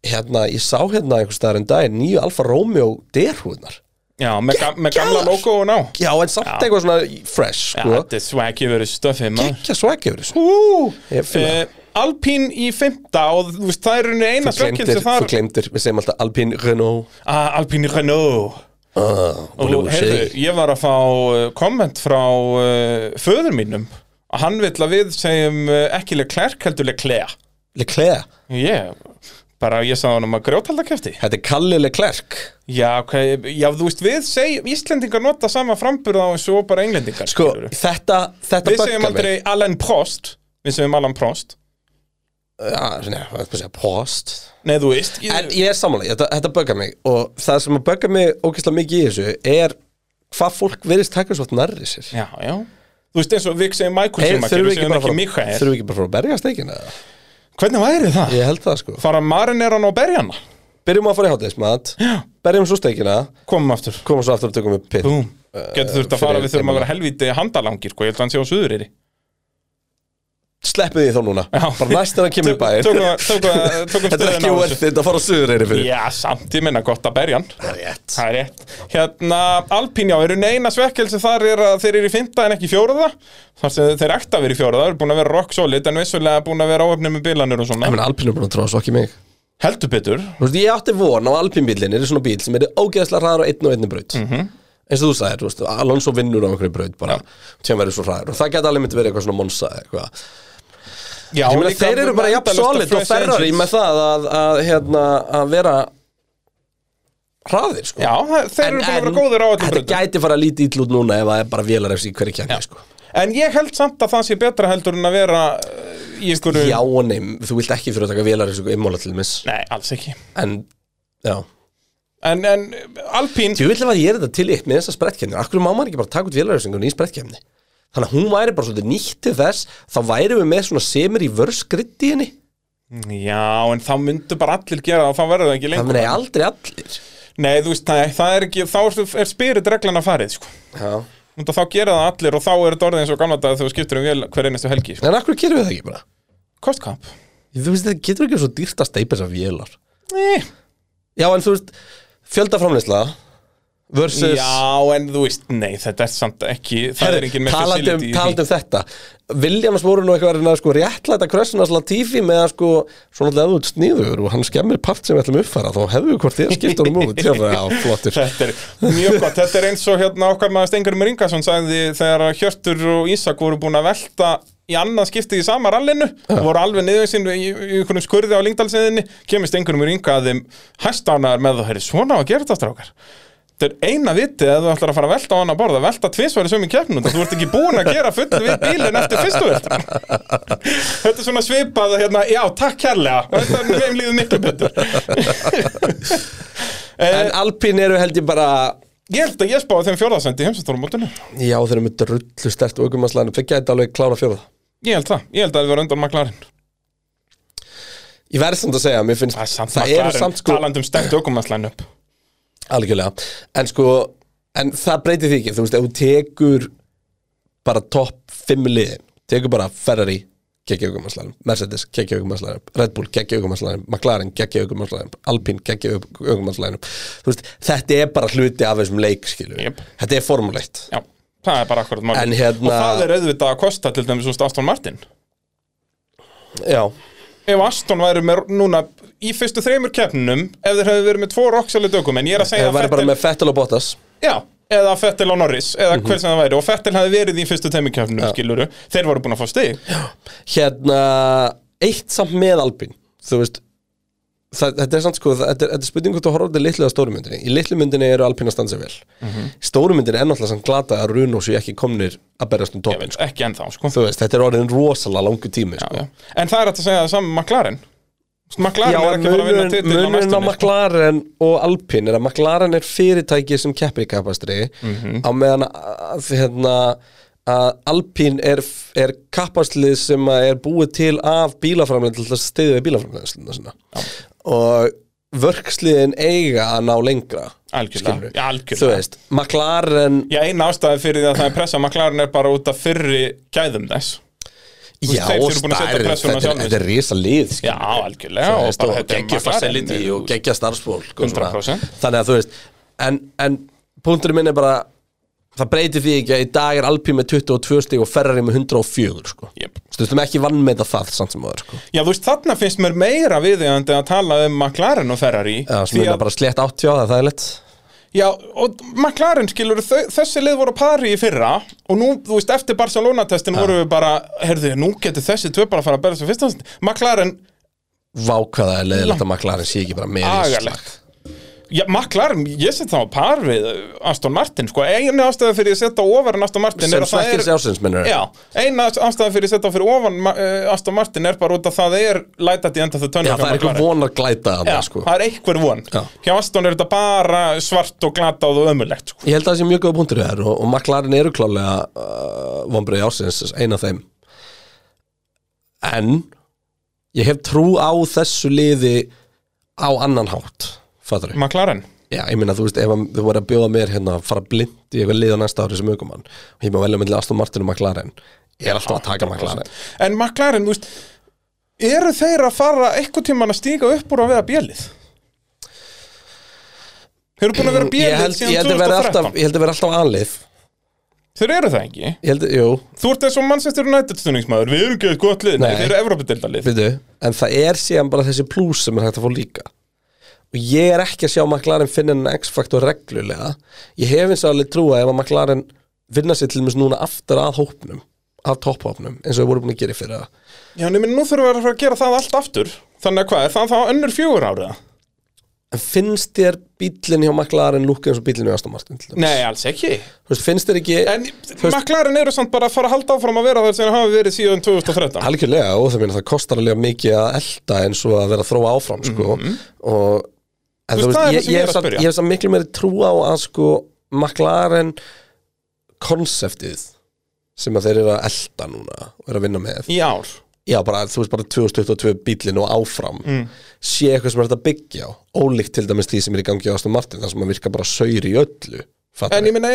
Speaker 1: hérna, ég sá hérna einhvers staðar en daginn nýju Alfa Romeo derhúðnar
Speaker 2: Já, með, ga með gamla
Speaker 1: Geggjaðar.
Speaker 2: logo og ná
Speaker 1: já, en samt eitthvað svona fresh
Speaker 2: Já,
Speaker 1: sko,
Speaker 2: þetta er swaggy verið stöfið maður
Speaker 1: ekki að svækja yfir þessu
Speaker 2: Ú,
Speaker 1: Ég fíla það.
Speaker 2: eh, Alpín í fymta og þú veist, það er henni
Speaker 1: Þú
Speaker 2: eina
Speaker 1: gleymdir-
Speaker 2: svegkilsi
Speaker 1: þú
Speaker 2: þar
Speaker 1: glemdir, við segjum alltaf Alpine Renault
Speaker 2: ah, Alpín í Renault
Speaker 1: uh,
Speaker 2: og heyrðu, ég var að fá eh, komment frá uh, föður mínum að hann vill að við segjum uh, ekki Leclerc heldur Leclerc
Speaker 1: Leclerc,
Speaker 2: Ég, bara ég sagði hann um að grjótaldakefti
Speaker 1: þetta er Kalli Leclerc
Speaker 2: Já, okay, já, þú veist, við segjum Íslendingar nota sama framburð á eins og bara englendingar
Speaker 1: sko,
Speaker 2: skilurðu.
Speaker 1: þetta, þetta
Speaker 2: Við
Speaker 1: böggar
Speaker 2: segjum
Speaker 1: mig.
Speaker 2: aldrei Alan Prost Við segjum Alan Prost
Speaker 1: ja, svona, hvað er það að segja, post
Speaker 2: Nei, þú veist ég,
Speaker 1: En ég er samanlega, þetta, þetta böggar mig og það sem að böggar mig ógeðslega mikið í þessu er hvað fólk verðist taka svo nærri sér
Speaker 2: Já, já Þú veist eins og við segjum Michael
Speaker 1: Hey,
Speaker 2: Schumacher
Speaker 1: þurfum
Speaker 2: og
Speaker 1: við ekki
Speaker 2: segjum
Speaker 1: bara að
Speaker 2: ekki
Speaker 1: fara-
Speaker 2: Mikael
Speaker 1: þurfum við ekki bara að fara að berja steikina eða?
Speaker 2: Hvernig væri það?
Speaker 1: Ég held það sko
Speaker 2: Fara marineran á berjana
Speaker 1: Byrjum að fara í hátæðismat Berjum svo steikina,
Speaker 2: Komum aftur
Speaker 1: komum svo aftur og tökum við pitt
Speaker 2: Búm Getur þurft að fara,
Speaker 1: fyrir-
Speaker 2: við þurfum að vera helvíti handalangir sko, Ég held að hann sé á suðurýri
Speaker 1: Sleppið því þá núna
Speaker 2: Já.
Speaker 1: Bara næst þegar hann kemur í bæinn
Speaker 2: Tökum tökum- tökum
Speaker 1: Þetta er
Speaker 2: stöðuna
Speaker 1: ekki
Speaker 2: á
Speaker 1: worth
Speaker 2: þessu.
Speaker 1: it að fara á suðureyri fyrir
Speaker 2: Já, samt, ég minna gott að berjan
Speaker 1: Það er rétt
Speaker 2: Það er rétt. Hérna, Alpín, já, eru neina svekkelsi þar er að þeir eru í fymta en ekki í fjóraða. Þar sem þeir ætti að vera í fjóraða, þeir eru búin að vera rock solid en vissulega búin að vera áöfnið með bilanur og svona.
Speaker 1: Ég meina Alpín er búin að tróða svo ekki mig
Speaker 2: Heldur betur.
Speaker 1: Þú veist, ég átti von á Alpínbílinn er svona bíl sem er ógeðslega hraður á einn og einni braut
Speaker 2: Mhm.
Speaker 1: eins og þú sagðir, þú veist, Alonso vinnur á einhverju braut bara, sem verður svo hraður og það geti alveg myndi verið eitthvað svona monsa eða eitthvað
Speaker 2: Já,
Speaker 1: Ég meina,
Speaker 2: líka
Speaker 1: þeir eru bara jafn
Speaker 2: endalaust
Speaker 1: solid og
Speaker 2: fresh
Speaker 1: Ferrari
Speaker 2: engines.
Speaker 1: með það að, að, hérna, að vera hraðir, sko
Speaker 2: Já, það- þeir eru búin að vera góðir á öllum
Speaker 1: þetta
Speaker 2: bröndum.
Speaker 1: gæti fara að líti ítl út núna ef það er bara vélarefs í hverju kjæmi, sko
Speaker 2: En ég held samt að það sé betra heldur en að vera uh, í einhverju...
Speaker 1: Já og nei, þú vilt ekki fyrir að taka vélarefs í immála til mis
Speaker 2: Nei, alls ekki.
Speaker 1: en, já
Speaker 2: En, en Alpín...
Speaker 1: Þú vil að ég er þetta til eitt með þessa sprettkemni Akkur má maður ekki bara taka út vélarjöfsingunni í sprettkemni Þannig að hún væri bara svolítið nýtt til þess Þá væri við með svona semir í vörskritt í henni
Speaker 2: Já, en þá myndu bara allir gera það og þá verður það ekki
Speaker 1: Það
Speaker 2: lengur.
Speaker 1: meni aldrei allir
Speaker 2: Nei, þú veist, nei, það er ekki... Þá er, er spirit reglana farið, sko.
Speaker 1: Já.
Speaker 2: Þannig að þá gera það allir og þá er þetta orðið eins og gamla dag þegar þú skiptir um vél hver einustu helgi sko.
Speaker 1: En akkur gerum við það ekki bara
Speaker 2: Kostkap
Speaker 1: Þú veist þetta getur ekki svo dýrt að steipa þessar vélar
Speaker 2: Nei.
Speaker 1: Já en þú veist Fjöldaframleysla Versus
Speaker 2: Já, en þú veist, nei, þetta er samt ekki Það er engin með
Speaker 1: talandi um,
Speaker 2: facility í því.
Speaker 1: talandi um þetta Williams voru nú eitthvað að reyna að sko réttlæta krössunars Latifi með að sko svona leðu út sniður og hann skemmir part sem við ætlum uppfæra þá hefðu við hvort þér skipt honum út Já, flottur
Speaker 2: Þetta er mjög gott, þetta er eins og hérna okkar maður Stengur Ringarsson sagði þegar Hjörtur og Ísak voru búin að velta í annað skiptið í sama rallinu voru alveg niður sín í í einhvernum skurði á Lingdalsinni, kemur Stengur Ringa að þeim hæstánaðar með það, herri, svona á að gera þetta strákar Þetta er eina vitið að þú ætlar að fara að velta á hann að borða velta tvisvar í sömu keppnum þú ert ekki búin að gera fullu við bílinn eftir fyrstu veltan Þetta er svona svipað hérna, já, takk kærlega og þetta er með líður miklu betur
Speaker 1: En
Speaker 2: Eh,
Speaker 1: Alpín eru held ég bara
Speaker 2: Ég held að ég spáði þeim fjórðasendi í heimsastóramótinu
Speaker 1: Já, þeir eru með drullu stert og aukumannslæðinu Þeir gæti alveg klára fjórða
Speaker 2: Ég held það, ég held að það var undan maklarinn
Speaker 1: Ég verð samt að segja, mér finnst
Speaker 2: Það er samt
Speaker 1: það eru
Speaker 2: maklarinn,
Speaker 1: samt sko
Speaker 2: talandi um stengt ökumannslæn upp
Speaker 1: Algjörlega, en sko En það breytir því ekki, þú veist, ef þú tekur Bara topp 5 liðin Tekur bara Ferrari Kekki aukumannslæðinu, Mercedes, kekki aukumannslæðinu Red Bull, kekki aukumannslæðinu, McLaren, kekki aukumannslæðinu Alpine, kekki aukumannslæðinu Þú veist, þetta er bara hluti af þessum leik, skilur
Speaker 2: Jep.
Speaker 1: Þetta er formuleitt
Speaker 2: Já, það er bara akkurat mál
Speaker 1: En hérna-
Speaker 2: Og það er auðvitað að kosta til dæmis úst Aston Martin
Speaker 1: Já,
Speaker 2: Ef Aston væri með núna í fyrstu þreymur keppnum Ef þeir hefðu verið með tvo roxali dökum En ég er að segja
Speaker 1: það
Speaker 2: að
Speaker 1: væri bara með Mhm. Fettel og Bottas
Speaker 2: Já, eða Fettil og Norris Eða hver sem það væri Og Fettil hefði verið í fyrstu þreymur keppnum, skiluru Þeir voru búin að fá stig
Speaker 1: hérna eitt samt með Albin þú veist það, þetta er samt sko, þetta er, þetta er spurning hvort þú horfður litlu að stóru myndinni, í litlu myndinni eru Alpin að standa sig vel, mm stóru myndinni er náttúrulega samt glata að Runo séu ekki komnir að berjast um
Speaker 2: Ég
Speaker 1: toppin,
Speaker 2: veit Ekki ennþá, sko
Speaker 1: þú veist, þetta er orðin rosalega langu tími,
Speaker 2: Já,
Speaker 1: sko
Speaker 2: já. En það er hægt að segja það saman maklarinn McLaren
Speaker 1: Já,
Speaker 2: er
Speaker 1: en
Speaker 2: ekki bara að vinna
Speaker 1: munurinn
Speaker 2: titil á
Speaker 1: munurinn á
Speaker 2: næstunni, sko.
Speaker 1: McLaren og Alpin er að McLaren er fyrirtæki sem keppir í kapastri
Speaker 2: Mhm.
Speaker 1: á meðan að, hérna, að Alpin er, er kapastrið sem að er búið til af bílaframlega til að stiðja við bílaframlega sinna. og vörksliðin eiga að ná lengra
Speaker 2: Algjörlega,
Speaker 1: skilurðu.
Speaker 2: já,
Speaker 1: þú
Speaker 2: algjörlega
Speaker 1: veist, McLaren
Speaker 2: Já, eina ástæði fyrir því að það er pressa McLaren er bara út af fyrri gæðum þess
Speaker 1: já,
Speaker 2: þeir
Speaker 1: og
Speaker 2: eru búin að setja
Speaker 1: stærð,
Speaker 2: pressuna
Speaker 1: þetta,
Speaker 2: sjálfir.
Speaker 1: er- þetta er risa lið skilurðu.
Speaker 2: Já, algjörlega
Speaker 1: Þú
Speaker 2: og
Speaker 1: veist,
Speaker 2: bara
Speaker 1: og
Speaker 2: þetta er
Speaker 1: geggja
Speaker 2: McLaren, eh,
Speaker 1: facility og
Speaker 2: þú-
Speaker 1: geggja starfsfólk og svona.
Speaker 2: 100%.
Speaker 1: þannig að þú veist en, en punkturinn minn er bara það breytir því ekki að í dag er Alpi með 22 stig og Ferrari með 104 sko.
Speaker 2: Jep.
Speaker 1: stundum ekki vannmeta það samt sem aður sko.
Speaker 2: Já, þú veist, þarna finnst mér meira viðeigandi að tala um McLaren og Ferrari
Speaker 1: Já, sem
Speaker 2: því
Speaker 1: er
Speaker 2: að,
Speaker 1: bara slétt 80 á það, það er lett
Speaker 2: Já, og McLaren skilur þau, þessi lið voru að pari í fyrra og nú, þú veist, eftir Barcelona-testin voru við bara, heyrðu, nú getur þessi tvö bara að fara að berja svo fyrst hans McLaren,
Speaker 1: vákaða er leiðilegt að maklarinn sé ekki bara með í þessu
Speaker 2: agalegt
Speaker 1: slag.
Speaker 2: Já, McLaren, ég set það á par við Aston Martin, sko, einu ástæða fyrir ég setja ofar en Aston Martin
Speaker 1: sem
Speaker 2: er að það
Speaker 1: svekkir
Speaker 2: er
Speaker 1: sér ásins minnur
Speaker 2: Já, eina ástæða fyrir setja fyrir ofan ma- eh, Aston Martin er bara út að það er lætat í enda það
Speaker 1: Já,
Speaker 2: tönnum
Speaker 1: það er eitthvað vonar glæta
Speaker 2: Já,
Speaker 1: þarna, sko.
Speaker 2: það er einhver von
Speaker 1: Já.
Speaker 2: Hjá Aston er þetta bara svart og glatað og ömulegt sko.
Speaker 1: Ég held að það sé mjög góða punktur í þær og, og McLaren eru klálega uh, vonbreið ársins, eina af þeim En ég hef trú á þessu liði á annan hátt Fattur ég?
Speaker 2: McLaren
Speaker 1: Já, ég meina, þú veist, ef að- þau voru að bjóða mér hérna að fara blind í eitthvað liða næsta ári sem aukumann og ég má velja myndið Aston Martin og McLaren Ég er alltaf að taka McLaren
Speaker 2: En McLaren, þú veist Eru þeir að fara eitthvað tíman að stíga upp úr að vera bjölið? Þeir eru búin að vera
Speaker 1: Ég
Speaker 2: bjölið
Speaker 1: held, ég
Speaker 2: síðan
Speaker 1: held að vera
Speaker 2: 2013
Speaker 1: alltaf, ég held að vera alltaf anlið
Speaker 2: Þeir eru það ekki
Speaker 1: Ég held, jú,
Speaker 2: Þú ert eins og Manchester United stunningsmaður Við erum ekki eitt gott lið, nei,
Speaker 1: Nei.
Speaker 2: þeir eru Evropadildalið
Speaker 1: Veitu, en það er síðan bara þessi plús sem er hægt að fá líka og ég er ekki að sjá McLaren finna en X-faktor reglulega ég hef eins og alveg trúa ef að McLaren vinna sér til dæmis núna aftur að hópnum af topphópnum eins og við vorum búin að gera í fyrra
Speaker 2: Já, en ég minn, nú þurfum við að fara að gera það allt aftur Þannig að hvað, er það þá önnur fjögur ára?
Speaker 1: en finnst þér bílinn hjá McLaren lúkka eins og bílinn hjá Aston Martin til dæmis?
Speaker 2: Nei, alls ekki
Speaker 1: Þú veist, finnst þér ekki
Speaker 2: En McLaren eru samt bara að fara að halda áfram að vera þar sem þeir hafa verið síðan 2013
Speaker 1: Algjörlega, og það meina það kostar alveg mikið að elda eins og að vera að þróa áfram sko. og en
Speaker 2: Mhm. Þú
Speaker 1: þú
Speaker 2: veist, það
Speaker 1: veist,
Speaker 2: er það
Speaker 1: ég,
Speaker 2: sem ég
Speaker 1: ég,
Speaker 2: er
Speaker 1: hef
Speaker 2: að
Speaker 1: samt-
Speaker 2: spyrja.
Speaker 1: ég hef samt miklu meiri trú á að sko McLaren konseptið sem að þeir eru að elda núna og eru að vinna með
Speaker 2: í ár
Speaker 1: já, bara, þú veist, bara 2022 bílinn og áfram
Speaker 2: Mm.
Speaker 1: sé eitthvað sem er þetta byggja á ólíkt til dæmis því sem er í gangi á Aston Martin þar sem að virka bara saur í öllu fattar
Speaker 2: En ég minna,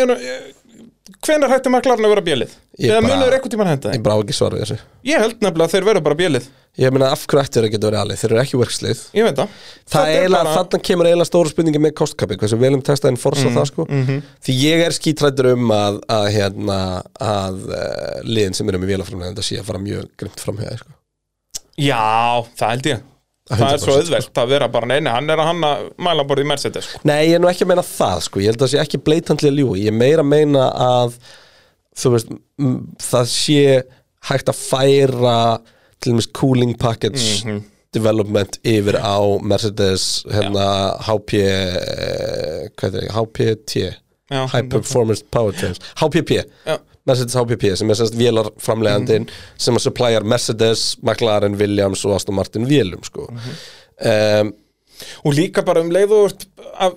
Speaker 2: hvenær hætti McLaren að vera bjölið?
Speaker 1: Ég
Speaker 2: Eða
Speaker 1: bara-
Speaker 2: munur eitthvað tímann henda
Speaker 1: ég
Speaker 2: þeim?
Speaker 1: brá ekki svara við þessu
Speaker 2: Ég held nefnilega að þeir verða bara bjölið
Speaker 1: ég meina af hverju ættu þeir að geta verið alveg, þeir eru ekki verkslið
Speaker 2: Ég veit það
Speaker 1: Það er eiginlega,
Speaker 2: bara-
Speaker 1: þannig kemur eiginlega stóra spurningi með kostkapi, hversu velum testaðin forsa það sko Því ég er skítrættur um að, að hérna, að uh, liðin sem eru með vélaframlegenda sé að fara mjög grimt framhjóða sko.
Speaker 2: Já, það held ég Það sko. er svo
Speaker 1: 100%,
Speaker 2: auðvelt að vera bara neina, hann er að hanna mælaborði í Mercedes sko.
Speaker 1: Nei, ég er nú ekki að meina það sko, ég held að það sé ekki bleitandlega ljú Ég er meira að meina að, þú veist, m- það sé hægt að færa til dæmis cooling package
Speaker 2: Mhm.
Speaker 1: development yfir á Mercedes, hérna, HP, eh, hvað er það, HPT
Speaker 2: Já,
Speaker 1: High Performance Powertrains HPP,
Speaker 2: Já. Mhm.
Speaker 1: Mercedes HPP sem er sérst vélarframlegandinn sem að supplyar Mercedes, McLaren, Williams og Aston Martin vélum sko.
Speaker 2: Mhm.
Speaker 1: um,
Speaker 2: Og líka bara um leið og ert að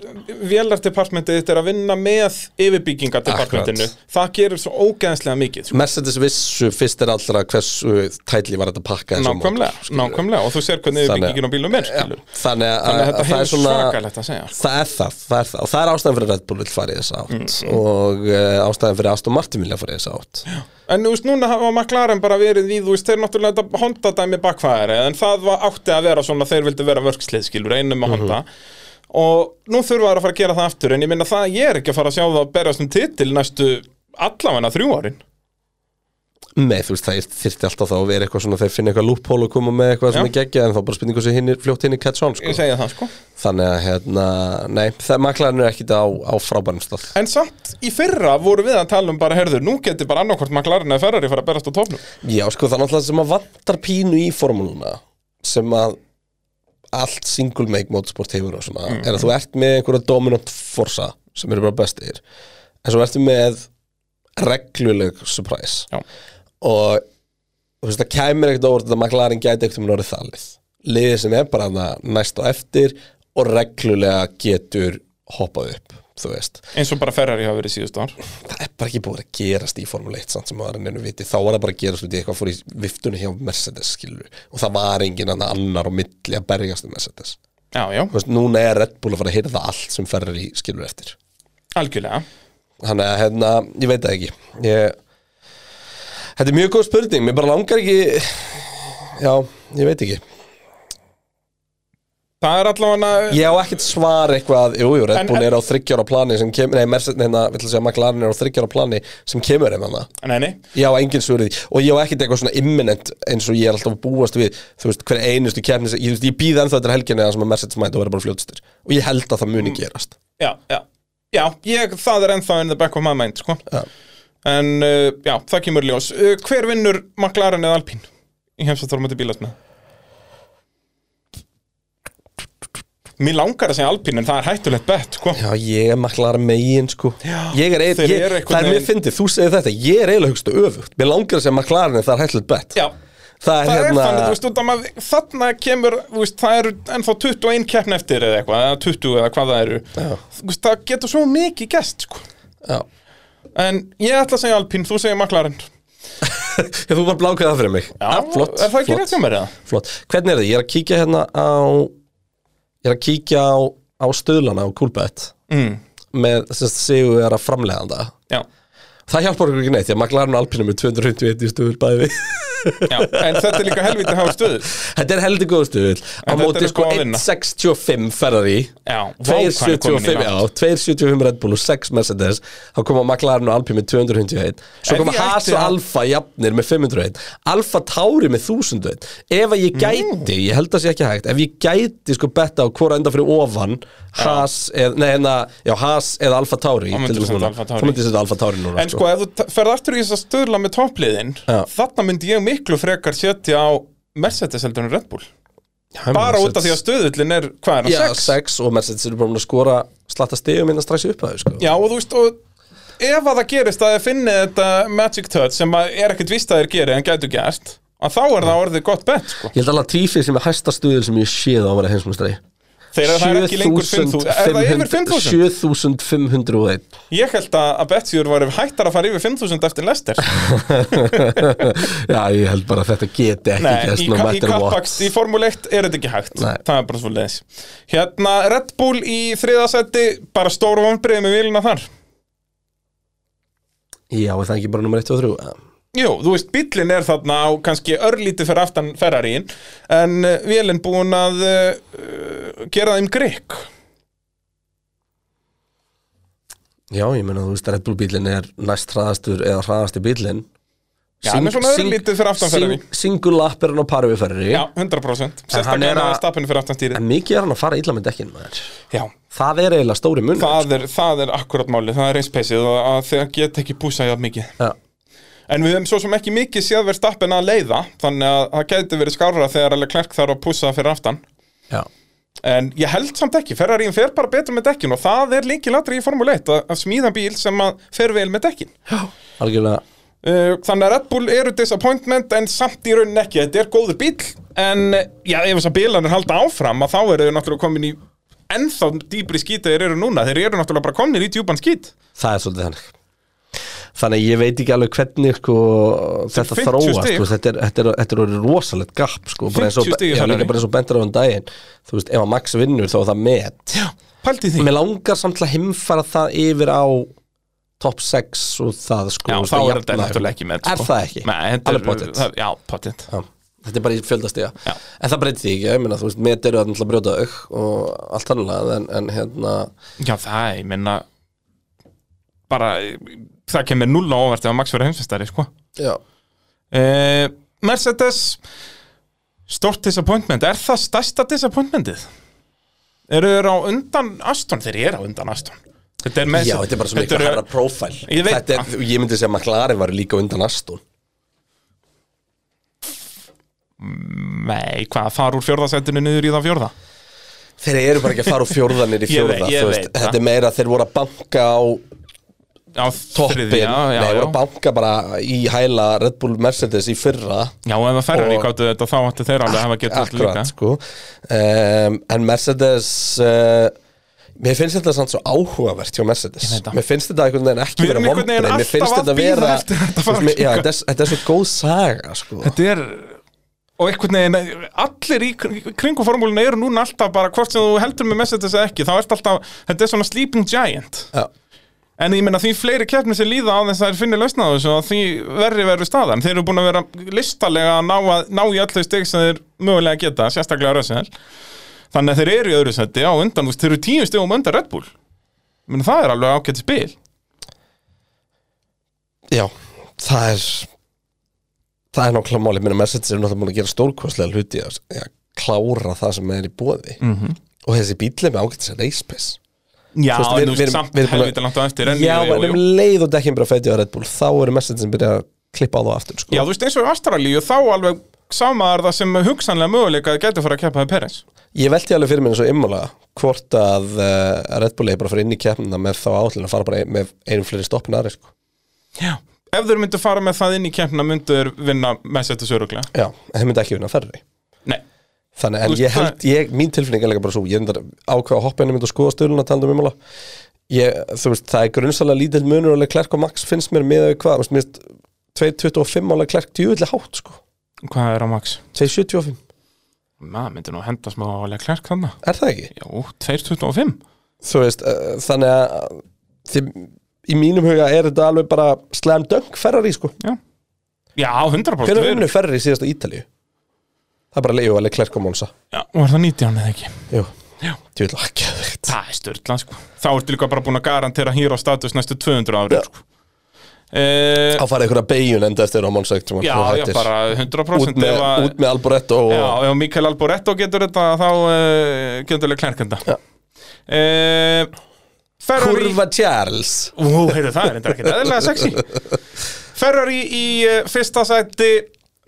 Speaker 2: vélardepartmentið þetta er að vinna með yfirbyggingadepartmentinu Það gerir svo ógeðslega mikið sko.
Speaker 1: Mercedes vissu fyrst er allra hversu tætli var þetta pakka þessa mót,
Speaker 2: Nákvæmlega,
Speaker 1: skilur.
Speaker 2: nákvæmlega Og þú sér hvernig
Speaker 1: Þannig-
Speaker 2: yfirbyggingin á bílum er skilur
Speaker 1: Þannig að,
Speaker 2: Þannig að þetta
Speaker 1: að það
Speaker 2: hefur
Speaker 1: er svona
Speaker 2: svakalegt að segja sko.
Speaker 1: Það er það, það er það og það er ástæðan fyrir að Red Bull vil fara í þessa
Speaker 2: Mm,
Speaker 1: átt og uh, ástæðan fyrir að Aston Martin vilja fara í þessa átt
Speaker 2: En þú veist, núna hafa McLaren bara verið í, þú veist, þeir náttúrulega þetta Honda dæmi bakfæðari, en það var átti að vera svona, þeir vildu vera vörkslið, skilur, einum með Honda
Speaker 1: Mhm.
Speaker 2: og nú þurfa þeir að fara að gera það aftur, en ég minna það, ég er ekki að fara að sjá það að berjast um titil næstu allavega þrjú árin.
Speaker 1: Nei, þú veist, það þyrfti alltaf þá að vera eitthvað svona þeir finna eitthvað loophole og koma með eitthvað sem
Speaker 2: Já.
Speaker 1: er geggja en þá bara spurningu sem hinir, fljótt hinn í catch on sko.
Speaker 2: Ég segja það, sko.
Speaker 1: þannig að hérna, nei, það maklarinn er ekkit á, á frábærum stað
Speaker 2: En samt, í fyrra voru við að tala um bara, herður, nú geti bara annarkvort McLaren eða Ferrari fara að berjast á topnum.
Speaker 1: Já, sko, það er náttúrulega sem að vantar pínu í formúluna sem að allt single make motorsport hefur og svona er að þú ert með einhverja dominant forsa sem eru bara bestir en svo ertu með regluleg surprise
Speaker 2: Já.
Speaker 1: og þú veist, það kæmur ekkert óvart að McLaren gæti ekkert um orðið þalið liðið sem er bara þarna næst og eftir og reglulega getur hoppað upp, þú veist
Speaker 2: Eins og bara Ferrari hafa verið síðust ár.
Speaker 1: það er bara ekki búið að gerast í Formule 1 samt sem maður ennur viti, þá var það bara að gerast út í eitthvað fór í viftunni hjá Mercedes skilur og það var engin annar annar á milli að berjast um Mercedes
Speaker 2: Já, já,
Speaker 1: Þú veist, núna er Red Bull að fara að hýrða allt sem ferður í skilur eftir
Speaker 2: algjörlega.
Speaker 1: þannig að hérna, ég veit það ekki ég... þetta er mjög góð spurning mér bara langar ekki já, ég veit ekki
Speaker 2: Það er allavega,
Speaker 1: ég á ekkert svar eitthvað, jú, jú,
Speaker 2: En-
Speaker 1: Red Bull
Speaker 2: en-
Speaker 1: er á þryggjára plani sem kemur, nei, Mercedes, hérna, vill að segja McLaren er á þryggjára plani sem kemur um hana
Speaker 2: nei, nei,
Speaker 1: Ég á engin svörið því og ég á ekkert eitthvað svona imminent eins og ég er alltaf að búast við þú veist, hver einustu kjarni, ég, þú veist, ég býð ennþá þetta helginni að sem að Mercedes mæta að vera bara fljótstur og ég held að það muni
Speaker 2: Mm.
Speaker 1: gerast
Speaker 2: já, já, já, ég, það er ennþá in the back of my mind, sko
Speaker 1: Já.
Speaker 2: En, uh, já, það kemur í ljós uh, Hver vinnur McLaren eða Alpín? Í heimsatórmöti bílasna Mér langar að segja alpín en það er hættulegt bett sko.
Speaker 1: Já, ég er maklar megin sko
Speaker 2: Já,
Speaker 1: Ég er
Speaker 2: þeir
Speaker 1: eiginlega, ég,
Speaker 2: eru einhvern
Speaker 1: það er mér
Speaker 2: veginn-
Speaker 1: fyndið, þú segir þetta Ég er eiginlega hugstu öfugt Mér langar að segja maklarinn en það er hættulegt bett
Speaker 2: Já,
Speaker 1: Það er
Speaker 2: það er
Speaker 1: hérna
Speaker 2: þannig, þú veist, út af maður- þarna kemur, þú veist, það eru ennþá 21 keppn eftir eða eitthvað, eða 20 eða hvað það eru
Speaker 1: Já.
Speaker 2: Þú veist, það getur svo mikið gest sko.
Speaker 1: Já.
Speaker 2: En ég ætla að segja alpín, þú segir maklarinn
Speaker 1: Ég, Þú bara blákaði það fyrir mig Já, flott,
Speaker 2: Er það ekki
Speaker 1: flott,
Speaker 2: rétt hjá mér eða?
Speaker 1: flott Hvernig er það? Ég er að kíkja hérna á Ég er að kíkja á, á stöðlana á Coolbet
Speaker 2: Mm.
Speaker 1: með sérst sigur er að framlega það
Speaker 2: Já,
Speaker 1: Það hjálpar okkur ekki neitt, ég maklarinn alpinum með 251 í stöðul bæði við
Speaker 2: já, en þetta er líka helvítið hafa stöðu
Speaker 1: Þetta er heldur góð stöðul Á
Speaker 2: En þetta
Speaker 1: móti
Speaker 2: er
Speaker 1: sko
Speaker 2: góð að vinna.
Speaker 1: 1.65 Ferrari
Speaker 2: Já, vá, hvað hann er komin í
Speaker 1: 275 já,
Speaker 2: land.
Speaker 1: 275 Red Bull og 6 Mercedes þá koma McLaren og Alpine með 251 svo
Speaker 2: Ef
Speaker 1: koma
Speaker 2: ég
Speaker 1: Haas
Speaker 2: ætti
Speaker 1: og
Speaker 2: að-
Speaker 1: Alfa jafnir með 501 Alfa Tauri með 1001 ef að ég gæti, ég held að sé ekki hægt ef ég gæti sko betta á hvora enda fyrir ofan Haas eða, nei hérna já, Haas eða Alfa Tauri
Speaker 2: Þá myndirðu
Speaker 1: til þess
Speaker 2: setja
Speaker 1: núna.
Speaker 2: Alpha Tauri.
Speaker 1: Þá myndi ég setja Alfa Tauri núna
Speaker 2: En sko, ef þú ta- ferð aftur í þess að stöðla með toppliðin
Speaker 1: Já.
Speaker 2: Þarna myndi ég miklu frekar setja á Mercedes heldur en Red Bull
Speaker 1: Já,
Speaker 2: sko, Bara
Speaker 1: Mercedes-
Speaker 2: út af því að stöðullin er, hvað er
Speaker 1: Já,
Speaker 2: hann, 6?
Speaker 1: 6 og Mercedes eru bara búin að skora slatta stegum innan strax upp að þau sko
Speaker 2: Já, og þú veist, og ef að það gerist að þið finni þetta Magic Touch sem að er ekkert víst að þeir geri en gætu gert að þá er
Speaker 1: Mm.
Speaker 2: það orðið gott bett sko.
Speaker 1: Ég held alveg að Tífi sem er hæsta stuðil sem ég séð á að vera heimsmyndstari
Speaker 2: þegar það er ekki lengur 5.000 er það yfir 5.000?
Speaker 1: 7501
Speaker 2: Ég held að, að Betsjúr var hættar að fara yfir 5.000 eftir Lester
Speaker 1: Já, ég held bara að þetta geti ekki
Speaker 2: Nei,
Speaker 1: gerst
Speaker 2: í,
Speaker 1: no
Speaker 2: ka- í
Speaker 1: matter what
Speaker 2: kappakst, í Formule 1 er þetta ekki hægt
Speaker 1: Nei.
Speaker 2: Það er bara svo leiðis Hérna, Red Bull í þriðasætti Bara stóru vonbreið með vilina þar
Speaker 1: Já, er það ekki bara nummer 1 og 3
Speaker 2: Jú, þú veist, bíllinn er þarna á kannski örlítið fyrir aftan Ferrarín En uh, vélinn búin að uh, gera þeim grikk
Speaker 1: Já, ég meina, þú veist, Red Bull bílinn er næst hraðastur eða hraðasti bílinn
Speaker 2: Já, hann er svona örlítið fyrir aftan Ferrari.
Speaker 1: Single lap er hann á pari við Ferrari
Speaker 2: Já, 100%
Speaker 1: hann er
Speaker 2: Sérstaklega
Speaker 1: að-
Speaker 2: að stappinu fyrir aftan stýrið
Speaker 1: En mikið er hann að fara illa með dekkin, maður
Speaker 2: Já,
Speaker 1: Það er eiginlega stóri munur
Speaker 2: það er, það er akkurat málið Það er reispeysið og að þegar get ekki púsa jafn mikið
Speaker 1: Já,
Speaker 2: En við hefum svo sem ekki mikið séð verið stappin að leiða Þannig að það gæti verið skárra þegar alveg klerk þarf að púsa fyrir aftan
Speaker 1: já,
Speaker 2: En ég held samt ekki, Ferrarín fer bara betur með dekkin og það er líki latri í Formule 1 að, að smíða bíl sem að fer vel með dekkin.
Speaker 1: algjörlega
Speaker 2: Uh, þannig að Red Bull eru disappointment en samt í raunin ekki, þetta er góður bíl en eh, já, ef þess að bílanir halda áfram að þá eru þau náttúrulega komin í ennþá dýpri skít að þeir eru núna, þeir eru náttúrulega bara komin í djúpan skít.
Speaker 1: Það er svolítið þannig Þannig að ég veit ekki alveg hvernig sko, þetta
Speaker 2: 50
Speaker 1: þróast
Speaker 2: stig.
Speaker 1: sko, þetta, er, þetta, er, þetta er orðið rosalegt gap sko, bara eins og,
Speaker 2: 50 stig í
Speaker 1: já,
Speaker 2: Ferrari.
Speaker 1: líka bara eins og bentur á hann daginn Þú veist, ef að Max vinnur þá er það met
Speaker 2: Pældi því.
Speaker 1: Mér langar samt til að himfara það yfir á top 6 og það sko
Speaker 2: Já,
Speaker 1: og
Speaker 2: þá
Speaker 1: það
Speaker 2: er þetta
Speaker 1: jafna-
Speaker 2: náttúrulega ekki með.
Speaker 1: Er
Speaker 2: sko.
Speaker 1: það ekki?
Speaker 2: Nei, þetta
Speaker 1: Alveg pottet.
Speaker 2: er, það- já, pottit.
Speaker 1: Já, Þetta er bara í fjöldastiga
Speaker 2: Já.
Speaker 1: En það breytir því ekki, ég meina, þú veist, met eru að náttúrulega brjóta auk og allt annað en, en hérna
Speaker 2: Já, það er, ég minna bara, það kemur null á óvart ef að Max verið heimsvistari, sko
Speaker 1: Já,
Speaker 2: uh, Mercedes stort disappointment, er það stærsta disappointmentið? Eru þeir á undan Aston? Þeir eru á undan Aston Þetta er,
Speaker 1: Já, þetta er bara svo miklu
Speaker 2: eru-
Speaker 1: herra prófæl
Speaker 2: Ég veit
Speaker 1: Þetta er, ég myndi segja að McLaren var líka undan Aston
Speaker 2: Nei, hvað, fara úr fjórðasættinu niður í það fjórða?
Speaker 1: Þeir eru bara ekki að fara úr fjórðanir í
Speaker 2: Ég veit-
Speaker 1: fjórða
Speaker 2: ég
Speaker 1: þú
Speaker 2: veit það.
Speaker 1: Þetta er meira að þeir voru að banka á
Speaker 2: Á
Speaker 1: toppin
Speaker 2: þriðja, já,
Speaker 1: Nei,
Speaker 2: já,
Speaker 1: voru að banka bara í hæla Red Bull Mercedes í fyrra
Speaker 2: já, ef að ferrar í
Speaker 1: Og-
Speaker 2: káttu þetta þá ættu þeir alveg að hafa getað þetta
Speaker 1: Akkurat,
Speaker 2: líka
Speaker 1: sko um, En Mercedes uh, Mér finnst þetta samt svo áhugavert hjá Mercedes
Speaker 2: Ég veit það.
Speaker 1: Mér finnst þetta einhvern veginn ekki
Speaker 2: Við
Speaker 1: vera
Speaker 2: erum einhvern
Speaker 1: vonbrið
Speaker 2: veginn
Speaker 1: Mér
Speaker 2: alltaf
Speaker 1: finnst
Speaker 2: að
Speaker 1: þetta
Speaker 2: bíða
Speaker 1: vera
Speaker 2: eftir þetta
Speaker 1: þú veist, mér- já,
Speaker 2: fara.
Speaker 1: Þetta er þetta er svo góð saga, sko
Speaker 2: Þetta er og einhvern veginn, allir í kring- kringum formúlinu eru núna alltaf bara hvort sem þú heldur með Mercedes eða ekki, þá er alltaf þetta er svona sleeping giant
Speaker 1: Já.
Speaker 2: en ég meina því fleiri keppnir sem líða á þess að þeir finni lausna á þessu og því verri verður staðan þeir eru búin að vera listalega að ná, að, ná í allir steg sem þeir mögulega geta sérstaklega rössel þannig að þeir eru í öðru seti á undan, þú veist, þeir eru tíu stegum undan Red Bull Ég meina, það er alveg ágætt spil
Speaker 1: Já, það er það er nákvæmlega máli minna Mercedes er náttúrulega búin að gera stórkostlega hluti að, að klára það sem er í bóði -hmm. og þessi bíl er með ágætt sér reispis
Speaker 2: Já,
Speaker 1: Þú veist, við-
Speaker 2: en þú
Speaker 1: við erum-
Speaker 2: veist, samt
Speaker 1: við erum búin að-
Speaker 2: helvita langt á eftir en
Speaker 1: Já,
Speaker 2: jú, jú,
Speaker 1: en
Speaker 2: jú.
Speaker 1: um leið og dekkin bara fætið á Red Bull þá eru Mercedes sem byrja að klippa á það aftur sko.
Speaker 2: Já, þú veist, eins og í Ástralíu þá alveg sá maður það sem hugsanlega möguleika að gæti að fara að keppa við Peres
Speaker 1: Ég velti alveg fyrir mér eins og immulega hvort að uh, Red Bull er bara að fara inn í keppnina með þá átlun að fara bara ein, með einum fleiri stoppin aðri sko.
Speaker 2: Já. Ef þeir myndu fara með það inn í keppna myndu þeir vinna með setja söruglega
Speaker 1: Já, en þeir myndi ekki vinna ferri
Speaker 2: Nei,
Speaker 1: Þannig, en
Speaker 2: Þú veist,
Speaker 1: ég held, ég, mín tilfinning er líka bara svo, ég reyndar ákveða að hoppa henni mynd og skoða stöðluna talandi um immulega ég, þú veist, það er grunnsalega lítill munur alveg klerk og Max finnst mér með hvað, þú veist, mér finnst 2.25 alveg klerk djúvillig hátt, sko,
Speaker 2: hvað er á Max?
Speaker 1: 2.75
Speaker 2: Maður myndi nú henda smá álega klærk þannig
Speaker 1: er það ekki?
Speaker 2: Já, 2.25
Speaker 1: þú veist, uh, þannig að því, í mínum huga er þetta alveg bara slam dunk Ferrari sko
Speaker 2: Já, Já 100%
Speaker 1: hvernig
Speaker 2: við-
Speaker 1: vinnu Ferrari síðast á Ítalíu það er bara leiðu alveg klerk á Monsa
Speaker 2: Já, var það 19 eða ekki?
Speaker 1: jú, ah,
Speaker 2: Já.
Speaker 1: þú vil ekki að veit
Speaker 2: Það er störtla, sko Þá ertu líka bara búin að garantera hýra status næstu 200 ári, sko eh,
Speaker 1: að fara einhverja beigjun enda eftir á Monsa já,
Speaker 2: Já, já, bara 100%
Speaker 1: út með,
Speaker 2: ef að-
Speaker 1: út með Alboretto og,
Speaker 2: Já, ef Mikael Alboretto getur þetta þá uh, getur alveg klærkenda ja. uh, Ferrari
Speaker 1: Kurva Charles
Speaker 2: Ú, heyrðu, það er eitthvað eðlilega sexy Ferrari í uh, fyrsta sæti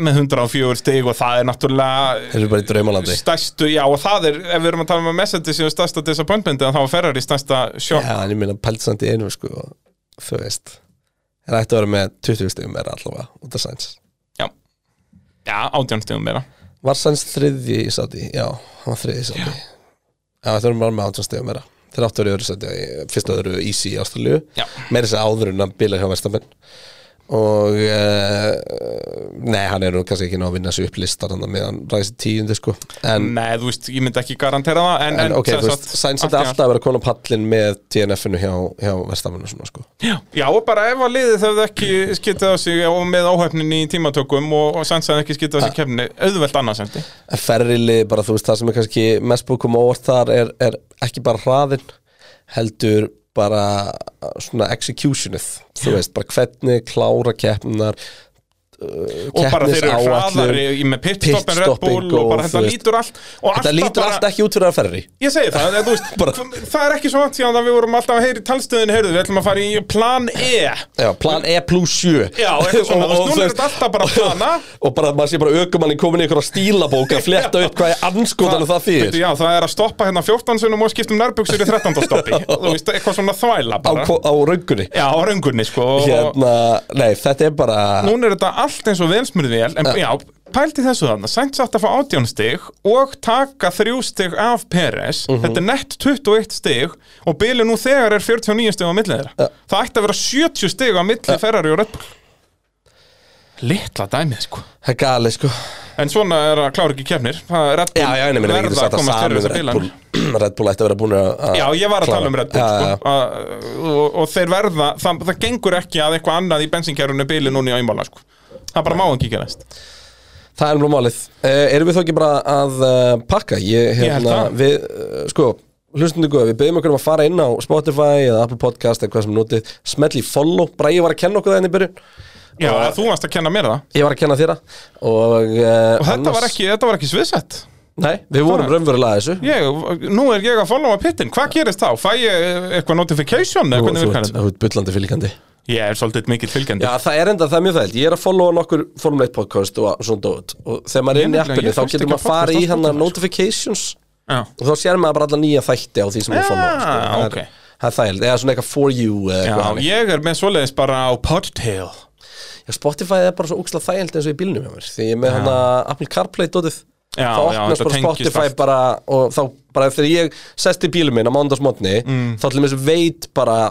Speaker 2: með 104 stig og það er náttúrulega
Speaker 1: þeir eru bara í draumalandi
Speaker 2: stærstu, já og það er ef við erum að tala um að Messendi séu stærsta disappointment en þá var Ferrari stærsta sjokk
Speaker 1: já, en ég meina pælsandi einu sko þú veist það ætti að vera með 20 stegum meira allavega út af Sainz
Speaker 2: Já, já átjánstegum meira
Speaker 1: Var Sainz þriði í sati? Já, hann var þriði í sati Já, þetta var bara með 18 stegum meira Þeir áttu verið öðru sati, fyrst öðru Easy í Ástralíu
Speaker 2: Já.
Speaker 1: Meiri sér áður en að bila hjá Verstamenn Og uh, Nei, hann er nú kannski ekki ná að vinna sér upp listar Þannig að meðan ræðis í tíundi sko En,
Speaker 2: Nei, þú veist, ég myndi ekki garantera það en,
Speaker 1: en ok,
Speaker 2: sem
Speaker 1: þú veist,
Speaker 2: sagt,
Speaker 1: Sainz
Speaker 2: allt í
Speaker 1: þetta
Speaker 2: allt.
Speaker 1: alltaf að vera konu pallin með DNF-inu hjá, hjá Verstamenn og svona sko
Speaker 2: Já, og bara ef að liðið hefði ekki skitað á sig og með áhæfnin í tímatökum og, og Sainz hefði ekki skitað á sig kemni auðvelt annarsendi
Speaker 1: En ferrili, bara þú veist, það sem er kannski mest búið að koma á óvart þar er, er ekki bara hraðin, heldur bara uh, svona executionið, þú veist, bara hvernig klára uh, keppnar
Speaker 2: og bara þeir eru hraðari í- með pitstop en Red
Speaker 1: pitstopping
Speaker 2: Bull og
Speaker 1: og
Speaker 2: bara þetta
Speaker 1: þú veist-
Speaker 2: lítur allt og
Speaker 1: Þetta
Speaker 2: alltaf
Speaker 1: lítur
Speaker 2: bara,
Speaker 1: allt ekki út fyrir að ferri
Speaker 2: ég segi það, en þú veist,
Speaker 1: Bara-
Speaker 2: það er ekki svo vant síðan að við vorum alltaf að heyra í talstöðinu, heyrðu, við ætlum að fara í plan E
Speaker 1: Já, plan E plus 7
Speaker 2: Já, eitthvað svona, þú veist, núna er þetta alltaf bara plana.
Speaker 1: Og bara, maður sé bara aukumannin komin í einhverja stílabók að fletta upp hvað er anskotanum það
Speaker 2: Veitu,
Speaker 1: þýðir
Speaker 2: já, það er að stoppa hérna 14 sunum og skiptum nærbuxur í 13. stoppi þú veist, eitthvað svona þvæla
Speaker 1: á,
Speaker 2: bara
Speaker 1: ko- á röngunni
Speaker 2: já, á röngunni sko og-
Speaker 1: Hérna, nei, þetta er bara
Speaker 2: núna er þetta allt eins og velsmurðvél en já, pælti þessu þarna Sainz átt að fá 18 stig og taka 3 stig af Peres þetta er nett 21 stig og bíli nú þegar er 49 stig á milli þeirra það ætti að vera 70 stig á milli Ferrari og Red Bull litla dæmið sko
Speaker 1: Það er gali, sko
Speaker 2: en svona er að klára ekki kefnir Red Bull
Speaker 1: Já, já, en ég meina, við getum
Speaker 2: verða
Speaker 1: sagt að
Speaker 2: að komast
Speaker 1: saman
Speaker 2: fyrir
Speaker 1: um
Speaker 2: þessa
Speaker 1: Red
Speaker 2: bílan
Speaker 1: Bull Red Bull ætti að vera búin að
Speaker 2: Já, ég var að tala um Red Bull
Speaker 1: Já, já,
Speaker 2: sko. að, og, og þeir verða, það, það gengur ekki að eitthvað annað í bensinkerfunu bíli núna í æmála sko. það bara má ekki gerast
Speaker 1: já. Það er um málið uh, Erum við þó ekki bara að uh, pakka? Ég,
Speaker 2: held
Speaker 1: hérna,
Speaker 2: það.
Speaker 1: við, uh, sko Hlustundu góð, við byggjum okkur um að fara inn á Spotify eða Apple Podcast eða hvað sem notið Smelli follow, Bragi var að kenna okkur það henni byrjun
Speaker 2: Já, þú varst að kenna mér það
Speaker 1: Ég var að kenna þér það Og, uh,
Speaker 2: Og þetta var ekki, þetta var ekki sviðsett
Speaker 1: Nei, við vorum raunverulega að þessu
Speaker 2: ég, Nú er ég að followa pittin, hvað gerist þá? Fæ ég eh, eitthvað notification eða
Speaker 1: Þú
Speaker 2: hvernig
Speaker 1: þú
Speaker 2: virkar
Speaker 1: ert
Speaker 2: þetta?
Speaker 1: þú ert bullandi fylgandi
Speaker 2: Ég er svolítið mikill fylgjandi
Speaker 1: Já, það er enda, það er mjög þægilt Ég er að followa nokkur Formule 1 podcast og svona dót Og þegar maður er inn í
Speaker 2: nefnilega-
Speaker 1: appinu
Speaker 2: ég
Speaker 1: þá
Speaker 2: hlusta
Speaker 1: getur
Speaker 2: ekki á
Speaker 1: maður að fara
Speaker 2: podcast
Speaker 1: í
Speaker 2: á
Speaker 1: hana
Speaker 2: Spotify, sko.
Speaker 1: notifications
Speaker 2: Já.
Speaker 1: og þá sér maður bara alla nýja þætti á því sem maður followa sko.
Speaker 2: Ah,
Speaker 1: Það er-
Speaker 2: ok.
Speaker 1: það er þægild, eða svona eitthvað for you eða
Speaker 2: Já,
Speaker 1: eitthvað þannig.
Speaker 2: ég er með svoleiðis bara á Podtail
Speaker 1: já, Spotify er bara svo úksla þægild eins og í bílnum hjá mér því ég er með hann að Apple CarPlay dotið þá
Speaker 2: Já, já,
Speaker 1: opnast
Speaker 2: þetta
Speaker 1: bara
Speaker 2: tengist
Speaker 1: Spotify
Speaker 2: allt.
Speaker 1: bara og þá bara þegar ég sest í bílum minn á mándagsmotni mm. þá til mér veit bara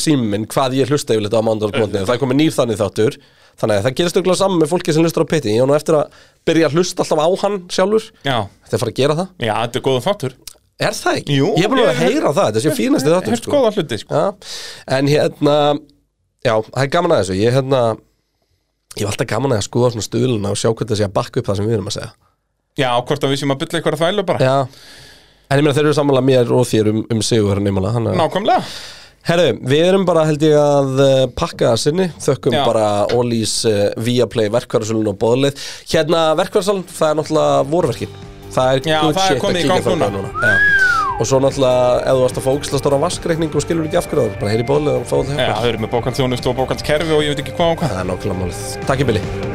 Speaker 1: símum minn hvað ég hlusta yfirleitt á mándagsmotni það er komið nýr þannig þáttur þannig að það gerist auðvitað saman með fólki sem hlustar á pitti ég á nú eftir að byrja að hlusta alltaf á hann sjálfur
Speaker 2: Já,
Speaker 1: þetta er fara að gera það
Speaker 2: já, þetta er góða þáttur
Speaker 1: Er það ekki?
Speaker 2: Jú,
Speaker 1: ég er búin að vera að
Speaker 2: ég-
Speaker 1: heyra það, þetta sé fínasti þáttur
Speaker 2: Hérst góða hluti, sko
Speaker 1: Já, en hérna Já, það er gaman að þessu Ég hérna Ég var alltaf gaman að skoða svona stuðluna og sjá hvernig það sé að bakka upp það sem við erum að segja
Speaker 2: Já, hvort að við séum að bylla eitthvað að þvælu bara
Speaker 1: Já En ég meina þeir eru sammála mér og þér um, um sigur neymála hann er
Speaker 2: Nákvæmlega
Speaker 1: Herru, við erum bara held ég að eh, pakka það sinni Þökkum
Speaker 2: Já.
Speaker 1: bara Ólís uh, Viaplay verkvarðarsölun og bóðlið Hérna verkvarðarsalun, það er náttúrulega vorverkin Það er
Speaker 2: Já, það er komið í gang
Speaker 1: þangað
Speaker 2: núna.
Speaker 1: Já. Og svo náttúrulega ef þú varst að fókslast ára vaskreikning og skilur ekki af hverju það er, bara heyri bóðlið og fá það hjálpa
Speaker 2: Já, þau eru með bókald þjónust og bókald kerfi og ég veit ekki hvað og hvað
Speaker 1: Það er nákvæmlega málið Takk í bili